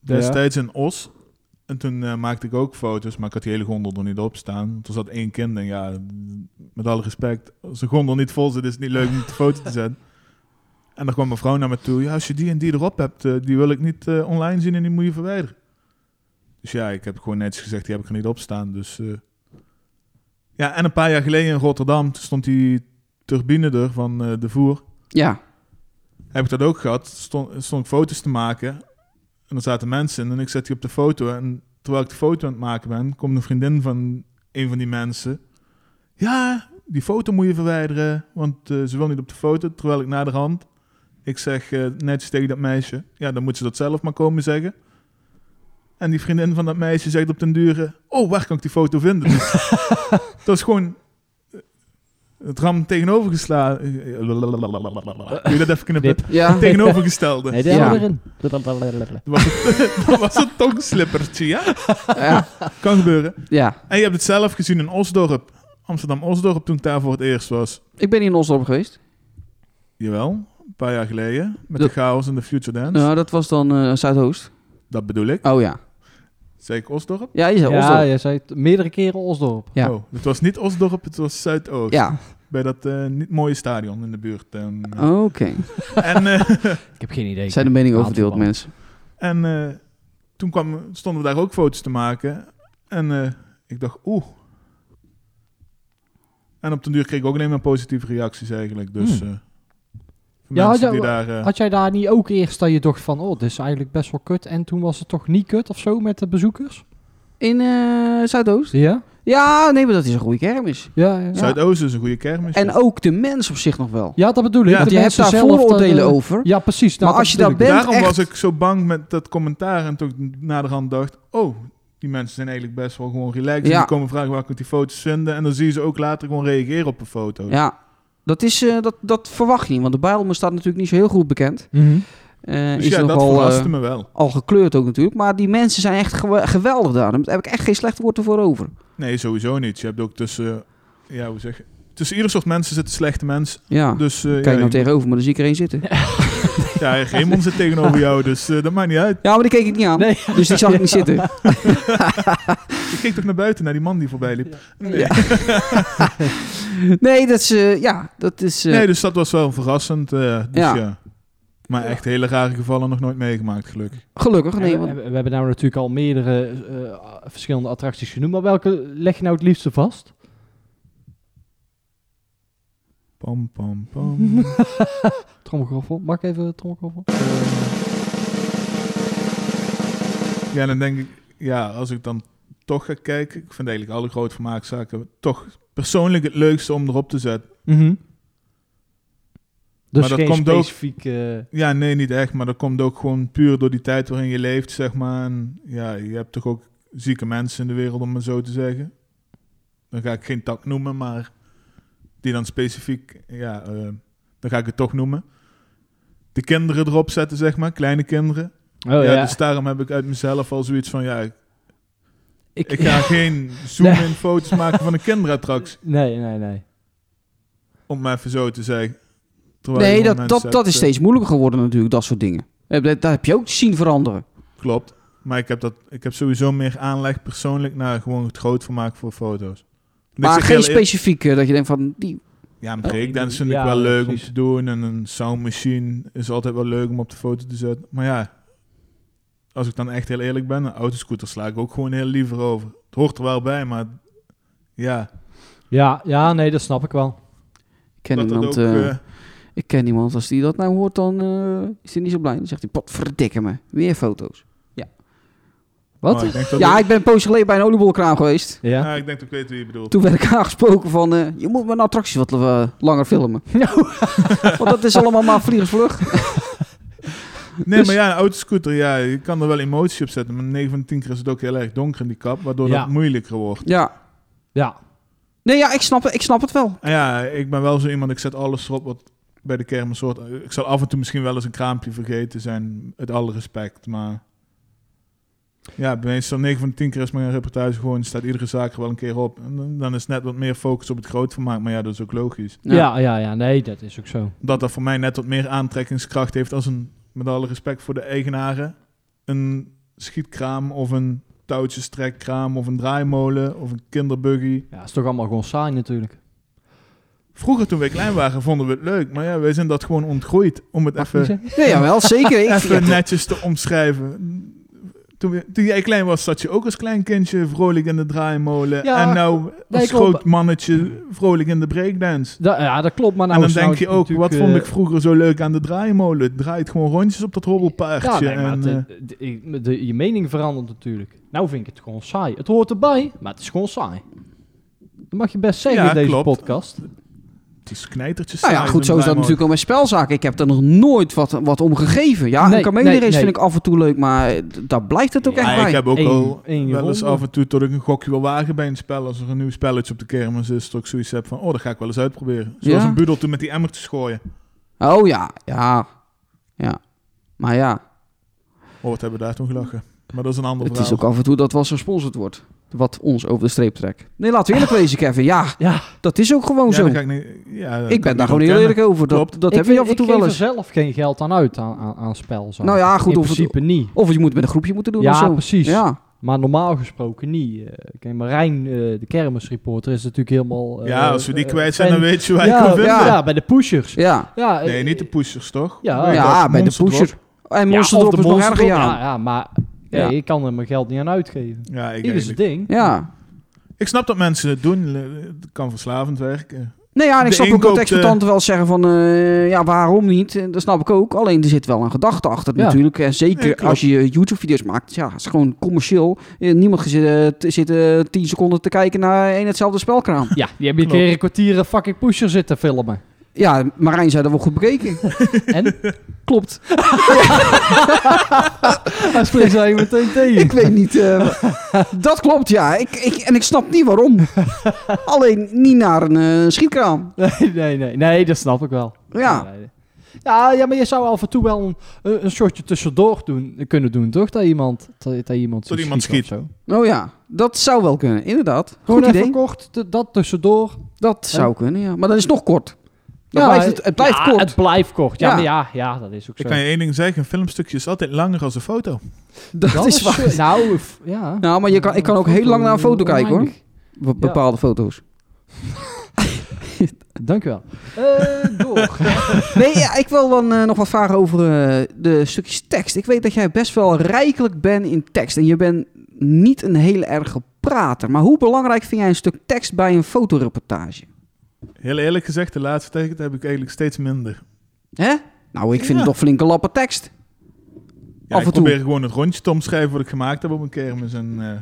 Speaker 5: Destijds een os. En toen eh, maakte ik ook foto's, maar ik had die hele gondel er niet op staan. Want Er zat één kind en ja, met alle respect, als de gondel niet vol zit, is het niet leuk om de foto te zetten. En dan kwam mijn vrouw naar me toe, ja, als je die en die erop hebt, eh, die wil ik niet eh, online zien en die moet je verwijderen. Dus ja, ik heb gewoon netjes gezegd, die heb ik er niet op staan. Dus, eh. Ja, en een paar jaar geleden in Rotterdam, toen stond die turbine er van eh, de voer
Speaker 4: Ja,
Speaker 5: heb ik dat ook gehad. Stond, stond ik foto's te maken. En er zaten mensen in. En ik zet die op de foto. En terwijl ik de foto aan het maken ben, komt een vriendin van een van die mensen. Ja, die foto moet je verwijderen. Want eh, ze wil niet op de foto. Terwijl ik naar de hand. Ik zeg eh, netjes tegen dat meisje. Ja, dan moet ze dat zelf maar komen zeggen. En die vriendin van dat meisje zegt op den dure. Oh, waar kan ik die foto vinden? Dus dat is gewoon. eh, Het ram tegenovergeslaan. Kun je dat even knippen?
Speaker 4: ja.
Speaker 5: Tegenovergestelde.
Speaker 2: Nee,
Speaker 4: die
Speaker 2: ja.
Speaker 4: hebben
Speaker 2: erin.
Speaker 5: Dat was, het, dat was een tongslippertje, ja?
Speaker 4: ja,
Speaker 5: Kan gebeuren.
Speaker 4: ja.
Speaker 5: En je hebt het zelf gezien in Osdorp. Amsterdam-Osdorp, toen ik daar voor het eerst was.
Speaker 4: Ik ben hier in Osdorp geweest.
Speaker 5: Jawel, een paar jaar geleden. Met
Speaker 4: Dat-
Speaker 5: de chaos en de Future Dance.
Speaker 4: Nou, dat was dan eh, Zuidoost.
Speaker 5: Dat bedoel ik.
Speaker 4: Oh ja.
Speaker 5: Zeg ik Osdorp?
Speaker 4: Ja, je zei
Speaker 3: Ja,
Speaker 4: Osdorp.
Speaker 3: jij zei het meerdere keren Osdorp.
Speaker 4: Ja.
Speaker 5: Oh, het was niet Osdorp, het was Zuidoost.
Speaker 4: Ja,
Speaker 5: Bij dat eh, niet mooie stadion in de buurt. En,
Speaker 4: oké.
Speaker 5: en, eh,
Speaker 2: Ik heb geen idee.
Speaker 4: Zijn de meningen
Speaker 2: Haat
Speaker 4: overdeeld,
Speaker 2: verband.
Speaker 4: mensen.
Speaker 5: en eh, toen kwam, stonden we daar ook foto's te maken. En eh, ik dacht, oeh. En op den duur kreeg ik ook alleen maar positieve reacties eigenlijk. Dus eh, voor
Speaker 3: Ja,
Speaker 5: mensen
Speaker 3: ja,
Speaker 5: die
Speaker 3: wa-
Speaker 5: daar... eh,
Speaker 3: Had jij daar niet ook eerst dat je dacht van, oh, dit is eigenlijk best wel kut. En toen was het toch niet kut of zo met de bezoekers?
Speaker 4: In eh, Zuidoost?
Speaker 3: Ja?
Speaker 4: Ja, nee, maar dat is een goede kermis.
Speaker 3: Ja, ja.
Speaker 4: Ja.
Speaker 5: Zuidoost is een goede kermis.
Speaker 4: En ook de mens op zich nog wel.
Speaker 3: Ja, dat bedoel ik.
Speaker 5: Ja,
Speaker 3: dat
Speaker 4: Want je
Speaker 3: de
Speaker 4: hebt daar
Speaker 3: mensen zelf dat,
Speaker 4: vooroordelen
Speaker 3: eh,
Speaker 4: over.
Speaker 3: Ja, precies.
Speaker 4: Maar
Speaker 3: nou,
Speaker 4: als je daar
Speaker 3: bedoel ik.
Speaker 4: bent
Speaker 5: Daarom
Speaker 4: echt-
Speaker 5: was ik zo bang met dat commentaar. En toen ik naderhand dacht... Oh, die mensen zijn eigenlijk best wel gewoon relaxed. En
Speaker 4: Ja.
Speaker 5: die komen vragen waar ik die foto's vinden. En dan zie je ze ook later gewoon reageren op een foto.
Speaker 4: Ja, dat, is, eh, dat, dat verwacht je niet. Want de Bijlmer staat natuurlijk niet zo heel goed bekend.
Speaker 3: Mhm.
Speaker 4: Eh,
Speaker 5: Dus
Speaker 4: is
Speaker 5: ja, dat
Speaker 4: nogal,
Speaker 5: verraste
Speaker 4: eh,
Speaker 5: me wel.
Speaker 4: al gekleurd ook natuurlijk. Maar die mensen zijn echt gewe- geweldig daar. Daar heb ik echt geen slecht woord voor over.
Speaker 5: Nee, sowieso niet. Je hebt ook tussen... eh, Ja, hoe zeg je? Tussen ieder soort mensen zitten slechte mensen.
Speaker 4: Ja,
Speaker 5: Dus eh
Speaker 4: kijk
Speaker 5: ja,
Speaker 4: nou tegenover me, dan zie ik er één zitten.
Speaker 5: ja, Raymond zit tegenover jou. Dus eh, dat maakt niet uit.
Speaker 4: Ja, maar die keek ik niet aan.
Speaker 3: Nee.
Speaker 4: Dus die zag ik niet zitten.
Speaker 5: Ik keek toch naar buiten, naar die man die voorbij liep. Nee.
Speaker 4: Nee, dat is... eh, ja, dat is... eh,
Speaker 5: Nee, dus dat was wel verrassend. eh, dus
Speaker 4: Ja.
Speaker 5: ja. Maar echt hele rare gevallen nog nooit meegemaakt, gelukkig.
Speaker 4: Gelukkig, nee.
Speaker 3: En we,
Speaker 4: Want,
Speaker 3: we- we hebben nou natuurlijk al meerdere eh, verschillende attracties genoemd, maar welke leg je nou het liefste vast?
Speaker 5: Pam, pam, pam.
Speaker 3: Trommelgroffel. Mag ik even trommelgroffel?
Speaker 5: ja, dan denk ik, ja, als ik dan toch ga kijken, ik vind eigenlijk alle grootvermaakzaken toch persoonlijk het leukste om erop te zetten.
Speaker 3: Dus
Speaker 5: Mhm. Maar dat
Speaker 3: geen
Speaker 5: komt ook-
Speaker 3: specifiek... eh,
Speaker 5: Ja, nee, niet echt, maar dat komt ook gewoon puur door die tijd waarin je leeft, zeg maar. En ja, je hebt toch ook zieke mensen in de wereld, om het zo te zeggen. Dan ga ik geen tak noemen, maar die dan specifiek, ja, eh, dan ga ik het toch noemen. De kinderen erop zetten, zeg maar, kleine kinderen.
Speaker 3: oh ja,
Speaker 5: ja, dus daarom heb ik uit mezelf al zoiets van, ja,
Speaker 3: ik,
Speaker 5: Ik ga geen zoom-in foto's maken van een kinderattractie.
Speaker 3: Nee, nee, nee.
Speaker 5: Om maar even zo te zeggen. Terwijl
Speaker 4: nee,
Speaker 5: je
Speaker 4: dat,
Speaker 5: mensen
Speaker 4: dat, dat
Speaker 5: hebt,
Speaker 4: is
Speaker 5: eh,
Speaker 4: steeds moeilijker geworden natuurlijk, dat soort dingen. Eh, Dat, dat heb je ook zien veranderen.
Speaker 5: Klopt. Maar ik heb, dat, ik heb sowieso meer aanleg persoonlijk naar gewoon het groot van maken voor foto's. En ik
Speaker 4: Maar
Speaker 5: zeg
Speaker 4: geen
Speaker 5: heel eer-
Speaker 4: specifiek eh, dat je denkt van... Die,
Speaker 5: Ja, een breakdance vind ik
Speaker 3: Oh, Ja,
Speaker 5: wel leuk
Speaker 3: precies.
Speaker 5: om te doen. En een soundmachine is altijd wel leuk om op de foto te zetten. Maar ja, als ik dan echt heel eerlijk ben, een autoscooter sla ik ook gewoon heel liever over. Het hoort er wel bij, maar ja.
Speaker 3: Ja, ja, nee, dat snap ik wel.
Speaker 4: ik ken
Speaker 5: dat dat
Speaker 4: iemand...
Speaker 5: ook,
Speaker 4: eh,
Speaker 5: eh,
Speaker 4: Ik ken iemand, als die dat nou hoort, dan eh, is hij niet zo blij. Dan zegt hij, potverdikke me, weer foto's. Ja. Wat?
Speaker 5: Maar ik denk dat
Speaker 4: Ja, ik ben een poosje geleden bij een oliebollenkraam geweest.
Speaker 3: Ja.
Speaker 5: Ah, ik denk dat ik weet wie je bedoelt.
Speaker 4: Toen werd ik aangesproken van, eh, je moet mijn attracties wat eh, langer filmen. Want dat is allemaal maar vliegersvlug.
Speaker 5: Nee,
Speaker 4: Dus-
Speaker 5: maar ja, een autoscooter, ja, je kan er wel emotie op zetten. Maar 9 van de 10 keer is het ook heel erg donker in die kap, waardoor
Speaker 3: Ja.
Speaker 5: dat moeilijker wordt.
Speaker 4: Ja.
Speaker 3: Ja.
Speaker 4: Nee, ja, ik snap, het- ik snap het wel.
Speaker 5: En Ah ja, ik ben wel zo iemand, ik zet alles erop wat bij de kermis hoort. Ik zal af en toe misschien wel eens een kraampje vergeten zijn, het alle respect, maar... Ja, meestal 9 van de 10 keer is mijn reportage gewoon, staat iedere zaak er wel een keer op. En dan- dan is net wat meer focus op het grootvermaak, maar ja, dat is ook logisch.
Speaker 3: Ja. ja, ja, Nee, dat is ook zo.
Speaker 5: dat dat voor mij net wat meer aantrekkingskracht heeft als een, met alle respect voor de eigenaren, een schietkraam of een touwtjestrekkraam of een draaimolen of een kinderbuggy.
Speaker 3: Ja, is toch allemaal gewoon saai natuurlijk.
Speaker 5: Vroeger toen we klein waren vonden we het leuk, maar ja, wij zijn dat gewoon ontgroeid om het
Speaker 3: Mag ik niet
Speaker 5: even,
Speaker 3: zeggen?
Speaker 4: Nee, jawel, zeker. Ik,
Speaker 5: even
Speaker 4: ja,
Speaker 5: netjes te omschrijven. Toen, we- toen jij klein was, zat je ook als klein kindje vrolijk in de draaimolen.
Speaker 3: Ja,
Speaker 5: en nou
Speaker 3: nee,
Speaker 5: als
Speaker 3: klopt.
Speaker 5: groot mannetje vrolijk in de breakdance.
Speaker 3: Da- ja, dat klopt. Maar nou
Speaker 5: en dan
Speaker 3: is
Speaker 5: denk
Speaker 3: nou
Speaker 5: je ook,
Speaker 3: natuurlijk,
Speaker 5: wat vond
Speaker 3: eh,
Speaker 5: ik vroeger zo leuk aan de draaimolen? Het draait gewoon rondjes op dat hobbelpaardje.
Speaker 3: Ja, nee, maar
Speaker 5: en,
Speaker 3: het,
Speaker 5: eh,
Speaker 3: eh, de- ik- de- je mening verandert natuurlijk. Nou vind ik het gewoon saai. Het hoort erbij, maar het is gewoon saai. Dat mag je best zeggen
Speaker 5: Ja,
Speaker 3: in deze
Speaker 5: klopt.
Speaker 3: podcast.
Speaker 5: Het is knijtertjes.
Speaker 4: nou ja,
Speaker 5: saai,
Speaker 4: goed, zo is dat
Speaker 5: draaimolen.
Speaker 4: natuurlijk ook met spelzaken. Ik heb er nog nooit wat, wat om gegeven. Ja,
Speaker 3: Nee,
Speaker 4: een kamelen
Speaker 3: nee, nee.
Speaker 4: vind ik af en toe leuk, maar d- daar blijft het ook
Speaker 3: Ja,
Speaker 4: echt
Speaker 5: Ja,
Speaker 4: bij.
Speaker 5: Ah, ik heb ook
Speaker 3: Eén-
Speaker 5: al
Speaker 3: één
Speaker 5: wel eens
Speaker 3: ronde.
Speaker 5: af en toe dat ik een gokje wil wagen bij een spel. Als er een nieuw spelletje op de kermis is, dat ik zoiets heb van, oh, dat ga ik wel eens uitproberen. Zoals
Speaker 4: Ja.
Speaker 5: een budel toen met die emmertjes gooien.
Speaker 4: Oh ja, ja. Ja. Maar ja,
Speaker 5: Oh, wat hebben we daar toen gelachen. Maar dat is een ander
Speaker 4: het is
Speaker 5: verhaal.
Speaker 4: ook af en toe dat wel gesponsord wordt. Wat ons over de streep trekt. Nee, laten we eerlijk wezen, Kevin. Ja,
Speaker 3: Ja,
Speaker 4: dat is ook gewoon
Speaker 5: ja,
Speaker 4: zo.
Speaker 5: dat ga ik niet- ja,
Speaker 4: Ik
Speaker 5: dat kan
Speaker 4: ben
Speaker 5: ik
Speaker 4: daar
Speaker 5: niet
Speaker 4: gewoon heel
Speaker 5: ontkennen.
Speaker 4: eerlijk over.
Speaker 5: Klopt.
Speaker 4: Dat, dat
Speaker 3: ik,
Speaker 4: heb je af en
Speaker 3: ik
Speaker 4: toe wel
Speaker 3: geef
Speaker 4: eens.
Speaker 3: er zelf geen geld aan uit aan, aan, aan spel.
Speaker 4: Nou ja, goed,
Speaker 3: In
Speaker 4: of het-
Speaker 3: principe niet.
Speaker 4: Of je moet het met een groepje moeten doen
Speaker 3: Ja,
Speaker 4: of zo.
Speaker 3: precies.
Speaker 4: Ja,
Speaker 3: Maar normaal gesproken niet. Eh, Kijk, Marijn, eh, de kermisreporter, is natuurlijk helemaal... eh,
Speaker 5: Ja, als we die
Speaker 3: eh,
Speaker 5: kwijt
Speaker 3: fan.
Speaker 5: zijn, dan weet je waar je
Speaker 3: ja,
Speaker 5: kan vinden.
Speaker 3: ja, bij de pushers.
Speaker 4: ja.
Speaker 3: Ja, eh,
Speaker 5: Nee, niet de pushers, toch?
Speaker 3: Ja,
Speaker 5: Nee,
Speaker 4: ja
Speaker 5: dat
Speaker 4: bij de
Speaker 5: monsterdrop.
Speaker 4: pusher. En
Speaker 3: ja, of
Speaker 4: monsterdrop
Speaker 3: de
Speaker 4: is nog
Speaker 3: Monsterdrop.
Speaker 4: erger,
Speaker 3: ja.
Speaker 4: ja.
Speaker 3: ja, maar
Speaker 4: Ja.
Speaker 3: eh, ik kan er mijn geld niet aan uitgeven.
Speaker 5: Ja, ik,
Speaker 3: Ieder
Speaker 5: eigenlijk.
Speaker 3: zijn ding.
Speaker 4: Ja.
Speaker 5: ik snap dat mensen het doen. Het kan verslavend werken.
Speaker 4: Nee, ja, en ik
Speaker 5: De
Speaker 4: snap
Speaker 5: een
Speaker 4: ook dat
Speaker 5: koopt,
Speaker 4: exploitanten wel zeggen van... eh, ja, waarom niet? En Dat snap ik ook. Alleen er zit wel een gedachte achter
Speaker 3: Ja.
Speaker 4: natuurlijk. En zeker
Speaker 5: Nee, klopt.
Speaker 4: als je YouTube-video's maakt. Ja, het is gewoon commercieel. Eh, Niemand gezit, eh, t- zit eh, tien seconden te kijken naar één hetzelfde spelkraam.
Speaker 3: Ja, die hebben een
Speaker 5: Klopt.
Speaker 3: keer een kwartier een fucking pusher zitten filmen.
Speaker 4: Ja, Marijn zei dat wel goed bekeken.
Speaker 3: En?
Speaker 4: Klopt.
Speaker 3: Hij spreekt ze eigenlijk meteen
Speaker 4: Ik
Speaker 3: tegen.
Speaker 4: weet niet. eh, dat klopt, ja. Ik, ik, en ik snap niet waarom. Alleen niet naar een eh, schietkraam.
Speaker 3: Nee, nee, nee. Nee, dat snap ik wel.
Speaker 4: Ja.
Speaker 3: Nee, nee. Ja, ja, maar je zou af en toe wel een, een een soortje tussendoor doen, kunnen doen, toch? Dat iemand, dat, dat iemand,
Speaker 5: Dat iemand
Speaker 3: of zo.
Speaker 4: Oh ja, dat zou wel kunnen. Inderdaad.
Speaker 3: Gewoon
Speaker 4: Goed
Speaker 3: even
Speaker 4: idee.
Speaker 3: kort, t- dat tussendoor.
Speaker 4: Dat zou kunnen, ja. Maar dat is nog kort. Dan
Speaker 3: Ja, eh,
Speaker 4: blijft het, het blijft
Speaker 3: ja,
Speaker 4: kort.
Speaker 3: Het blijft kort. Ja,
Speaker 4: Ja.
Speaker 3: maar ja, ja dat is ook zo.
Speaker 5: Ik kan je één ding zeggen, een filmstukje is altijd langer als een foto.
Speaker 4: dat, is waar.
Speaker 3: Nou, f- ja.
Speaker 4: Nou, maar je kan, ik kan ook heel lang naar een foto kijken, hoor.
Speaker 3: Oneindig.
Speaker 4: Be- Bepaalde foto's.
Speaker 3: Dank u wel. Eh, door.
Speaker 4: Nee, ja, ik wil dan eh, nog wat vragen over eh, de stukjes tekst. Ik weet dat jij best wel rijkelijk bent in tekst. En je bent niet een hele erge prater. Maar hoe belangrijk vind jij een stuk tekst bij een fotoreportage?
Speaker 5: Heel eerlijk gezegd, de laatste tijd heb ik eigenlijk steeds minder.
Speaker 4: Hè? Nou, ik vind
Speaker 5: Ja.
Speaker 4: het toch flinke lappen tekst.
Speaker 5: Ja,
Speaker 4: Af
Speaker 5: ik
Speaker 4: en toe.
Speaker 5: probeer gewoon het rondje te omschrijven wat ik gemaakt heb op een kermis. En eh,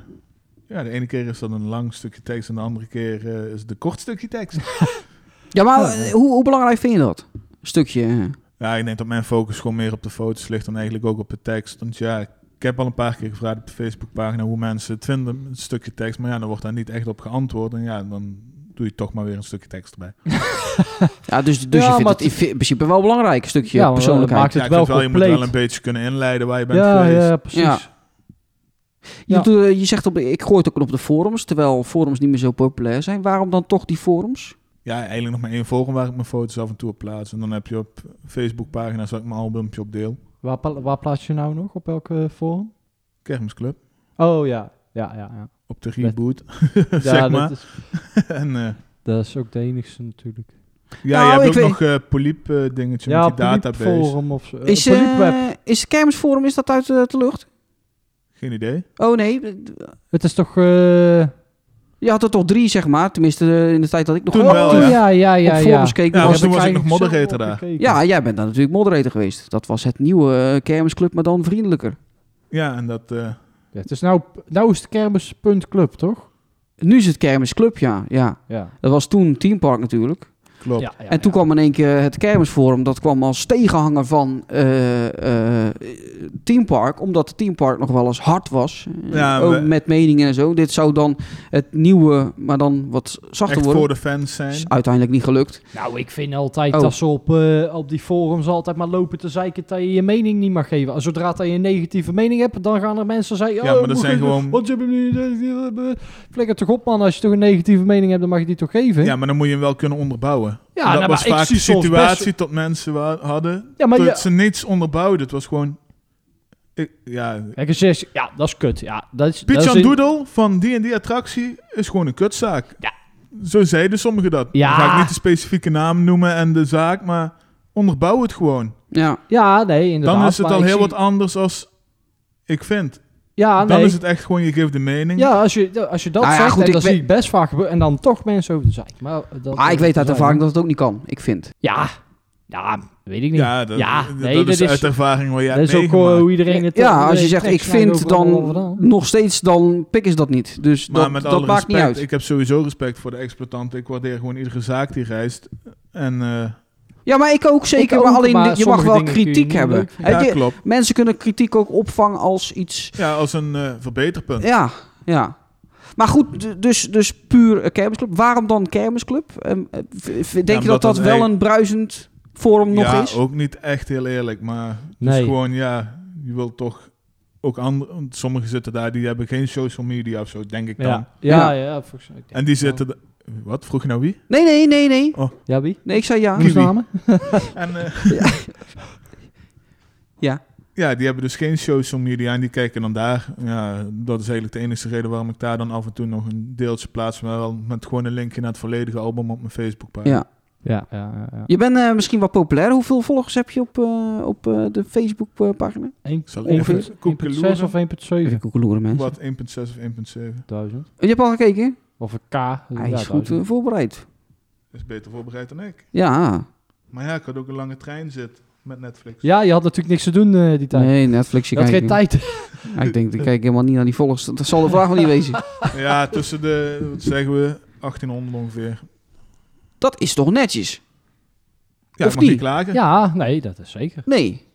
Speaker 5: ja, de ene keer is dat een lang stukje tekst en de andere keer eh, is het een kort stukje tekst.
Speaker 4: Ja, maar eh, hoe, hoe belangrijk vind je dat? Stukje. eh,
Speaker 5: ja, ik denk dat mijn focus gewoon meer op de foto's ligt dan eigenlijk ook op de tekst. Want ja, ik heb al een paar keer gevraagd op de Facebookpagina hoe mensen het vinden, een stukje tekst. Maar ja, dan wordt daar niet echt op geantwoord. En ja, dan doe je toch maar weer een stukje tekst erbij.
Speaker 4: Ja, dus, dus
Speaker 3: Ja,
Speaker 4: je vindt
Speaker 3: maar
Speaker 4: het in fi- in principe wel belangrijk, een
Speaker 3: Ja,
Speaker 4: stukje
Speaker 3: maar, eh,
Speaker 4: persoonlijkheid.
Speaker 3: maakt- Het
Speaker 5: ja,
Speaker 3: is
Speaker 5: ik
Speaker 3: wel
Speaker 5: vind wel, je moet
Speaker 3: compleet.
Speaker 5: wel een beetje kunnen inleiden waar je bent
Speaker 3: ja,
Speaker 5: geweest.
Speaker 3: ja, precies.
Speaker 4: Ja. Je,
Speaker 3: Ja.
Speaker 4: doet, eh, je zegt, op, ik gooi het ook op de forums, terwijl forums niet meer zo populair zijn. Waarom dan toch die forums?
Speaker 5: Ja, eigenlijk nog maar één forum waar ik mijn foto's af en toe op plaats. En dan heb je op Facebookpagina's waar ik mijn albumpje op deel.
Speaker 3: Waar, pla- waar plaats je nou nog? Op welke forum?
Speaker 5: Kermisclub.
Speaker 3: Oh ja, ja, ja. ja.
Speaker 5: Op de
Speaker 3: Met-
Speaker 5: reboot,
Speaker 3: ja
Speaker 5: zeg maar.
Speaker 3: dat, is,
Speaker 5: en, eh,
Speaker 3: dat is ook de enigste natuurlijk.
Speaker 5: ja,
Speaker 4: Nou,
Speaker 5: je hebt
Speaker 4: ik
Speaker 5: ook
Speaker 4: weet-
Speaker 5: nog eh poliep eh, dingetje
Speaker 3: ja,
Speaker 5: met die database.
Speaker 3: forum of zo. Eh,
Speaker 4: Is,
Speaker 3: Polyp
Speaker 4: eh,
Speaker 3: Web.
Speaker 4: is de kermisforum is dat uit eh, de lucht?
Speaker 5: Geen idee.
Speaker 4: Oh nee,
Speaker 3: Het is toch... eh,
Speaker 4: je had er toch drie, zeg maar. Tenminste, eh, in de tijd dat ik nog
Speaker 5: Toen
Speaker 4: op-
Speaker 5: wel,
Speaker 4: op,
Speaker 5: ja.
Speaker 3: oh, ja, ja, ja. ja.
Speaker 4: forums keek.
Speaker 5: Ja,
Speaker 4: was-
Speaker 5: want toen was ik nog
Speaker 3: eigenlijk
Speaker 5: moderator
Speaker 3: zelf
Speaker 5: daar.
Speaker 3: opgekeken.
Speaker 4: ja, jij bent dan natuurlijk moderator geweest. Dat was het nieuwe eh, kermisclub, maar dan vriendelijker.
Speaker 5: Ja, en dat eh,
Speaker 3: Ja, het is nou, nou is het kermis.club, toch?
Speaker 4: Nu is het kermisclub, ja. ja.
Speaker 3: Ja.
Speaker 4: Dat was toen Teampark natuurlijk.
Speaker 5: Klopt.
Speaker 3: ja, ja
Speaker 4: en toen
Speaker 3: ja.
Speaker 4: kwam in één keer het kermisforum. Dat kwam als tegenhanger van eh eh Team Park. Omdat Team Park nog wel eens hard was. Eh,
Speaker 5: Ja,
Speaker 4: ook
Speaker 5: we-
Speaker 4: met meningen en zo. Dit zou dan het nieuwe, maar dan wat zachter
Speaker 5: Echt
Speaker 4: worden.
Speaker 5: voor de fans zijn.
Speaker 4: Is uiteindelijk niet gelukt.
Speaker 3: Nou, ik vind altijd
Speaker 4: Oh.
Speaker 3: dat ze op, eh, op die forums altijd maar lopen te zeiken dat je je mening niet mag geven. Zodra dat je een negatieve mening hebt, dan gaan er mensen zeggen...
Speaker 5: Ja,
Speaker 3: "Oh,
Speaker 5: maar dat
Speaker 3: moet
Speaker 5: zijn
Speaker 3: je-
Speaker 5: gewoon-
Speaker 3: Want je hebt hem niet... eh, Flikker toch op, man. Als je toch een negatieve mening hebt, dan mag je die toch geven?
Speaker 5: Ja, maar dan moet je hem wel kunnen onderbouwen.
Speaker 3: Hm? Ja,
Speaker 5: En dat
Speaker 3: nou,
Speaker 5: was
Speaker 3: maar ik
Speaker 5: vaak
Speaker 3: zie
Speaker 5: de
Speaker 3: soms
Speaker 5: situatie
Speaker 3: best-
Speaker 5: dat mensen wa- hadden.
Speaker 3: Ja, maar
Speaker 5: dat
Speaker 3: je-
Speaker 5: ze niets onderbouwden. Het was gewoon... Ik, ja,
Speaker 3: Kijk, als je zegt, ja, dat is kut. Ja, dat is, dat
Speaker 5: Piet
Speaker 3: is
Speaker 5: Jan
Speaker 3: in-
Speaker 5: Doedel van die en die attractie is gewoon een kutzaak.
Speaker 3: Ja.
Speaker 5: Zo zeiden sommigen dat.
Speaker 3: Ja.
Speaker 5: Dan ga ik niet de specifieke naam noemen en de zaak, maar onderbouw het gewoon.
Speaker 4: Ja.
Speaker 3: Ja, nee, inderdaad.
Speaker 5: Dan is het
Speaker 3: maar
Speaker 5: al
Speaker 3: ik
Speaker 5: heel
Speaker 3: zie-
Speaker 5: wat anders als ik vind.
Speaker 3: Ja, nee.
Speaker 5: Dan is het echt gewoon, je geeft de mening.
Speaker 3: Ja, als je, als je dat
Speaker 4: Nou ja,
Speaker 3: zegt,
Speaker 4: goed,
Speaker 3: en
Speaker 4: ik
Speaker 3: dat
Speaker 4: weet-
Speaker 3: zie ik best vaak gebeuren. En dan toch mensen over te zijn. Maar, dat,
Speaker 4: Maar Ah, ik weet uit
Speaker 3: dat
Speaker 4: ervaring dat het ook niet kan. Ik vind.
Speaker 3: Ja, ja, weet ik niet.
Speaker 5: Ja, dat,
Speaker 3: Ja,
Speaker 5: dat-
Speaker 3: nee,
Speaker 5: dat
Speaker 3: dat
Speaker 5: is
Speaker 3: is-
Speaker 5: uit ervaring waar jij
Speaker 3: dat
Speaker 5: hebt
Speaker 3: is ook eh,
Speaker 5: meegemaakt.
Speaker 3: hoe iedereen het...
Speaker 4: Ja,
Speaker 3: iedereen
Speaker 4: als je zegt
Speaker 3: trekt,
Speaker 4: ik
Speaker 3: snijdt
Speaker 4: vind,
Speaker 3: overal wel wat
Speaker 4: dan
Speaker 3: aan.
Speaker 4: nog steeds, dan pikken ze dat niet. Dus
Speaker 5: Maar
Speaker 4: dat,
Speaker 5: met
Speaker 4: dat
Speaker 5: alle
Speaker 4: maakt
Speaker 5: respect,
Speaker 4: niet uit.
Speaker 5: ik heb sowieso respect voor de exploitanten. Ik waardeer gewoon iedere zaak die reist. En eh,
Speaker 4: Ja, maar ik ook zeker.
Speaker 3: Ik ook,
Speaker 4: maar alleen,
Speaker 3: maar
Speaker 4: je mag
Speaker 3: sommige
Speaker 4: wel
Speaker 3: dingen kun je
Speaker 4: kritiek
Speaker 3: niet
Speaker 4: hebben.
Speaker 3: leuk vinden.
Speaker 4: Hè,
Speaker 5: ja,
Speaker 4: die-
Speaker 5: klopt.
Speaker 4: mensen kunnen kritiek ook opvangen als iets...
Speaker 5: Ja, als een eh, verbeterpunt.
Speaker 4: Ja, ja. Maar goed, d- dus, dus puur eh, kermisclub. Waarom dan kermisclub? Ehm, eh, v- v- Denk je dat
Speaker 5: omdat
Speaker 4: dat
Speaker 5: dat
Speaker 4: wel
Speaker 5: een-
Speaker 4: een bruisend forum
Speaker 5: ja,
Speaker 4: nog is?
Speaker 5: ook niet echt heel eerlijk, maar het
Speaker 3: Nee.
Speaker 5: is gewoon, ja, je wilt toch ook andere... want Sommigen zitten daar, die hebben geen social media of zo, denk ik dan.
Speaker 3: Ja, ja, ja. volgens mij.
Speaker 5: En die zitten... da- Wat? Vroeg je nou wie?
Speaker 4: Nee, nee, nee, nee.
Speaker 3: Ja, wie?
Speaker 4: Nee, ik zei ja.
Speaker 5: Kiwi.
Speaker 3: Namen?
Speaker 5: En, eh,
Speaker 4: Ja.
Speaker 5: ja, die hebben dus geen social media en die kijken dan daar. Ja, dat is eigenlijk de enige reden waarom ik daar dan af en toe nog een deeltje plaats. Maar wel met gewoon een linkje naar het volledige album op mijn Facebookpagina.
Speaker 4: Ja.
Speaker 3: Ja, ja, ja, ja.
Speaker 4: Je bent eh, misschien wel populair. Hoeveel volgers heb je op, eh, op eh, de Facebookpagina?
Speaker 3: Eén-
Speaker 5: Zal ik
Speaker 3: één-
Speaker 5: even koeken
Speaker 3: 1.6 of 1.7?
Speaker 4: Koekeloeren, mensen.
Speaker 5: Wat, 1.6 of 1.7?
Speaker 3: Duizend.
Speaker 4: Je hebt al gekeken?
Speaker 3: Of een K. Ja,
Speaker 4: Hij is goed
Speaker 3: duizend.
Speaker 4: eh, voorbereid.
Speaker 5: Is beter voorbereid dan ik.
Speaker 4: Ja.
Speaker 5: Maar ja, ik had ook een lange trein zit met Netflix.
Speaker 3: Ja, je had natuurlijk niks te doen eh, die tijd.
Speaker 4: Nee, Netflix. Je
Speaker 3: je had
Speaker 4: kijkt
Speaker 3: geen
Speaker 4: niet.
Speaker 3: tijd.
Speaker 4: Ja, ik denk, ik kijk helemaal niet naar die volgers. Dat zal de vraag wel niet wezen.
Speaker 5: Ja, tussen de, wat zeggen we, 1800 ongeveer.
Speaker 4: Dat is toch netjes?
Speaker 5: Ja,
Speaker 4: Of
Speaker 5: ik mag niet
Speaker 4: niet?
Speaker 5: klagen.
Speaker 3: Ja, nee, dat is zeker.
Speaker 4: Nee.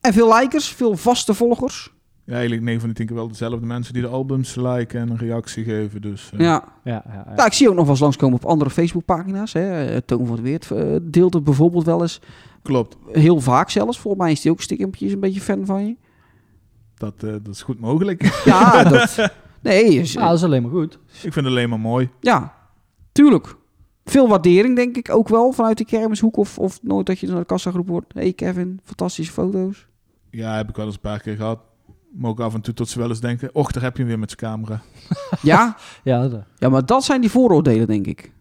Speaker 4: En veel likers, veel vaste volgers.
Speaker 5: Ja, eigenlijk 9 van de 10 keer wel dezelfde mensen die de albums liken en een reactie geven. Dus eh,
Speaker 4: Ja.
Speaker 3: Ja, ja, ja.
Speaker 4: Ja, Nou, ik zie ook nog wel eens langskomen op andere Facebookpagina's. Hè. Eh, Toon van het Weert eh, deelt het bijvoorbeeld wel eens.
Speaker 5: klopt,
Speaker 4: Heel vaak zelfs. Volgens mij is die ook stikkempjes een beetje fan van je.
Speaker 5: dat, eh, dat is goed mogelijk.
Speaker 4: Ja, dat... Nee, is,
Speaker 3: Ja, dat is alleen maar goed.
Speaker 5: ik vind het alleen maar mooi.
Speaker 4: ja, tuurlijk. Veel waardering denk ik ook wel vanuit de kermishoek. Of, of nooit dat je naar de kassagroep wordt. hey Kevin, fantastische foto's.
Speaker 5: Ja, heb ik wel eens een paar keer gehad. Maar ook af en toe tot ze wel eens denken, och, daar heb je hem weer met zijn camera.
Speaker 4: Ja?
Speaker 3: Ja, dat-
Speaker 4: ja, maar dat zijn die vooroordelen denk ik.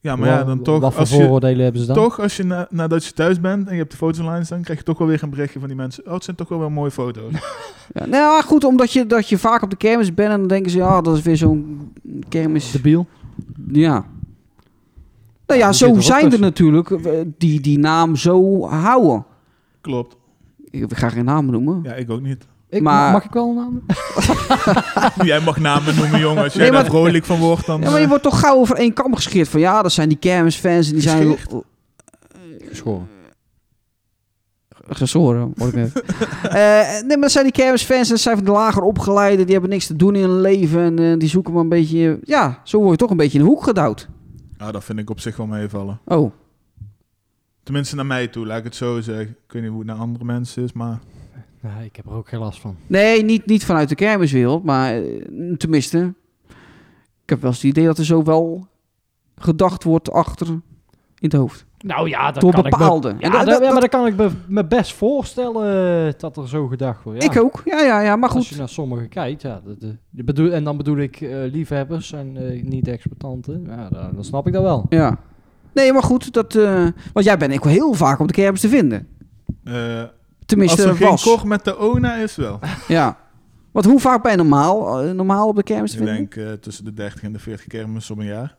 Speaker 5: Ja, maar ja, dan
Speaker 3: Wa-
Speaker 5: toch,
Speaker 3: Wat voor
Speaker 5: als je,
Speaker 3: vooroordelen hebben ze dan?
Speaker 5: toch, als je na- nadat je thuis bent en je hebt de foto's online staan, krijg je toch wel weer een berichtje van die mensen. Oh, het zijn toch wel wel mooie foto's.
Speaker 4: Ja, nou ja, goed, omdat je, dat je vaak op de kermis bent en dan denken ze... Ja, dat is weer zo'n kermis...
Speaker 3: Debiel.
Speaker 4: Ja. Nou ja,
Speaker 3: die
Speaker 4: zo
Speaker 3: zit er ook
Speaker 4: zijn er
Speaker 3: tussen.
Speaker 4: natuurlijk eh, die die naam zo houden.
Speaker 5: klopt.
Speaker 4: Ik ga geen namen noemen.
Speaker 5: Ja, ik ook niet.
Speaker 3: Ik,
Speaker 4: Maar-
Speaker 3: Mag ik wel een naam?
Speaker 5: Jij mag namen noemen, jongen. Als jij
Speaker 4: Nee,
Speaker 5: daar
Speaker 4: maar-
Speaker 5: vrolijk van wordt, dan...
Speaker 4: Ja, maar je
Speaker 5: eh,
Speaker 4: wordt toch gauw over één kam gescheerd van ja, dat zijn die kermisfans en die zijn...
Speaker 5: Gescheerd?
Speaker 3: Eh, Geschoren.
Speaker 4: Gezoren, word Eh, ik net. Eh, nee, maar dat zijn die kermisfans en dat zijn van de lager opgeleiden. Die hebben niks te doen in hun leven en eh, die zoeken maar een beetje... Ja, zo word je toch een beetje in de hoek gedouwd.
Speaker 5: Ja, eh, ah, dat vind ik op zich wel meevallen.
Speaker 4: Oh,
Speaker 5: Tenminste naar mij toe, laat ik het zo zeggen. Ik weet niet hoe het naar andere mensen is, maar...
Speaker 3: Nee, ik heb er ook geen last van.
Speaker 4: nee, niet, niet vanuit de kermiswereld, maar eh, tenminste... Ik heb wel eens het idee dat er zo wel gedacht wordt achter in het hoofd.
Speaker 3: Nou ja, dat
Speaker 4: Door
Speaker 3: kan
Speaker 4: bepaalde.
Speaker 3: ik me...
Speaker 4: En
Speaker 3: Ja,
Speaker 4: dat-
Speaker 3: dat-
Speaker 4: dat-
Speaker 3: ja, maar dat kan ik me, me best voorstellen eh, dat er zo gedacht wordt. Ja.
Speaker 4: Ik ook, ja, ja, ja, maar
Speaker 3: Als
Speaker 4: goed.
Speaker 3: je naar sommigen kijkt, ja, dat, eh, je bedoel, en dan bedoel ik eh, liefhebbers en eh, niet expertanten. Ja, dan, dan snap ik dat wel.
Speaker 4: Ja. Nee, maar goed, dat, eh, want jij bent ook heel vaak op de kermis te vinden.
Speaker 5: eh, als
Speaker 4: Tenminste,
Speaker 5: er geen
Speaker 4: was.
Speaker 5: koch met de ona is wel.
Speaker 4: Ja. Want hoe vaak ben je normaal, eh, normaal op de kermis te
Speaker 5: ik
Speaker 4: vinden?
Speaker 5: denk eh, tussen de 30 en de 40 kermis om een jaar.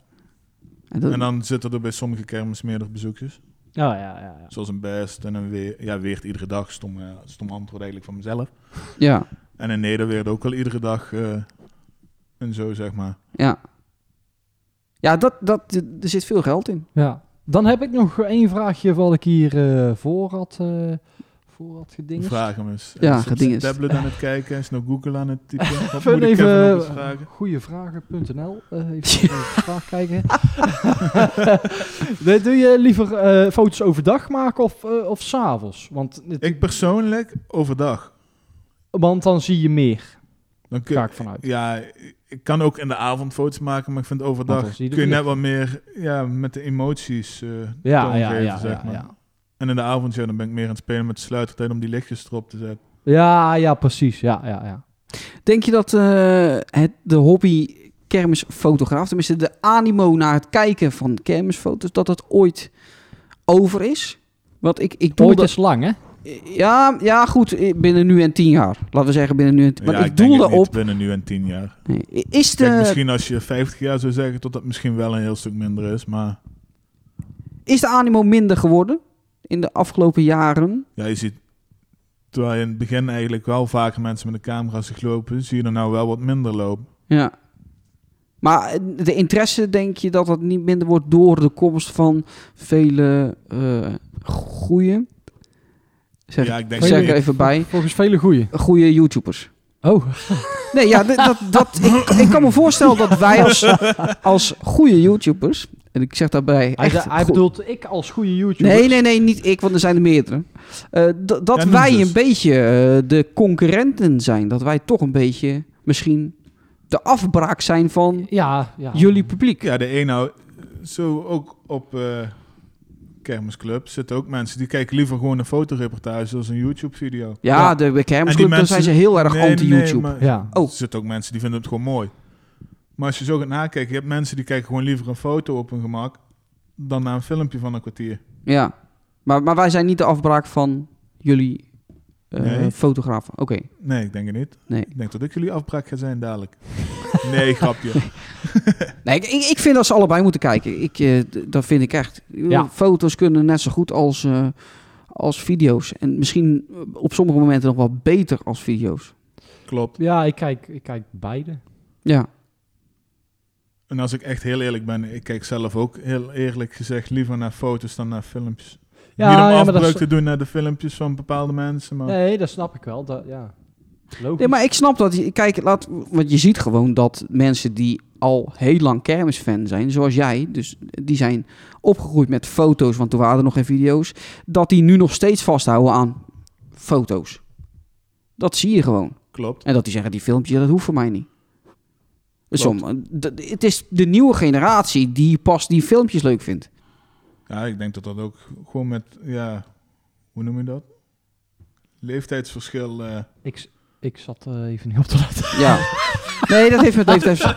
Speaker 4: En dat-
Speaker 5: En dan zitten er bij sommige kermis meerdere bezoekjes.
Speaker 3: Ja, ja, ja. ja.
Speaker 5: Zoals een best en een weer. Ja, weert iedere dag. Stom, eh, stom antwoord eigenlijk van mezelf.
Speaker 4: ja.
Speaker 5: En in Nederweert ook al iedere dag eh, en zo, zeg maar.
Speaker 4: Ja, ja dat, dat, er zit veel geld in.
Speaker 3: Ja. Dan heb ik nog één vraagje wat ik hier eh, voor had, eh, voor had gedingest.
Speaker 5: Vraag hem eens.
Speaker 4: Ja,
Speaker 5: Hij is op zijn
Speaker 4: gedinges.
Speaker 5: tablet aan het kijken, hij is nog Google aan het typen. Wat
Speaker 3: Even
Speaker 5: moet ik
Speaker 3: even,
Speaker 5: even nog eens
Speaker 3: eh,
Speaker 5: vragen?
Speaker 3: Goeievragen.nl. eh even op de vraag kijken. Nee, Doe je liever eh, foto's overdag maken of, eh, of s'avonds? Want, het-
Speaker 5: Ik persoonlijk overdag.
Speaker 3: want dan zie je meer,
Speaker 5: Dan kun,
Speaker 3: ga ik vanuit.
Speaker 5: Ja, ik kan ook in de avond foto's maken, maar ik vind
Speaker 3: Want
Speaker 5: overdag
Speaker 3: dan zie je de
Speaker 5: kun je net
Speaker 3: vlieg.
Speaker 5: wat meer ja, met de emoties eh
Speaker 3: Ja,
Speaker 5: toon
Speaker 3: ja,
Speaker 5: geven,
Speaker 3: ja,
Speaker 5: zeg
Speaker 3: ja,
Speaker 5: maar.
Speaker 3: ja.
Speaker 5: En in de avond, ja, dan ben ik meer aan het spelen met de sluitertijd om die lichtjes erop te zetten.
Speaker 3: Ja, ja, precies. Ja, ja, ja.
Speaker 4: Denk je dat eh, het, de hobby kermisfotograaf, tenminste de animo naar het kijken van kermisfoto's, dat dat ooit over is? Want ik, ik doe
Speaker 3: Ooit
Speaker 4: dat,
Speaker 3: is lang, hè?
Speaker 4: ja, ja, goed, eh, binnen nu en tien jaar. Laten we zeggen binnen nu en tien jaar.
Speaker 5: ja,
Speaker 4: Maar ik
Speaker 5: denk
Speaker 4: doe
Speaker 5: het niet
Speaker 4: daarop.
Speaker 5: binnen nu en tien jaar.
Speaker 4: Nee, Is de,
Speaker 5: Kijk, misschien als je 50 jaar zou zeggen, tot dat misschien wel een heel stuk minder is. Maar
Speaker 4: Is de animo minder geworden in de afgelopen jaren?
Speaker 5: ja, je ziet, terwijl je in het begin eigenlijk wel vaker mensen met een camera zag lopen, zie je er nou wel wat minder lopen.
Speaker 4: Ja. Maar eh, de interesse, denk je dat dat niet minder wordt door de komst van vele eh goede, zeg,
Speaker 5: ja, ik denk
Speaker 4: zeg er
Speaker 5: ik-
Speaker 4: even bij,
Speaker 3: Volgens vele goeie.
Speaker 4: goede YouTubers?
Speaker 3: Oh,
Speaker 4: Nee, ja, d- dat, dat, ik, ik kan me voorstellen dat wij als, als goede YouTubers, en ik zeg daarbij
Speaker 3: hij,
Speaker 4: echt
Speaker 3: hij
Speaker 4: goed-
Speaker 3: bedoelt ik als goede YouTuber.
Speaker 4: Nee, nee, nee, niet ik, want er zijn er meerdere. Eh, d- dat
Speaker 5: Ja, noem
Speaker 4: wij
Speaker 5: ze dus. eens.
Speaker 4: een beetje eh, de concurrenten zijn. Dat wij toch een beetje misschien de afbraak zijn van
Speaker 3: Ja, ja.
Speaker 4: jullie publiek.
Speaker 5: Ja, de een nou, zo ook op eh, Kermisclub zitten ook mensen die kijken liever gewoon een fotoreportage als een YouTube-video.
Speaker 4: Ja,
Speaker 3: Ja.
Speaker 4: de
Speaker 5: En die
Speaker 4: Kermisclub, daar zijn
Speaker 5: mensen-
Speaker 4: ze heel erg anti-YouTube.
Speaker 5: maar
Speaker 3: Ja.
Speaker 4: Oh.
Speaker 5: Er zitten ook mensen die vinden het gewoon mooi. Maar als je zo gaat nakijken, je hebt mensen die kijken gewoon liever een foto op hun gemak dan naar een filmpje van een kwartier.
Speaker 4: ja, maar, maar wij zijn niet de afbraak van jullie eh,
Speaker 5: Nee.
Speaker 4: fotografen. Oké,
Speaker 5: Nee, ik denk het niet.
Speaker 4: nee.
Speaker 5: Ik denk dat ik jullie afbraak ga zijn dadelijk. Nee, grapje.
Speaker 4: nee ik, ik ik vind dat ze allebei moeten kijken. Ik, eh, d- dat vind ik echt.
Speaker 3: Ja.
Speaker 4: Foto's kunnen net zo goed als, eh, als video's. En misschien eh, op sommige momenten nog wel beter als video's.
Speaker 5: Klopt.
Speaker 3: Ja, ik kijk, ik kijk beide.
Speaker 4: Ja.
Speaker 5: En als ik echt heel eerlijk ben, ik kijk zelf ook heel eerlijk gezegd liever naar foto's dan naar filmpjes.
Speaker 3: Ja,
Speaker 5: niet om
Speaker 3: ja, maar dat
Speaker 5: afbreuk
Speaker 3: is-
Speaker 5: te doen naar de filmpjes van bepaalde mensen, maar...
Speaker 3: Nee, dat snap ik wel. Dat, ja. Logisch.
Speaker 4: Nee, maar ik snap dat. je- Kijk, laat, want je ziet gewoon dat mensen die al heel lang kermisfan zijn, zoals jij, dus die zijn opgegroeid met foto's, want toen waren er nog geen video's, dat die nu nog steeds vasthouden aan foto's. Dat zie je gewoon.
Speaker 5: Klopt.
Speaker 4: En dat die zeggen, die filmpjes, dat hoeft voor mij niet.
Speaker 5: Klopt.
Speaker 4: Som, eh, d- het is de nieuwe generatie die pas die filmpjes leuk vindt.
Speaker 5: Ja, ik denk dat dat ook gewoon met, ja, hoe noem je dat? Leeftijdsverschil. eh,
Speaker 3: Ik, s- ik zat eh, even niet op te letten.
Speaker 4: Ja. Nee, dat heeft met leeftijds...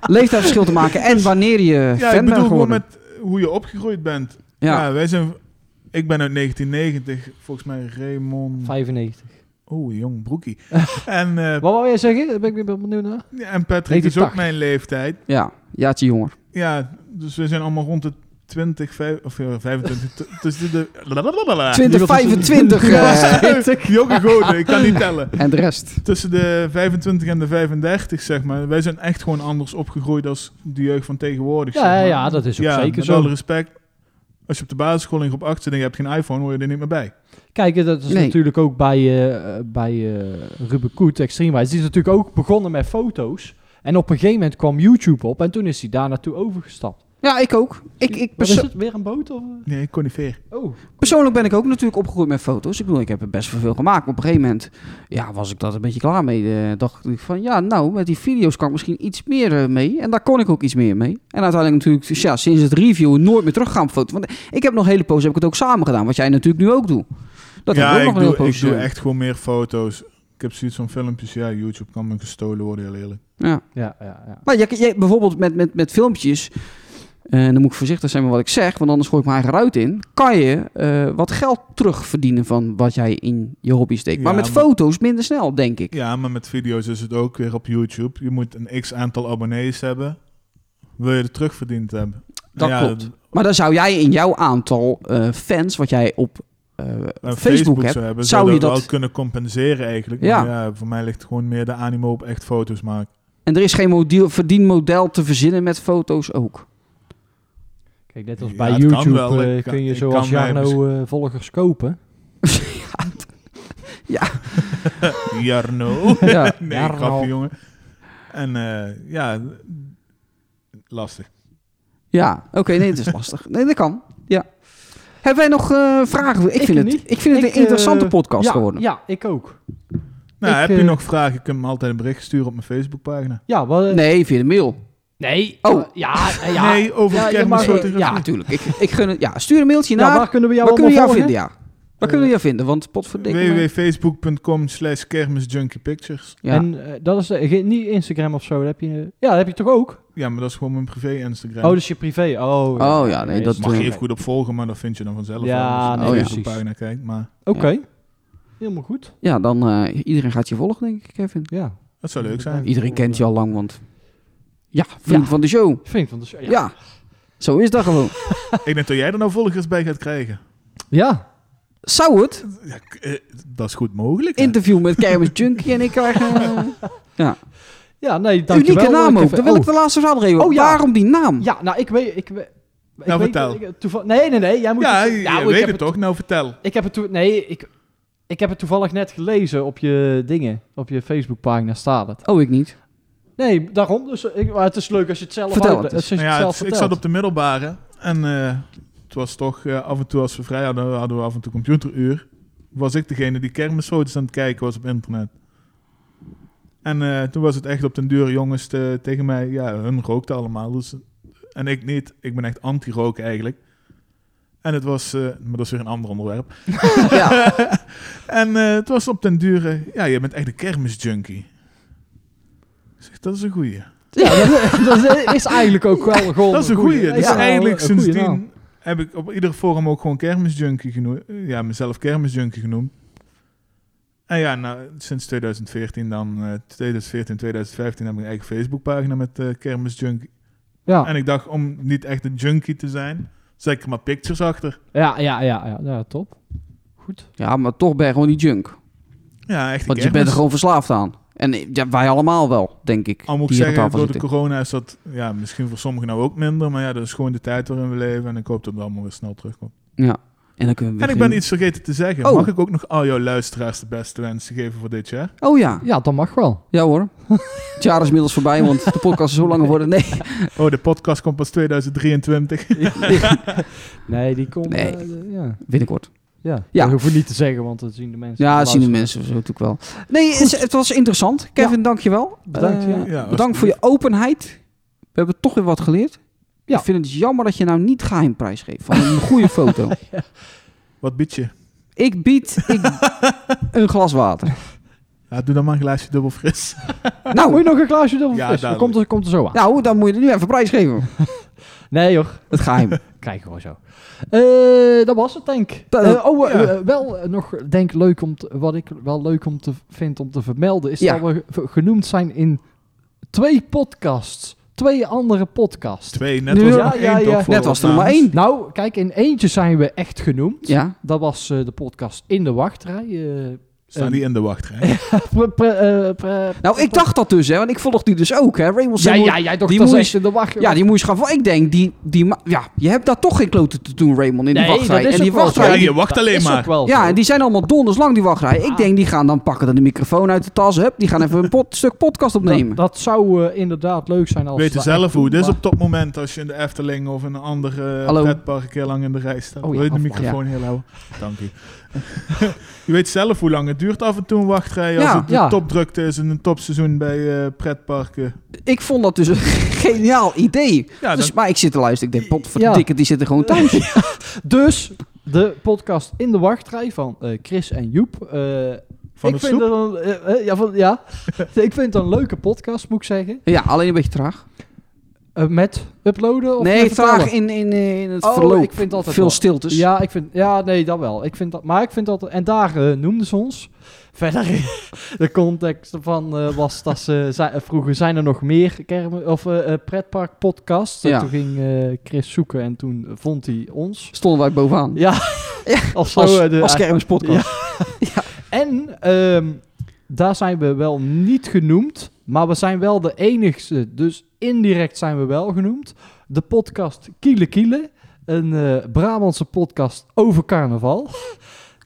Speaker 4: leeftijdsverschil te maken. En wanneer je
Speaker 5: ja,
Speaker 4: fan
Speaker 5: ik bedoel
Speaker 4: bent
Speaker 5: gewoon
Speaker 4: geworden.
Speaker 5: met hoe je opgegroeid bent. Ja.
Speaker 4: Ja.
Speaker 5: wij zijn, ik ben uit 1990, volgens mij Raymond.
Speaker 3: 95.
Speaker 5: Oh, jong broekie. en, eh,
Speaker 3: Wat wou jij zeggen? Daar ben ik weer wel benieuwd naar.
Speaker 5: en Patrick is
Speaker 3: 1980.
Speaker 5: ook mijn leeftijd.
Speaker 4: ja, jaartje jonger.
Speaker 5: Ja, dus we zijn allemaal rond de 20, 5, of eh, ja, 25. t- tussen de. Lalalala.
Speaker 4: 2025 eh,
Speaker 5: Jonge goden, ik kan niet tellen.
Speaker 4: en de rest.
Speaker 5: Tussen de 25 en de 35, zeg maar. Wij zijn echt gewoon anders opgegroeid als de jeugd van tegenwoordig. zeg
Speaker 3: Ja,
Speaker 5: maar.
Speaker 3: ja, dat is ook
Speaker 5: Ja,
Speaker 3: zeker
Speaker 5: met
Speaker 3: zo.
Speaker 5: alle respect. Als je op de basisschool in groep 8 zit en je hebt geen iPhone, hoor je er niet meer bij.
Speaker 3: Kijk, dat is
Speaker 4: Nee.
Speaker 3: natuurlijk ook bij, eh eh, bij eh Ruben Koet, Extremewise. Die is natuurlijk ook begonnen met foto's. En op een gegeven moment kwam YouTube op en toen is hij daar naartoe overgestapt.
Speaker 4: Ja, ik ook. Ik, ik
Speaker 3: Wat
Speaker 4: perso-
Speaker 3: is het? Weer een boot? Of? eh?
Speaker 5: Nee, conifeer.
Speaker 3: Oh,
Speaker 4: persoonlijk ben ik ook natuurlijk opgegroeid met foto's. Ik bedoel, ik heb er best wel veel gemaakt. Maar op een gegeven moment ja, was ik dat een beetje klaar mee. Eh, dacht ik van, ja, nou, met die video's kan ik misschien iets meer eh, mee. En daar kon ik ook iets meer mee. En uiteindelijk natuurlijk, dus ja, sinds het review nooit meer teruggaan op foto's. Want ik heb nog een hele poos, heb ik het ook samen gedaan. Wat jij natuurlijk nu ook doet. Dat
Speaker 5: ja,
Speaker 4: heb ik ook nog
Speaker 5: ik,
Speaker 4: een hele
Speaker 5: doe,
Speaker 4: poos
Speaker 5: ik doe
Speaker 4: gedaan.
Speaker 5: echt gewoon meer foto's. Ik heb zoiets van filmpjes. Ja, YouTube kan me gestolen worden, heel eerlijk.
Speaker 4: Ja.
Speaker 3: ja, ja, ja.
Speaker 4: Maar je, je, bijvoorbeeld met, met, met filmpjes. eh, En dan moet ik voorzichtig zijn met wat ik zeg, want anders gooi ik mijn eigen ruit in. Kan je eh, wat geld terugverdienen van wat jij in je hobby steekt. maar
Speaker 5: Ja,
Speaker 4: met
Speaker 5: maar-
Speaker 4: foto's minder snel, denk ik.
Speaker 5: Ja, maar met video's is het ook weer op YouTube. Je moet een x aantal abonnees hebben. Wil je het terugverdiend hebben?
Speaker 4: Dat
Speaker 5: Ja,
Speaker 4: klopt. Maar dan zou jij in jouw aantal eh, fans, wat jij op eh,
Speaker 5: een
Speaker 4: Facebook,
Speaker 5: Nou, Facebook
Speaker 4: hebt,
Speaker 5: zou hebben,
Speaker 4: zou
Speaker 5: zou
Speaker 4: je
Speaker 5: je dat
Speaker 4: dat-
Speaker 5: wel kunnen compenseren eigenlijk.
Speaker 4: Ja.
Speaker 5: Ja. Maar ja, voor mij ligt gewoon meer de animo op echt foto's maken.
Speaker 4: En er is geen model, verdienmodel te verzinnen met foto's ook.
Speaker 3: Kijk, net als
Speaker 5: Ja,
Speaker 3: bij
Speaker 5: het kan
Speaker 3: YouTube
Speaker 5: wel.
Speaker 3: eh,
Speaker 5: Ik kan-
Speaker 3: kun je
Speaker 5: ik
Speaker 3: zoals
Speaker 5: kan mij
Speaker 3: Jarno eh, volgers kopen.
Speaker 5: Jarno.
Speaker 4: Ja.
Speaker 5: nee,
Speaker 3: Jarno.
Speaker 5: grapje jongen. En eh, ja, lastig.
Speaker 4: Ja, oké, nee, het is lastig. Nee, dat kan. Ja. Hebben wij nog eh, vragen? Ik,
Speaker 3: Ik
Speaker 4: vind
Speaker 3: niet.
Speaker 4: het, ik vind het
Speaker 3: Ik,
Speaker 4: een interessante
Speaker 3: eh,
Speaker 4: podcast
Speaker 3: ja,
Speaker 4: geworden.
Speaker 3: Ja, ik ook.
Speaker 5: Nou,
Speaker 3: Ik,
Speaker 5: heb
Speaker 3: eh,
Speaker 5: je nog vragen? Kun je me altijd een bericht sturen op mijn Facebookpagina.
Speaker 3: Ja, wel, eh,
Speaker 4: Nee, via de mail.
Speaker 3: nee.
Speaker 4: Oh.
Speaker 3: eh, ja, eh, ja.
Speaker 5: Nee, over
Speaker 3: Ja, je mag-
Speaker 5: kermis.
Speaker 3: Sorry,
Speaker 4: Eh, ja, natuurlijk. Ik, ik gun het. Ja, stuur een mailtje
Speaker 3: Ja,
Speaker 4: naar.
Speaker 3: waar kunnen we jou
Speaker 4: waar kunnen we jou
Speaker 3: allemaal
Speaker 4: vinden? Ja. Waar
Speaker 5: Eh,
Speaker 4: kunnen we jou vinden? Want potverdikke. me.
Speaker 5: www.facebook.com slash kermisjunkiepictures.
Speaker 4: Ja.
Speaker 3: En eh, dat is eh, geen- niet Instagram of zo. Dat heb je, eh, ja, dat heb je toch ook?
Speaker 5: Ja, maar dat is gewoon mijn privé Instagram.
Speaker 3: Oh, dus je privé. Oh,
Speaker 4: Oh, ja, nee, dat-
Speaker 5: Mag je even
Speaker 3: Oké,
Speaker 5: goed op volgen, maar dat vind je dan vanzelf
Speaker 3: Ja,
Speaker 5: wel. Dus
Speaker 4: nee,
Speaker 5: als je
Speaker 4: precies.
Speaker 5: op de pagina kijkt. Maar
Speaker 3: helemaal goed.
Speaker 4: Ja, dan eh, iedereen gaat je volgen, denk ik, Kevin.
Speaker 3: Ja,
Speaker 5: dat zou leuk zijn.
Speaker 4: Iedereen kent je al lang, want. Ja, vriend
Speaker 3: Ja.
Speaker 4: van de show.
Speaker 3: vind ik van de
Speaker 4: Ja. Zo is dat gewoon.
Speaker 5: Ik denk dat jij er nou volgers bij gaat krijken.
Speaker 3: Ja,
Speaker 4: Zou het?
Speaker 5: Ja, k- eh, dat is goed mogelijk. hè?
Speaker 4: Interview met Kermis Junkie en ik krijg een
Speaker 3: ja nee, dankjewel.
Speaker 4: unieke
Speaker 3: eh,
Speaker 4: naam ook.
Speaker 3: Kevin.
Speaker 4: Dan wil ik
Speaker 3: Oh,
Speaker 4: de laatste vraag nog even.
Speaker 3: Oh, ja.
Speaker 4: Waarom die naam?
Speaker 3: Ja, nou, ik weet... Ik, we- ik
Speaker 5: Nou,
Speaker 3: weet-
Speaker 5: vertel.
Speaker 3: ik- toeval- nee, nee, nee. Jij moet
Speaker 5: ja,
Speaker 3: het-
Speaker 5: je
Speaker 3: nou, ik
Speaker 5: weet
Speaker 3: heb
Speaker 5: het, toch? Nou, vertel.
Speaker 3: Ik heb het toen. Nee, ik, ik heb het toevallig net gelezen op je dingen. Op je Facebookpagina staat het.
Speaker 4: Oh, ik niet.
Speaker 3: Nee, daarom. Dus, ik, maar het is leuk als je het zelf
Speaker 4: Vertel
Speaker 3: uitle-
Speaker 4: het eens.
Speaker 3: als je het
Speaker 5: Nou ja,
Speaker 3: zelf
Speaker 5: het- ik
Speaker 3: vertelt.
Speaker 5: zat op de middelbare en eh, het was toch eh, af en toe als we vrij hadden, hadden we af en toe computeruur. Was ik degene die kermisfoto's aan het kijken was op internet. En eh, toen was het echt op den duur jongens te- tegen mij, ja, hun rookten allemaal. Dus, en ik niet, ik ben echt anti-rook eigenlijk. En het was, eh, maar dat is weer een ander onderwerp.
Speaker 4: ja.
Speaker 5: en eh, het was op den duur, eh, ja, je bent echt een kermisjunkie. Ik zeg, dat is een goeie.
Speaker 3: Ja, dat, dat is eigenlijk ook wel een goal.
Speaker 5: Dat is een goeie.
Speaker 3: Ja,
Speaker 5: Dus
Speaker 3: wel
Speaker 5: eigenlijk
Speaker 3: een goeie
Speaker 5: sindsdien
Speaker 3: naam.
Speaker 5: heb ik op ieder forum ook gewoon kermisjunkie genoemd. eh, Ja, mezelf kermisjunkie genoemd. En ja, nou, sinds 2014 dan, eh 2014, 2015 heb ik een eigen Facebookpagina met eh kermisjunkie.
Speaker 3: Ja,
Speaker 4: Ah.
Speaker 5: En ik dacht, om niet echt een junkie te zijn, zet ik er maar pictures achter.
Speaker 3: ja, ja, ja, ja, ja, top. Goed.
Speaker 4: ja, maar toch ben je gewoon die junk.
Speaker 5: Ja, echt
Speaker 4: Want je bent er gewoon verslaafd aan. En eh, ja, wij allemaal wel, denk ik.
Speaker 5: Al moet
Speaker 4: die
Speaker 5: ik
Speaker 4: hier aan
Speaker 5: zeggen,
Speaker 4: tafel
Speaker 5: door de
Speaker 4: zitten.
Speaker 5: corona is dat ja, misschien voor sommigen nou ook minder. Maar ja, dat is gewoon de tijd waarin we leven. En ik hoop dat het allemaal weer snel terugkomt.
Speaker 4: Ja. En, dan kunnen we
Speaker 5: En ik
Speaker 4: weer
Speaker 5: ben iets vergeten te zeggen.
Speaker 4: Oh.
Speaker 5: Mag ik ook nog al jouw luisteraars de beste wensen geven voor dit jaar?
Speaker 4: geen- Oh ja,
Speaker 3: Ja, dat mag wel.
Speaker 4: ja hoor. Het jaar is inmiddels voorbij, want de podcast is zo lang geworden. Nee,
Speaker 5: Oh, de podcast komt pas 2023.
Speaker 3: Nee, die komt.
Speaker 4: Nee.
Speaker 3: eh, de- ja.
Speaker 4: binnenkort.
Speaker 3: Ja.
Speaker 4: Ja.
Speaker 3: dat hoeven we niet te zeggen, want dat zien de mensen.
Speaker 4: Ja, dat
Speaker 3: dat
Speaker 4: zien de mensen zo natuurlijk wel. Nee, het, het was interessant. Kevin, dankjewel.
Speaker 3: Bedankt, ja.
Speaker 4: Eh,
Speaker 3: Ja,
Speaker 4: bedankt voor je openheid. We hebben toch weer wat geleerd.
Speaker 3: Ja.
Speaker 4: Ik vind het jammer dat je nou niet geheim prijs geeft van een goede foto.
Speaker 5: Wat bied je?
Speaker 4: Ik bied ik, een glas water.
Speaker 5: Ja, doe dan maar een glaasje dubbel fris.
Speaker 4: Nou,
Speaker 3: Moet je nog een glaasje doen?
Speaker 5: Ja,
Speaker 3: Ja, dat
Speaker 5: duidelijk.
Speaker 3: komt er, komt er zo aan.
Speaker 4: nou, dan moet je het nu even prijs geven.
Speaker 3: Nee, joh.
Speaker 4: Het geheim.
Speaker 3: Kijk gewoon zo. Eh, dat was het, denk ik.
Speaker 4: Dat-
Speaker 3: Eh, oh, eh,
Speaker 5: ja.
Speaker 3: eh, wel eh, nog, denk leuk om te- wat ik wel leuk om te vind om te vermelden, is
Speaker 4: Ja.
Speaker 3: dat we ge- genoemd zijn in twee podcasts. Twee andere podcasts.
Speaker 5: Twee, net
Speaker 3: Ja,
Speaker 5: was er maar
Speaker 3: ja,
Speaker 5: één
Speaker 3: ja.
Speaker 5: toch voor
Speaker 4: Net was er
Speaker 5: opnames.
Speaker 4: maar één.
Speaker 3: Nou, kijk, in eentje zijn we echt genoemd.
Speaker 4: Ja.
Speaker 3: Dat was eh, de podcast In de Wachtrij. eh,
Speaker 5: Staan die in de wachtrij?
Speaker 3: pre- pre- eh, pre-
Speaker 4: Nou, ik dacht dat dus, hè, want ik volg die dus ook, hè. Rainbow
Speaker 3: Ja,
Speaker 4: Six
Speaker 3: ja, jij toch
Speaker 4: die
Speaker 3: dat is
Speaker 4: moet-
Speaker 3: echt in de wacht.
Speaker 4: Ja, die moest gaan van. Ik denk, die, die, ma- ja, je hebt daar toch geen kloten te doen, Raymond, in die
Speaker 3: Nee,
Speaker 4: wachtrij.
Speaker 3: dat is
Speaker 4: en die
Speaker 3: ook wel zo.
Speaker 5: Ja,
Speaker 4: wachtrij.
Speaker 5: je wacht alleen
Speaker 3: is ook
Speaker 5: maar.
Speaker 3: wel
Speaker 4: ja,
Speaker 3: zo.
Speaker 4: en die zijn allemaal donders lang, die wachtrij.
Speaker 3: Ja.
Speaker 4: Ik denk, die gaan dan pakken dan de microfoon uit de tas. Hup, die gaan even een pot, stuk podcast opnemen.
Speaker 3: Dat, dat zou eh, inderdaad leuk zijn als
Speaker 5: Weet je
Speaker 3: we dat echt
Speaker 5: zelf hoe.
Speaker 3: doen,
Speaker 5: Dit is
Speaker 3: maar-
Speaker 5: op dat moment als je in de Efteling of in een ander eh,
Speaker 4: Hallo.
Speaker 5: pretpark een keer lang in de rij staat.
Speaker 3: Oh ja,
Speaker 5: Wil je de
Speaker 3: afwacht,
Speaker 5: microfoon heel houden? Dank u. je weet zelf hoe lang het duurt af en toe een wachtrij. Als
Speaker 4: Ja,
Speaker 5: het
Speaker 3: ja.
Speaker 5: de topdrukte is in een topseizoen bij eh, pretparken.
Speaker 4: Ik vond dat dus een geniaal idee.
Speaker 5: Ja,
Speaker 4: dus,
Speaker 5: dan-
Speaker 4: maar ik zit te luisteren. Ik denk,
Speaker 3: Ja.
Speaker 4: potverdikke, die zitten gewoon thuis.
Speaker 3: Dus de podcast in de wachtrij van eh, Chris en Joep. Eh,
Speaker 5: Van
Speaker 3: ik
Speaker 5: de
Speaker 3: vind
Speaker 5: stoep?
Speaker 3: het een, eh, eh, ja, van, ja. ik vind het een leuke podcast, moet ik zeggen.
Speaker 4: Ja, alleen een beetje traag.
Speaker 3: Eh, met uploaden? Of
Speaker 4: nee,
Speaker 3: met vertalen?
Speaker 4: vraag in, dus- in, eh, in het
Speaker 3: Oh,
Speaker 4: verloop.
Speaker 3: ik vind altijd
Speaker 4: Veel
Speaker 3: wel.
Speaker 4: stiltes.
Speaker 3: Ja, ik vind, ja, nee, dat wel. Ik vind dat, maar ik vind dat... En daar eh, noemden ze ons. Verder, de context ervan eh, was dat ze zei- eh, vroegen... Zijn er nog meer kermen, of, eh eh, pretparkpodcasts? En
Speaker 4: Ja.
Speaker 3: Toen ging eh, Chris zoeken en toen vond hij ons.
Speaker 4: Stonden wij bovenaan.
Speaker 3: Ja, of zo.
Speaker 4: als,
Speaker 3: eh, de-
Speaker 4: als kermispodcast.
Speaker 3: en ehm, daar zijn we wel niet genoemd. Maar we zijn wel de enigste. Dus indirect zijn we wel genoemd. De podcast Kiele Kiele. Een eh, Brabantse podcast over carnaval.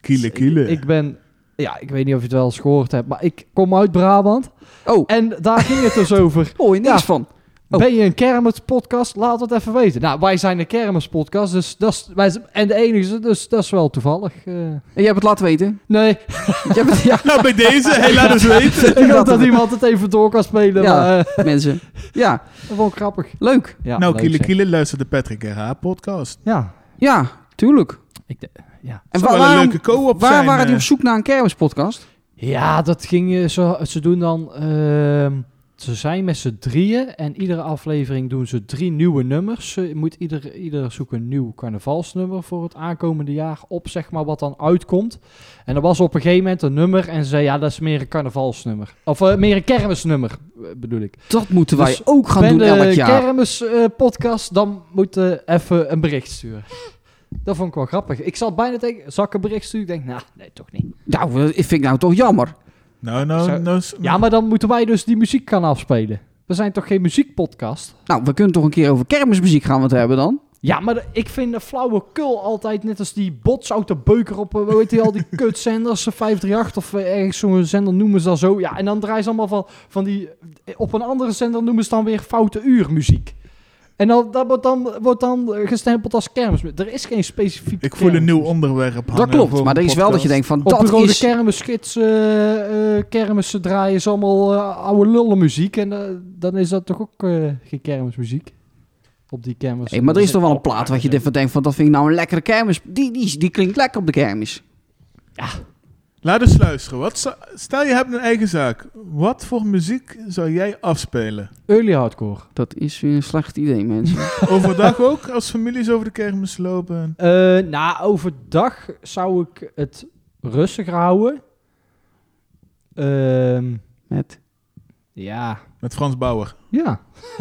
Speaker 5: Kiele, kiele.
Speaker 3: Ik ben, ja, ik weet niet of je het wel eens gehoord hebt, maar ik kom uit Brabant.
Speaker 4: Oh,
Speaker 3: En daar ging het dus over.
Speaker 4: oh, niks
Speaker 3: Ja.
Speaker 4: van. Oh.
Speaker 3: Ben je een kermispodcast? Laat het even weten. Nou, wij zijn een kermispodcast, dus dat is, wij zijn- en de enige, dus dat is wel toevallig. eh.
Speaker 4: En jij hebt het laten weten.
Speaker 3: nee,
Speaker 4: Jij hebt het- ja,
Speaker 5: Nou, bij deze, hey, laat eens weten.
Speaker 3: ik hoop dat iemand het even door kan spelen,
Speaker 4: Ja.
Speaker 3: maar eh,
Speaker 4: mensen. Ja,
Speaker 3: dat vond ik grappig.
Speaker 4: leuk.
Speaker 3: Ja,
Speaker 5: nou,
Speaker 3: leuk
Speaker 5: Kiele,
Speaker 3: zeg.
Speaker 5: kiele, luister de Patrick en Raap podcast.
Speaker 3: Ja,
Speaker 4: Ja, tuurlijk.
Speaker 3: ik de- ja.
Speaker 4: En
Speaker 5: Zou wel een leuke co-op
Speaker 4: waar
Speaker 5: zijn,
Speaker 4: waren die
Speaker 5: eh.
Speaker 4: op zoek naar een kermispodcast?
Speaker 3: ja, dat ging, eh, zo, ze doen dan, ehm, ze zijn met z'n drieën en iedere aflevering doen ze drie nieuwe nummers. Ze moet ieder, ieder zoekt een nieuw carnavalsnummer voor het aankomende jaar op, zeg maar, wat dan uitkomt. En er was op een gegeven moment een nummer en ze zei, ja, dat is meer een carnavalsnummer. Of eh, meer een kermisnummer, eh, bedoel ik.
Speaker 4: Dat moeten wij
Speaker 3: Dus
Speaker 4: ook gaan
Speaker 3: Ben
Speaker 4: doen elk
Speaker 3: de
Speaker 4: jaar.
Speaker 3: kermispodcast, dan moet je even een bericht sturen. Dat vond ik wel grappig. Ik zat bijna tegen, zal ik een bericht sturen? Ik denk, nou, nee, toch niet.
Speaker 4: Nou, dat vind ik nou toch jammer.
Speaker 5: Nou, nou,
Speaker 3: Zou-
Speaker 5: nou. s-
Speaker 3: Ja, maar dan moeten wij dus die muziek gaan afspelen. We zijn toch geen muziekpodcast?
Speaker 4: Nou, we kunnen toch een keer over kermismuziek gaan wat hebben dan?
Speaker 3: Ja, maar de- ik vind de flauwekul altijd net als die bots uit de beuker op, eh, weet je al, die kutzenders, eh, 538 of eh, ergens zo'n zender noemen ze dan zo. Ja, en dan draaien ze allemaal van, van die, eh, op een andere zender noemen ze dan weer foute uurmuziek. En dan, dat wordt dan, wordt dan eh, gestempeld als kermis. Er is geen specifiek
Speaker 5: Ik voel een nieuw
Speaker 3: kermismuziek.
Speaker 5: onderwerp hangen
Speaker 4: dat klopt,
Speaker 5: voor
Speaker 4: maar
Speaker 5: een
Speaker 4: er is wel dat je denkt
Speaker 5: podcast.
Speaker 4: van,
Speaker 3: Op
Speaker 4: dat
Speaker 3: de rode
Speaker 4: is...
Speaker 3: kermisgids eh, eh, kermissen draaien ze allemaal eh, oude lullenmuziek. En eh, dan is dat toch ook eh, geen kermismuziek? Op die kermis.
Speaker 4: Hey, maar er is toch wel
Speaker 3: Oh,
Speaker 4: een plaat wat je ervan denkt van, dat vind ik nou een lekkere kermis. Die, die, die klinkt lekker op de kermis.
Speaker 5: Laat eens luisteren. Wat zou- stel, je hebt een eigen zaak. Wat voor muziek zou jij afspelen?
Speaker 3: Early hardcore.
Speaker 4: Dat is weer een slecht idee, mensen.
Speaker 5: Overdag ook, als families over de kermis lopen.
Speaker 3: Eh, nou, overdag zou ik het rustiger houden. Ehm,
Speaker 4: Met...
Speaker 3: ja.
Speaker 5: Met Frans Bauer.
Speaker 3: Ja.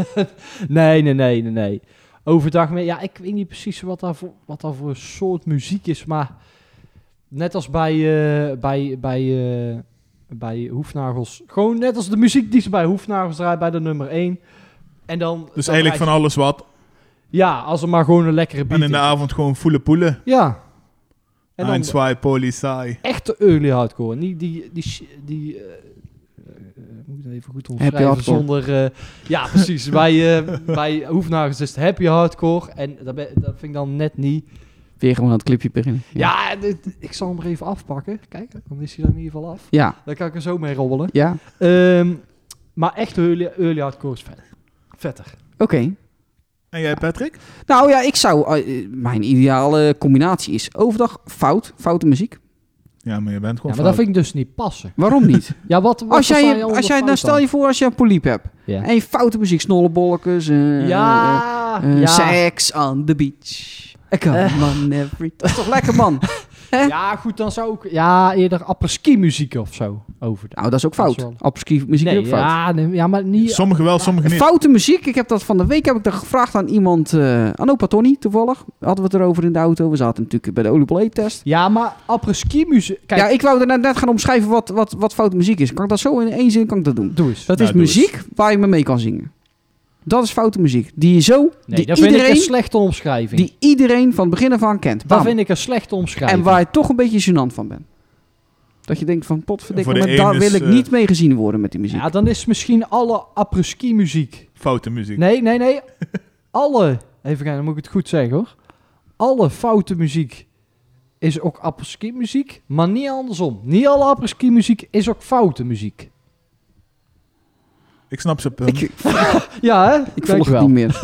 Speaker 3: nee, nee, nee, nee, nee. Overdag, mee, ja, ik weet niet precies wat daar voor, wat daar voor soort muziek is, maar net als bij, eh, bij, bij, eh, bij Hoefnagels, gewoon net als de muziek die ze bij Hoefnagels draaien, bij de nummer 1. En dan,
Speaker 5: Dus
Speaker 3: dan
Speaker 5: eigenlijk van
Speaker 3: draait-
Speaker 5: alles wat.
Speaker 3: Ja, als er maar gewoon een lekkere beat
Speaker 5: En in de
Speaker 3: is.
Speaker 5: avond gewoon voelen poelen.
Speaker 3: Ja. En dan
Speaker 5: En zwaai, politie.
Speaker 3: echte early hardcore, niet die... die, sh- die eh, eh, moet ik dat even goed omschrijven
Speaker 4: hardcore.
Speaker 3: zonder... eh, ja, precies. bij, eh bij Hoefnagels is het happy hardcore. En dat, ben- dat vind ik dan net niet.
Speaker 4: Weer gewoon aan het clipje beginnen.
Speaker 3: Ja, dit- ik zal hem er even afpakken. Kijk, dan is hij er in ieder geval af.
Speaker 4: Ja.
Speaker 3: Dan kan ik er zo mee robbelen.
Speaker 4: Ja.
Speaker 3: Ehm, maar echt early, early hardcore is vet- vetter.
Speaker 4: Oké.
Speaker 5: En jij, Patrick?
Speaker 4: Nou ja, ik zou... eh, mijn ideale combinatie is overdag fout, foute muziek.
Speaker 5: Ja, maar je bent
Speaker 3: Ja,
Speaker 5: gewoon
Speaker 3: maar dat
Speaker 5: fout.
Speaker 3: vind ik dus niet passen.
Speaker 4: Waarom niet?
Speaker 3: Ja, wat, wat
Speaker 4: Als
Speaker 3: versta je
Speaker 4: jij,
Speaker 3: onder
Speaker 4: als jij
Speaker 3: fout
Speaker 4: nou stel
Speaker 3: dan?
Speaker 4: je voor als je een poliep hebt.
Speaker 3: Ja.
Speaker 4: En je foute muziek, snollebolletjes. eh,
Speaker 3: ja,
Speaker 4: eh, eh,
Speaker 3: ja.
Speaker 4: Sex on the beach. I come on every... Dat is toch lekker, man?
Speaker 3: ja, goed, dan zou ik... Ja, eerder apres-ski muziek of zo overdag.
Speaker 4: Nou, dat is ook
Speaker 3: Dat is
Speaker 4: fout.
Speaker 3: wel-
Speaker 4: Apres-ski muziek is
Speaker 3: Nee,
Speaker 4: ook fout.
Speaker 3: ja, nee, ja, maar niet...
Speaker 5: Sommige wel, sommige niet.
Speaker 4: Foute muziek, ik heb dat van de week heb ik dat gevraagd aan iemand, eh aan opa Tony toevallig. Hadden we het erover in de auto. We zaten natuurlijk bij de oliebollet-test.
Speaker 3: ja, maar apres-ski muziek... Kijk,
Speaker 4: Ja, ik wou daarna net gaan omschrijven wat, wat, wat foute muziek is. Kan ik dat zo in één zin kan ik dat doen?
Speaker 3: doe eens.
Speaker 4: Dat
Speaker 5: Nou,
Speaker 4: is
Speaker 5: doe
Speaker 4: muziek waar je me mee kan zingen. Dat is foute muziek. Die je zo,
Speaker 3: Nee,
Speaker 4: die,
Speaker 3: dat vind ik een
Speaker 4: iedereen,
Speaker 3: slechte omschrijving.
Speaker 4: die iedereen van begin af aan kent.
Speaker 3: dat
Speaker 4: Bam.
Speaker 3: vind ik een slechte omschrijving.
Speaker 4: En waar je toch een beetje gênant van bent. Dat je denkt van, potverdikke,
Speaker 5: Voor de
Speaker 4: maar
Speaker 5: een
Speaker 4: daar
Speaker 5: is,
Speaker 4: wil ik
Speaker 5: eh,
Speaker 4: niet mee gezien worden met die muziek.
Speaker 3: Ja, dan is misschien alle apres-ski muziek.
Speaker 5: Foute muziek.
Speaker 3: Nee, nee, nee. Alle, even gaan, dan moet ik het goed zeggen hoor. Alle foute muziek is ook apres-ski muziek, maar niet andersom. Niet alle apres-ski muziek is ook foute muziek.
Speaker 5: Ik snap ze punt.
Speaker 4: Ik,
Speaker 3: Ja, hè?
Speaker 4: ik
Speaker 3: Dank
Speaker 4: volg
Speaker 3: je
Speaker 4: het
Speaker 3: wel.
Speaker 4: niet meer.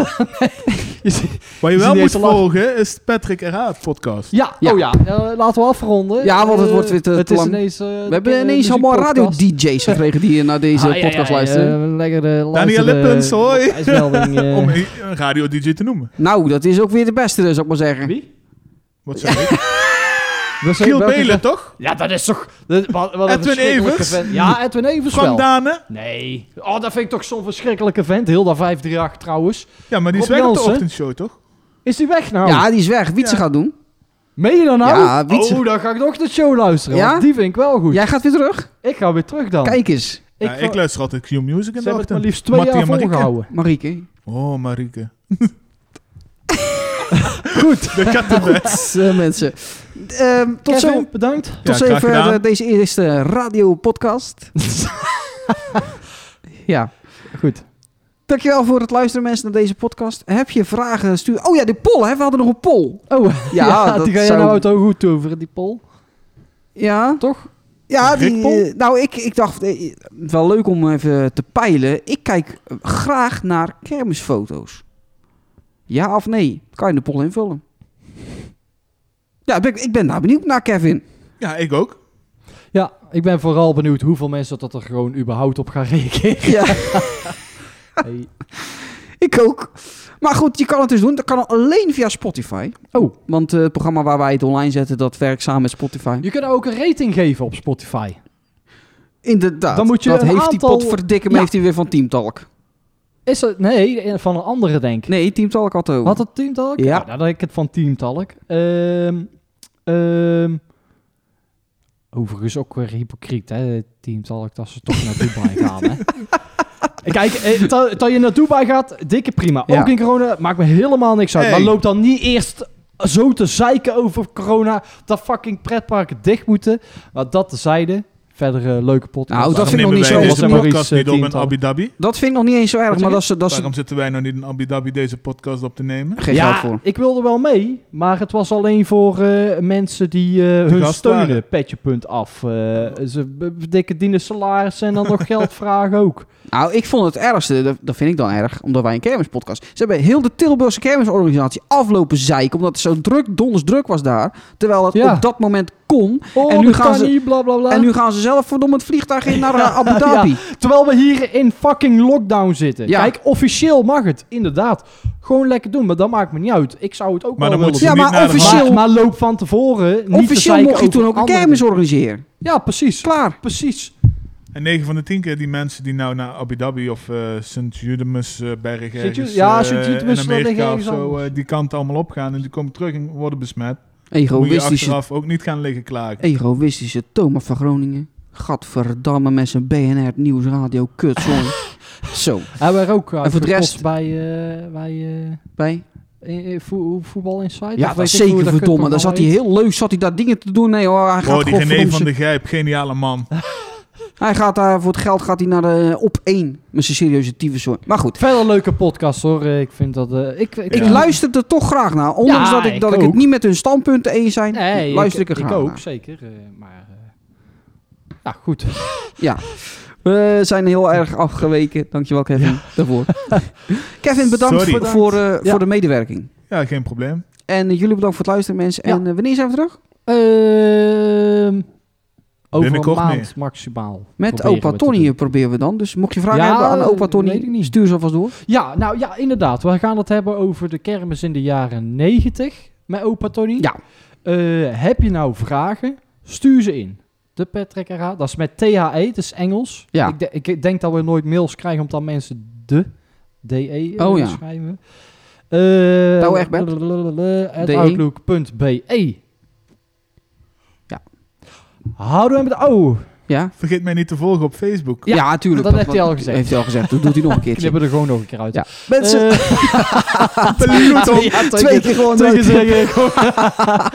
Speaker 3: Je ziet-
Speaker 5: Wat je
Speaker 3: Is
Speaker 5: wel
Speaker 3: die
Speaker 5: moet
Speaker 3: even lachen?
Speaker 5: volgen is Patrick en Raad podcast.
Speaker 3: ja,
Speaker 4: Ja.
Speaker 3: oh ja. eh, laten we afronden.
Speaker 4: Ja, want het
Speaker 3: Eh,
Speaker 4: wordt weer te-
Speaker 3: het
Speaker 4: te
Speaker 3: is
Speaker 4: lang.
Speaker 3: ineens, eh,
Speaker 4: We
Speaker 3: de,
Speaker 4: hebben
Speaker 3: eh,
Speaker 4: ineens allemaal
Speaker 3: muziekpodcast.
Speaker 4: radio-dj's gekregen die eh, naar deze
Speaker 3: Ah, ja, ja,
Speaker 4: podcast
Speaker 3: ja,
Speaker 4: luisteren.
Speaker 3: eh, lekker, eh,
Speaker 5: Daniel
Speaker 3: luisteren,
Speaker 5: Lippens,
Speaker 3: eh,
Speaker 5: hoi.
Speaker 3: huismelding, eh.
Speaker 5: Om een een radio-dj te noemen.
Speaker 4: Nou, dat is ook weer de beste, zou ik maar zeggen.
Speaker 3: Wie?
Speaker 5: Wat zeg ik?
Speaker 3: Dat is-
Speaker 5: Giel
Speaker 3: welke-
Speaker 5: Belen, toch?
Speaker 3: Ja, dat is toch... dat- wat, wat een
Speaker 5: Edwin
Speaker 3: verschrikkelijke
Speaker 5: Evers?
Speaker 3: vent. Ja, Edwin Evers
Speaker 5: Frank
Speaker 3: wel.
Speaker 5: Dane?
Speaker 3: Nee. Oh, dat vind ik toch zo'n verschrikkelijke vent. Heel dat 538 trouwens.
Speaker 5: Ja, maar die is
Speaker 3: Rob
Speaker 5: weg op de
Speaker 3: Jansen?
Speaker 5: ochtendshow, toch?
Speaker 3: Is die weg nou?
Speaker 4: Ja, die is weg. Wietse
Speaker 5: Ja.
Speaker 4: gaat doen.
Speaker 3: Meen je dan nou?
Speaker 4: Ja, Wietse.
Speaker 3: Oh, dan ga ik nog de show luisteren.
Speaker 4: Ja?
Speaker 3: want die vind ik wel goed. Oh.
Speaker 4: Jij gaat weer terug?
Speaker 3: Ik ga weer terug dan.
Speaker 4: Kijk eens,
Speaker 5: Ja, ik,
Speaker 3: ik wil-
Speaker 5: luister altijd Q Music in
Speaker 3: ze
Speaker 5: de
Speaker 3: hebben het maar
Speaker 5: ochtend.
Speaker 3: liefst twee
Speaker 5: Mattie
Speaker 3: jaar
Speaker 5: en Marieke.
Speaker 3: volgehouden.
Speaker 4: Marieke.
Speaker 5: Oh, Marieke.
Speaker 3: Goed.
Speaker 5: De kattenbed.
Speaker 4: Eh, mensen. Ehm, tot
Speaker 3: Kevin,
Speaker 4: zo.
Speaker 3: bedankt.
Speaker 4: Tot
Speaker 5: graag
Speaker 4: zover
Speaker 5: gedaan.
Speaker 4: eh, deze eerste radio-podcast. ja.
Speaker 3: Goed.
Speaker 4: Dankjewel voor het luisteren, mensen, naar deze podcast. Heb je vragen? Stuur. Oh ja, die poll, hè? We hadden nog een poll.
Speaker 3: Oh, ja,
Speaker 4: Ja, dat
Speaker 3: die ga jij
Speaker 4: zou-
Speaker 3: nou het ook goed over, die pol.
Speaker 4: Ja.
Speaker 3: Toch?
Speaker 4: Ja, die,
Speaker 5: Rickpol?
Speaker 4: eh, nou, ik, ik dacht, eh, wel leuk om even te peilen. Ik kijk eh, graag naar kermisfoto's. Ja of nee? Kan je de poll invullen? Ja, ben ik, ik ben daar benieuwd naar, Kevin.
Speaker 5: Ja, ik ook.
Speaker 3: Ja, ik ben vooral benieuwd hoeveel mensen dat er gewoon überhaupt op gaan reageren.
Speaker 4: Ja,
Speaker 3: Hey.
Speaker 4: ik ook. Maar goed, je kan het dus doen. Dat kan alleen via Spotify.
Speaker 3: Oh,
Speaker 4: Want eh, het programma waar wij het online zetten, dat werkt samen met Spotify.
Speaker 3: je kunt ook een rating geven op Spotify.
Speaker 4: Inderdaad.
Speaker 3: Dan moet je
Speaker 4: dat
Speaker 3: een
Speaker 4: heeft die
Speaker 3: aantal-
Speaker 4: potverdikke,
Speaker 3: Ja.
Speaker 4: heeft hij weer van Team Talk.
Speaker 3: Is het? Nee, eh, van een andere denk ik.
Speaker 4: Nee, Team Talk had het over.
Speaker 3: Had het Team Talk?
Speaker 4: Ja.
Speaker 3: Nou, dan had ik het van Team Talk. Ehm, ehm, overigens ook weer hypocriet, hè? Team Talk, dat ze toch naar Dubai gaan, hè? Kijk, eh, dat dat je naar Dubai gaat, dikke prima.
Speaker 4: Ja.
Speaker 3: Ook in corona, maakt me helemaal niks uit.
Speaker 5: Hey.
Speaker 3: Maar loop dan niet eerst zo te zeiken over corona... dat fucking pretparken dicht moeten. Maar dat tezijde, verder eh, leuke podcast.
Speaker 4: Nou, dat
Speaker 5: Waarom
Speaker 4: vind ik nog
Speaker 5: nemen
Speaker 4: niet
Speaker 5: wij
Speaker 4: zo-
Speaker 3: Was
Speaker 5: deze
Speaker 3: er maar iets,
Speaker 5: podcast
Speaker 3: eh,
Speaker 5: niet op in
Speaker 3: tientallen?
Speaker 5: Abu Dhabi?
Speaker 4: Dat vind ik nog niet eens zo erg,
Speaker 3: zeg
Speaker 4: maar
Speaker 3: je?
Speaker 4: dat is, dat is
Speaker 5: Waarom zitten wij nou niet in Abu Dhabi deze podcast op te nemen?
Speaker 4: geen geld voor.
Speaker 3: ik wilde wel mee, maar het was alleen voor eh, mensen die eh, hun
Speaker 5: gast
Speaker 3: steunen,
Speaker 5: waren.
Speaker 3: petje punt af. Eh, ze be- verdikken dienen salaris en dan nog geld vragen ook.
Speaker 4: Nou, ik vond het ergste, dat, dat vind ik dan erg, omdat wij een kermispodcast. Ze hebben heel de Tilburgse kermisorganisatie aflopen zeiken, omdat het zo druk, donders druk was daar. Terwijl het
Speaker 3: Ja.
Speaker 4: op dat moment kon.
Speaker 3: Oh,
Speaker 4: En nu
Speaker 3: dat
Speaker 4: gaan
Speaker 3: kan
Speaker 4: ze-
Speaker 3: niet, bla bla bla.
Speaker 4: En nu gaan ze zelf verdomme het vliegtuig in naar eh, Abu Dhabi.
Speaker 3: Terwijl we hier in fucking lockdown zitten.
Speaker 4: Ja.
Speaker 3: Kijk, officieel mag het, inderdaad. Gewoon lekker doen, maar dat maakt me niet uit. Ik zou het ook
Speaker 5: Maar
Speaker 3: Oh, wel
Speaker 5: dan
Speaker 3: willen
Speaker 5: moet ze
Speaker 4: Ja,
Speaker 5: niet
Speaker 4: maar
Speaker 5: naar de
Speaker 4: officieel-
Speaker 3: Maar, maar loop van tevoren niet te
Speaker 4: Officieel
Speaker 3: zeiken
Speaker 4: mocht je toen
Speaker 3: over
Speaker 4: ook een
Speaker 3: andere
Speaker 4: kermis
Speaker 3: dingen.
Speaker 4: organiseren.
Speaker 3: Ja, precies.
Speaker 4: Klaar.
Speaker 3: Precies.
Speaker 5: En 9 van de 10 keer die mensen die nou naar Abu Dhabi of eh sint judemus eh berg ergens,
Speaker 3: ja,
Speaker 5: eh,
Speaker 3: Sint Judemus,
Speaker 5: in
Speaker 3: dat ligt
Speaker 5: Amerika of
Speaker 3: ergens
Speaker 5: zo,
Speaker 3: anders.
Speaker 5: eh, die kant allemaal opgaan en die komen terug en worden besmet. Moet je
Speaker 4: Egoïstische,
Speaker 5: achteraf ook niet gaan liggen klagen.
Speaker 4: egoïstische Thomas van Groningen. Gadverdamme met zijn BNR Nieuwsradio kutzong. zo,
Speaker 3: Hij werd ook en
Speaker 4: voor de rest-
Speaker 3: bij... eh, bij eh,
Speaker 4: bij.
Speaker 3: Eh, eh, vo- voetbal Insight?
Speaker 4: Ja,
Speaker 3: Of
Speaker 4: dat
Speaker 3: weet
Speaker 4: is
Speaker 3: ik hoe
Speaker 4: zeker verdomme. Dan
Speaker 3: kutprogramma
Speaker 4: zat hij
Speaker 3: heet?
Speaker 4: heel leuk, zat hij daar dingen te doen. Nee hoor, hij gaat
Speaker 5: Oh, die
Speaker 4: gewoon
Speaker 5: René
Speaker 4: verdomme
Speaker 5: van de Grijp, geniale man.
Speaker 4: Hij gaat daar voor het geld gaat hij naar de op 1 met zijn serieuze tyfuszooi. Maar goed,
Speaker 3: Verder leuke podcast hoor. Eh, Ik vind dat... eh, ik, ik,
Speaker 5: Ja.
Speaker 4: ik luister er toch graag naar. Ondanks
Speaker 3: Ja,
Speaker 4: dat ik,
Speaker 3: ik
Speaker 4: dat ik het
Speaker 3: ook.
Speaker 4: niet met hun standpunten eens zijn,
Speaker 3: Nee,
Speaker 4: luister ik, er graag
Speaker 3: ook,
Speaker 4: naar.
Speaker 3: zeker. eh, maar... eh, ja, goed.
Speaker 4: Ja. We zijn heel erg afgeweken. Dankjewel Kevin daarvoor. Kevin, bedankt
Speaker 5: Sorry.
Speaker 4: voor, voor, eh,
Speaker 3: Ja.
Speaker 4: voor de medewerking.
Speaker 5: Ja, geen probleem.
Speaker 4: En eh, jullie bedankt voor het luisteren mensen.
Speaker 3: Ja.
Speaker 4: En eh, wanneer zijn we terug?
Speaker 3: Ehm, over een
Speaker 5: Binnenkort
Speaker 3: maand
Speaker 5: meer.
Speaker 3: maximaal.
Speaker 4: Met
Speaker 3: proberen we
Speaker 4: opa
Speaker 3: te
Speaker 4: Tony
Speaker 3: doen.
Speaker 4: proberen we dan. Dus mocht je vragen
Speaker 3: Ja,
Speaker 4: hebben aan opa
Speaker 3: eh, weet ik
Speaker 4: Tony,
Speaker 3: niet.
Speaker 4: stuur ze alvast door.
Speaker 3: Ja, nou ja, inderdaad. We gaan het hebben over de kermis in de jaren 90 met opa Tony.
Speaker 4: Ja.
Speaker 3: Eh, heb je nou vragen? Stuur ze in. De Patrick RH. Dat is met THE, dat is Engels.
Speaker 4: Ja.
Speaker 3: Ik, de- ik denk dat we nooit mails krijgen omdat mensen de DE eh,
Speaker 4: Oh ja.
Speaker 3: schrijven. Eh,
Speaker 4: Nou, echt, Bert?
Speaker 3: lalalala, at
Speaker 4: DE.
Speaker 3: Outlook.be.
Speaker 4: Ja.
Speaker 3: Houden we met de Oh, O.
Speaker 4: Ja,
Speaker 5: Vergeet mij niet te volgen op Facebook.
Speaker 4: ja, tuurlijk.
Speaker 3: dat heeft hij al gezegd.
Speaker 4: Heeft hij al gezegd. Dat doet hij nog een keertje.
Speaker 3: Knippen er gewoon nog een keer uit.
Speaker 4: Ja. Mensen,
Speaker 3: Eh,
Speaker 5: Benieuwd om-
Speaker 3: ja,
Speaker 4: twee keer gewoon
Speaker 3: Twee keer
Speaker 4: nooit.
Speaker 3: zeggen. gewoon.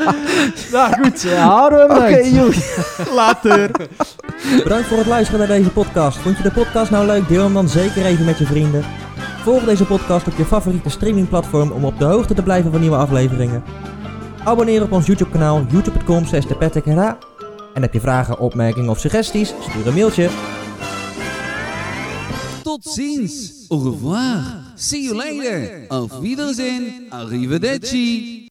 Speaker 3: nou goed, eh, houden we hem
Speaker 4: Oké,
Speaker 3: uit.
Speaker 4: joh.
Speaker 5: Later.
Speaker 2: Bedankt voor het luisteren naar deze podcast. Vond je de podcast nou leuk? Deel hem dan zeker even met je vrienden. Volg deze podcast op je favoriete streamingplatform om op de hoogte te blijven van nieuwe afleveringen. Abonneer op ons YouTube kanaal youtube.com slash de Patrick en Ra. En heb je vragen, opmerkingen of suggesties? Stuur een mailtje.
Speaker 6: Tot ziens. Au revoir. See you later. Auf Wiedersehen. Arrivederci.